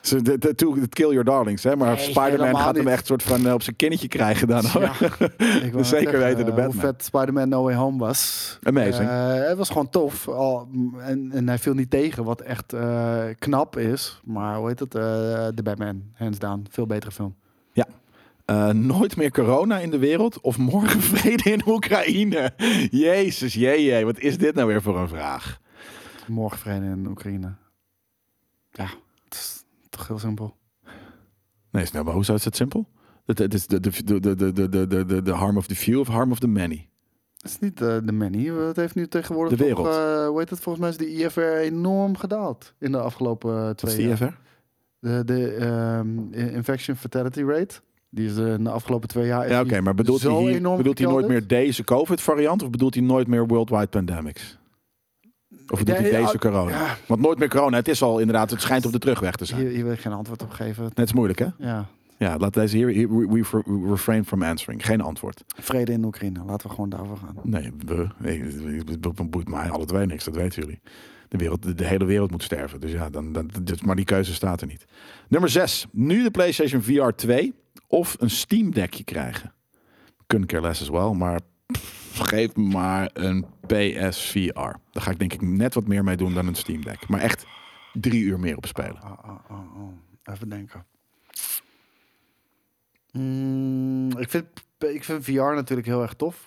Ze- de- de- to- de Kill Your Darlings, hè? Maar
Nee,
Spider-Man
helemaal
gaat hem
niet.
echt soort van eh, op zijn kinnetje krijgen dan. hoor.
Ja, ik wou net
Zeker
zeggen,
weten de
eh,
Batman.
Hoe vet Spider-Man No Way Home was.
Amazing.
Eh, het was gewoon tof. Al, m, en, en hij viel niet tegen, wat echt eh, knap is. Maar hoe heet het? eh de Batman, hands down. Veel betere film.
Eh, nooit meer corona in de wereld of morgen vrede in Oekraïne? Jezus, jee, jee, wat is dit nou weer voor een vraag?
Morgen vrede in Oekraïne. Ja, het is toch heel simpel.
Nee, snel, maar hoe zou- is dat simpel? Het het is de, de, de, de, de, de, de- de, de harm of the few of harm of the many.
Het is niet eh, de many. Het heeft nu tegenwoordig
De
Toch,
wereld.
eh, hoe heet het? Volgens mij is de IFR enorm gedaald in de afgelopen eh,
Wat is
twee
die
jaar.
even?
De, de ehm, infection fatality rate. Die is eh, in de afgelopen twee jaar.
Ja, oké, maar bedoelt hij,
zo
hier,
enorm
bedoelt hij nooit meer
gekelderd?
deze COVID-variant of bedoelt hij nooit meer worldwide pandemics? Of bedoelt
Nee,
hij
ja,
deze corona?
ja.
Want nooit meer corona, het is al inderdaad, het schijnt op de terugweg te zijn.
Hier, hier wil ik geen antwoord op geven.
Net is moeilijk, hè?
Ja,
Ja, laat deze hier, hier- we, we- we refrain from answering. Geen antwoord.
vrede in Oekraïne. Laten we gewoon daarvoor gaan.
Nee, we, nee, het bo- boeit mij alle twee niks, dat weten jullie. De, wereld, de, de hele wereld moet sterven, dus ja, dan, dan, dat- maar die keuze staat er niet. Nummer 6. Nu de PlayStation VR 2 of een Steam Deckje krijgen. Couldn't care less as well, maar pff, geef me maar een PSVR. Daar ga ik denk ik net wat meer mee doen dan een Steam Deck. Maar echt drie uur meer op spelen.
Oh, oh,
ah,
oh, oh. Even denken. Mm, ik, vind, ik vind VR natuurlijk heel erg tof.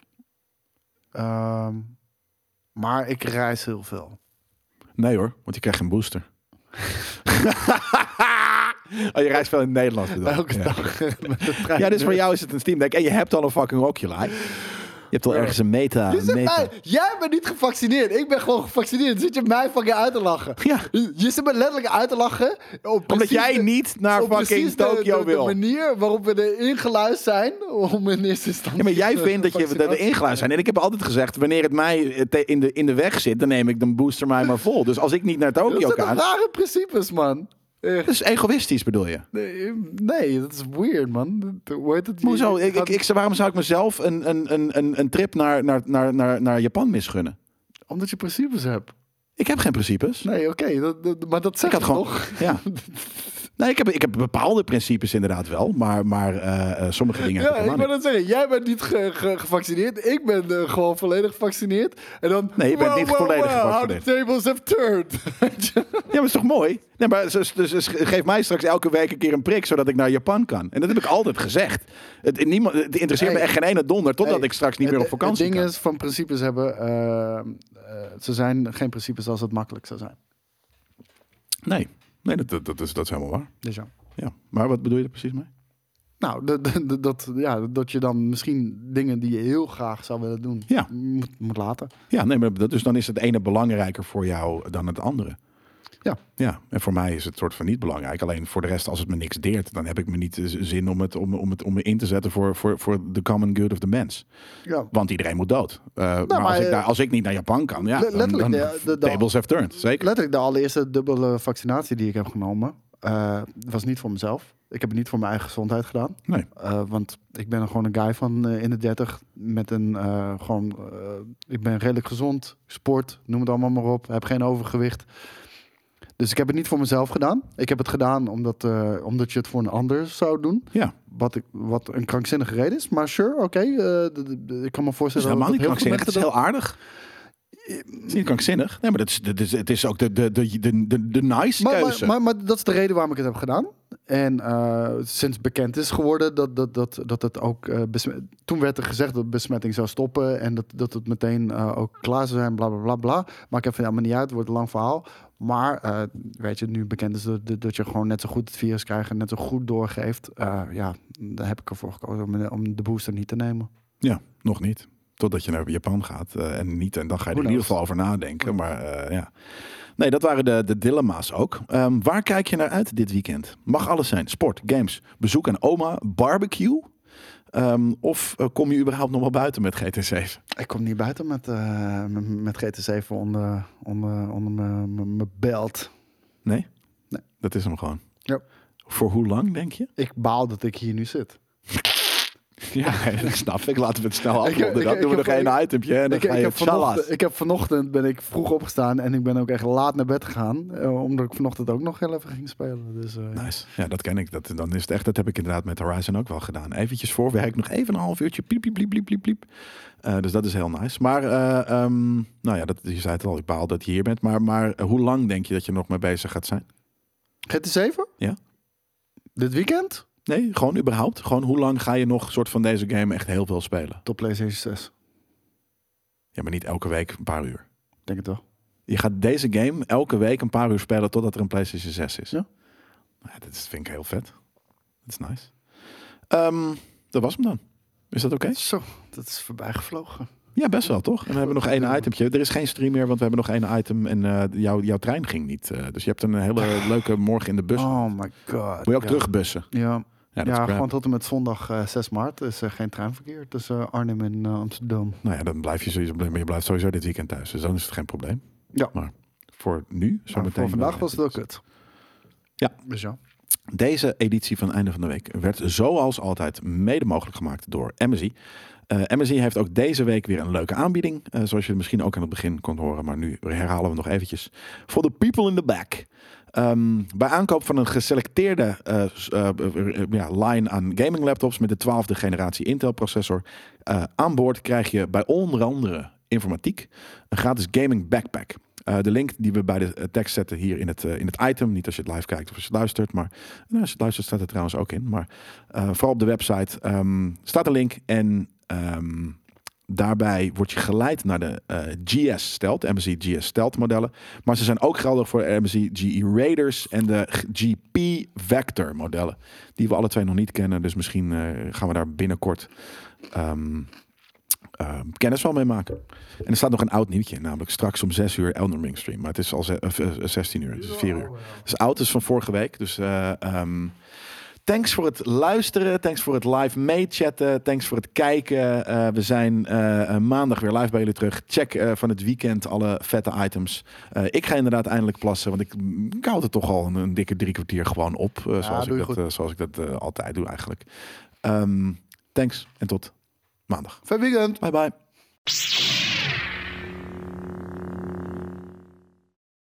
Ehm, maar ik reis heel veel.
Nee hoor, want je krijgt geen booster. oh, je reist wel in het Nederlands bedoel ik.
Elke
ja.
dag met de trein.
Ja, dus voor jou is het een Steam Deck. En je hebt al een fucking Oculus. Je hebt al ergens een meta.
Je zit
meta.
mij- jij bent niet gevaccineerd. Ik ben gewoon gevaccineerd. Zit je mij fucking uit te lachen?
Ja.
Je je zit me letterlijk uit te lachen. Op
Omdat
precies
jij
de-
niet naar
op
fucking
precies de-
Tokio
de,
wil.
De manier waarop we erin geluisterd zijn om in eerste instantie...
Ja, maar jij
de
vindt dat je dat er
vaccinatie-
ingeluisterd zijn. En ik heb altijd gezegd, wanneer het mij eh, te- in de, in de weg zit, dan neem ik dan booster mij maar vol. Dus als ik niet naar
Dat
Tokio
zijn
kan...
toch rare principes, man. Echt.
Dat is egoïstisch, bedoel je?
Nee, nee, dat is weird, man. Hoe heet het?
Hoezo?
Je- je
Ik, ik,
gaat-
ik, waarom zou ik mezelf een, een, een, een, een trip naar, naar, naar, naar, naar Japan misgunnen?
Omdat je principes hebt.
Ik heb geen principes.
Nee, oké. dat, dat- maar dat Nou,
Ik
zeg
had
je
gewoon.
toch?
Ja. Nee, ik heb, ik heb bepaalde principes inderdaad wel, maar, maar eh, eh, sommige dingen. heb
Ja,
ik
ik
helemaal
wil
niet.
dat zeggen. Jij bent niet ge- ge- gevaccineerd. Ik ben eh, gewoon volledig gevaccineerd. En dan...
Nee, je bent niet volledig
How the tables have turned. Weet je?
Ja, maar is toch mooi? Nee, maar dus, dus, dus geef mij straks elke week een keer een prik, zodat ik naar Japan kan. En dat heb ik altijd gezegd. Het, niemand, het interesseert me
Hey.
echt geen ene donder, totdat
Hey,
ik straks niet
het-
meer op vakantie
Het ding
kan.
is, van principes hebben... eh, eh, ze zijn geen principes als het makkelijk zou zijn.
Nee, nee dat, dat, dat is, dat is helemaal waar.
Dus ja.
Ja. Maar wat bedoel je er precies mee?
Nou, dat- dat- dat- dat, ja, dat je dan misschien dingen die je heel graag zou willen doen,
Ja.
moet, moet laten.
Ja, nee, maar dat, dus dan is het ene belangrijker voor jou dan het andere.
Ja.
ja, en voor mij is het soort van niet belangrijk. Alleen voor de rest, als het me niks deert, dan heb ik me niet eh, zin om het, om, om het, om me in te zetten voor, voor, voor de common good of the mens.
Ja.
Want iedereen moet dood. Eh, maar
maar,
als, ik
eh,
daar, als ik niet naar Japan kan, ja,
le-
dan, dan
letterlijk, de- de- de-
tables have turned. Zeker.
Letterlijk de allereerste dubbele vaccinatie die ik heb genomen, eh, was niet voor mezelf. Ik heb het niet voor mijn eigen gezondheid gedaan.
Nee.
Eh, want ik ben gewoon een guy van eh, in de 30 met een eh, gewoon. eh, ik ben redelijk gezond, sport, noem het allemaal maar op. Heb geen overgewicht. Dus ik heb het niet voor mezelf gedaan. Ik heb het gedaan omdat, eh, omdat je het voor een ander zou doen.
Ja.
Wat, ik, wat een krankzinnige reden is. Maar sure, oké. eh, d- d- d- ik kan me
Het is
voorstellen
dus helemaal
dat
niet
dat heel veel
krankzinnig. Het is
mensen
heel aardig. Het is niet krankzinnig. Nee, maar dat is, dat is, het is ook de, de, de, de, de, de nice
Maar, maar,
keuze.
maar, maar dat is de reden waarom ik het heb gedaan. En eh, sinds bekend is geworden dat, dat, dat, dat het ook. eh, besmet- Toen werd er gezegd dat besmetting zou stoppen. En dat, dat het meteen eh, ook klaar zou zijn, bla bla bla bla. Maar ik heb van ja, maar niet uit, het wordt een lang verhaal. Maar eh, weet je, nu bekend is dat, dat- dat je gewoon net zo goed het virus krijgt en net zo goed doorgeeft. eh, ja, daar heb ik ervoor gekozen om, om de booster niet te nemen.
Ja, nog niet. Totdat je naar Japan gaat eh, en niet. En dan ga je er
Who
in ieder
knows?
geval over nadenken. Maar eh, ja. Nee, dat waren de, de dilemma's ook. Ehm, waar kijk je naar uit dit weekend? Mag alles zijn. Sport, games, bezoek aan oma, barbecue. Ehm, of eh, kom je überhaupt nog wel buiten met GT7?
Ik kom niet buiten met, eh, met- met GT7 onder, onder, onder mijn- mijn mijn belt.
Nee?
Nee.
Dat is hem gewoon.
Ja.
Voor hoe lang, denk je?
Ik baal dat ik hier nu zit.
Ja, dat snap ik. Laten we het snel afronden.
ik-
Dan
ik
doen we nog
heb-
één
ik-
itempje en dan
Ik,
ga
ik,
je
heb
tjallas.
vanochtend, ik heb vanochtend ben ik vroeg opgestaan en ik ben ook echt laat naar bed gegaan. eh, omdat ik vanochtend ook nog heel even ging spelen. Dus, eh,
Nice. Ja, dat ken ik. Dat, dan is het echt, dat heb ik inderdaad met Horizon ook wel gedaan. Eventjes voor werk, nog even een half uurtje. Piep, piep, piep, piep, piep, piep. Eh, dus dat is heel nice. Maar, eh, ehm, nou ja, dat, je zei het al, ik baal dat je hier bent. Maar, maar eh, hoe lang denk je dat je nog mee bezig gaat zijn?
GT7?
Ja.
Dit weekend?
Nee, gewoon überhaupt. Gewoon hoe lang ga je nog soort van deze game echt heel veel spelen?
Tot PlayStation 6.
Ja, maar niet elke week een paar uur.
Denk het wel.
Je gaat deze game elke week een paar uur spelen totdat er een PlayStation 6 is.
Ja.
Nou Ja, dat is- vind ik heel vet. Dat is nice. Ehm, dat was hem dan. Is dat oké?
Zo, dat is voorbij gevlogen.
Ja, best wel, toch? En we hebben nog één itempje. Er is geen stream meer, want we hebben nog één item en eh, jouw, jouw trein ging niet. Eh, dus je hebt een hele leuke morgen in de bus. Dus? Moet
Oh my god.
je ook
ja.
terugbussen?
Ja,
Ja, dat is
ja
crap.
gewoon tot en met zondag eh, 6 maart is er geen treinverkeer tussen Arnhem en eh, Amsterdam.
Nou ja, dan blijf je sowieso, maar je blijft sowieso dit weekend thuis. Dus dan is het geen probleem.
Ja.
Maar voor nu, zo
Maar
meteen...
voor vandaag
wel.
was het ook het.
Ja.
Dus ja.
Deze editie van Einde van de Week werd zoals altijd mede mogelijk gemaakt door MSI. Eh MSI heeft ook deze week weer een leuke aanbieding. eh, zoals je misschien ook aan het begin kon horen, maar nu herhalen we het nog eventjes. Voor de people in the back. Ehm, bij aankoop van een geselecteerde eh, s- eh, eh, eh, ja, line aan gaming laptops met de 12e generatie Intel processor eh, aan boord krijg je bij onder andere informatiek een gratis gaming backpack. Eh, de link die we bij de eh, tekst zetten hier in het, eh, in het item. Niet als je het live kijkt of als je het luistert. Maar nou, als je het luistert staat het trouwens ook in. Maar eh, vooral op de website ehm, staat een link. En ehm, daarbij word je geleid naar de eh, GS Stelt. de MSI GS Stelt modellen. Maar ze zijn ook geldig voor de MSI GE Raiders E en de G- GP Vector modellen. Die we alle twee nog niet kennen. Dus misschien eh, gaan we daar binnenkort... ehm, eh, kennis van mee maken. En er staat nog een oud nieuwtje, namelijk straks om 6 uur Elden Ring stream. Maar het is al ze- eh, eh, 16 uur, het is 4 uur. Het is oud, het is van vorige week. Dus eh, ehm, thanks voor het luisteren, thanks voor het live meechatten, thanks voor het kijken. Eh, we zijn eh, eh, maandag weer live bij jullie terug. Check eh, van het weekend alle vette items. Eh, ik ga inderdaad eindelijk plassen, want ik, ik houd het toch al een, een dikke drie kwartier gewoon op. eh, zoals,
doe
ik
je
dat,
goed.
eh, zoals ik dat eh, altijd doe eigenlijk. Ehm, thanks en tot maandag.
Fijn weekend!
Bye bye.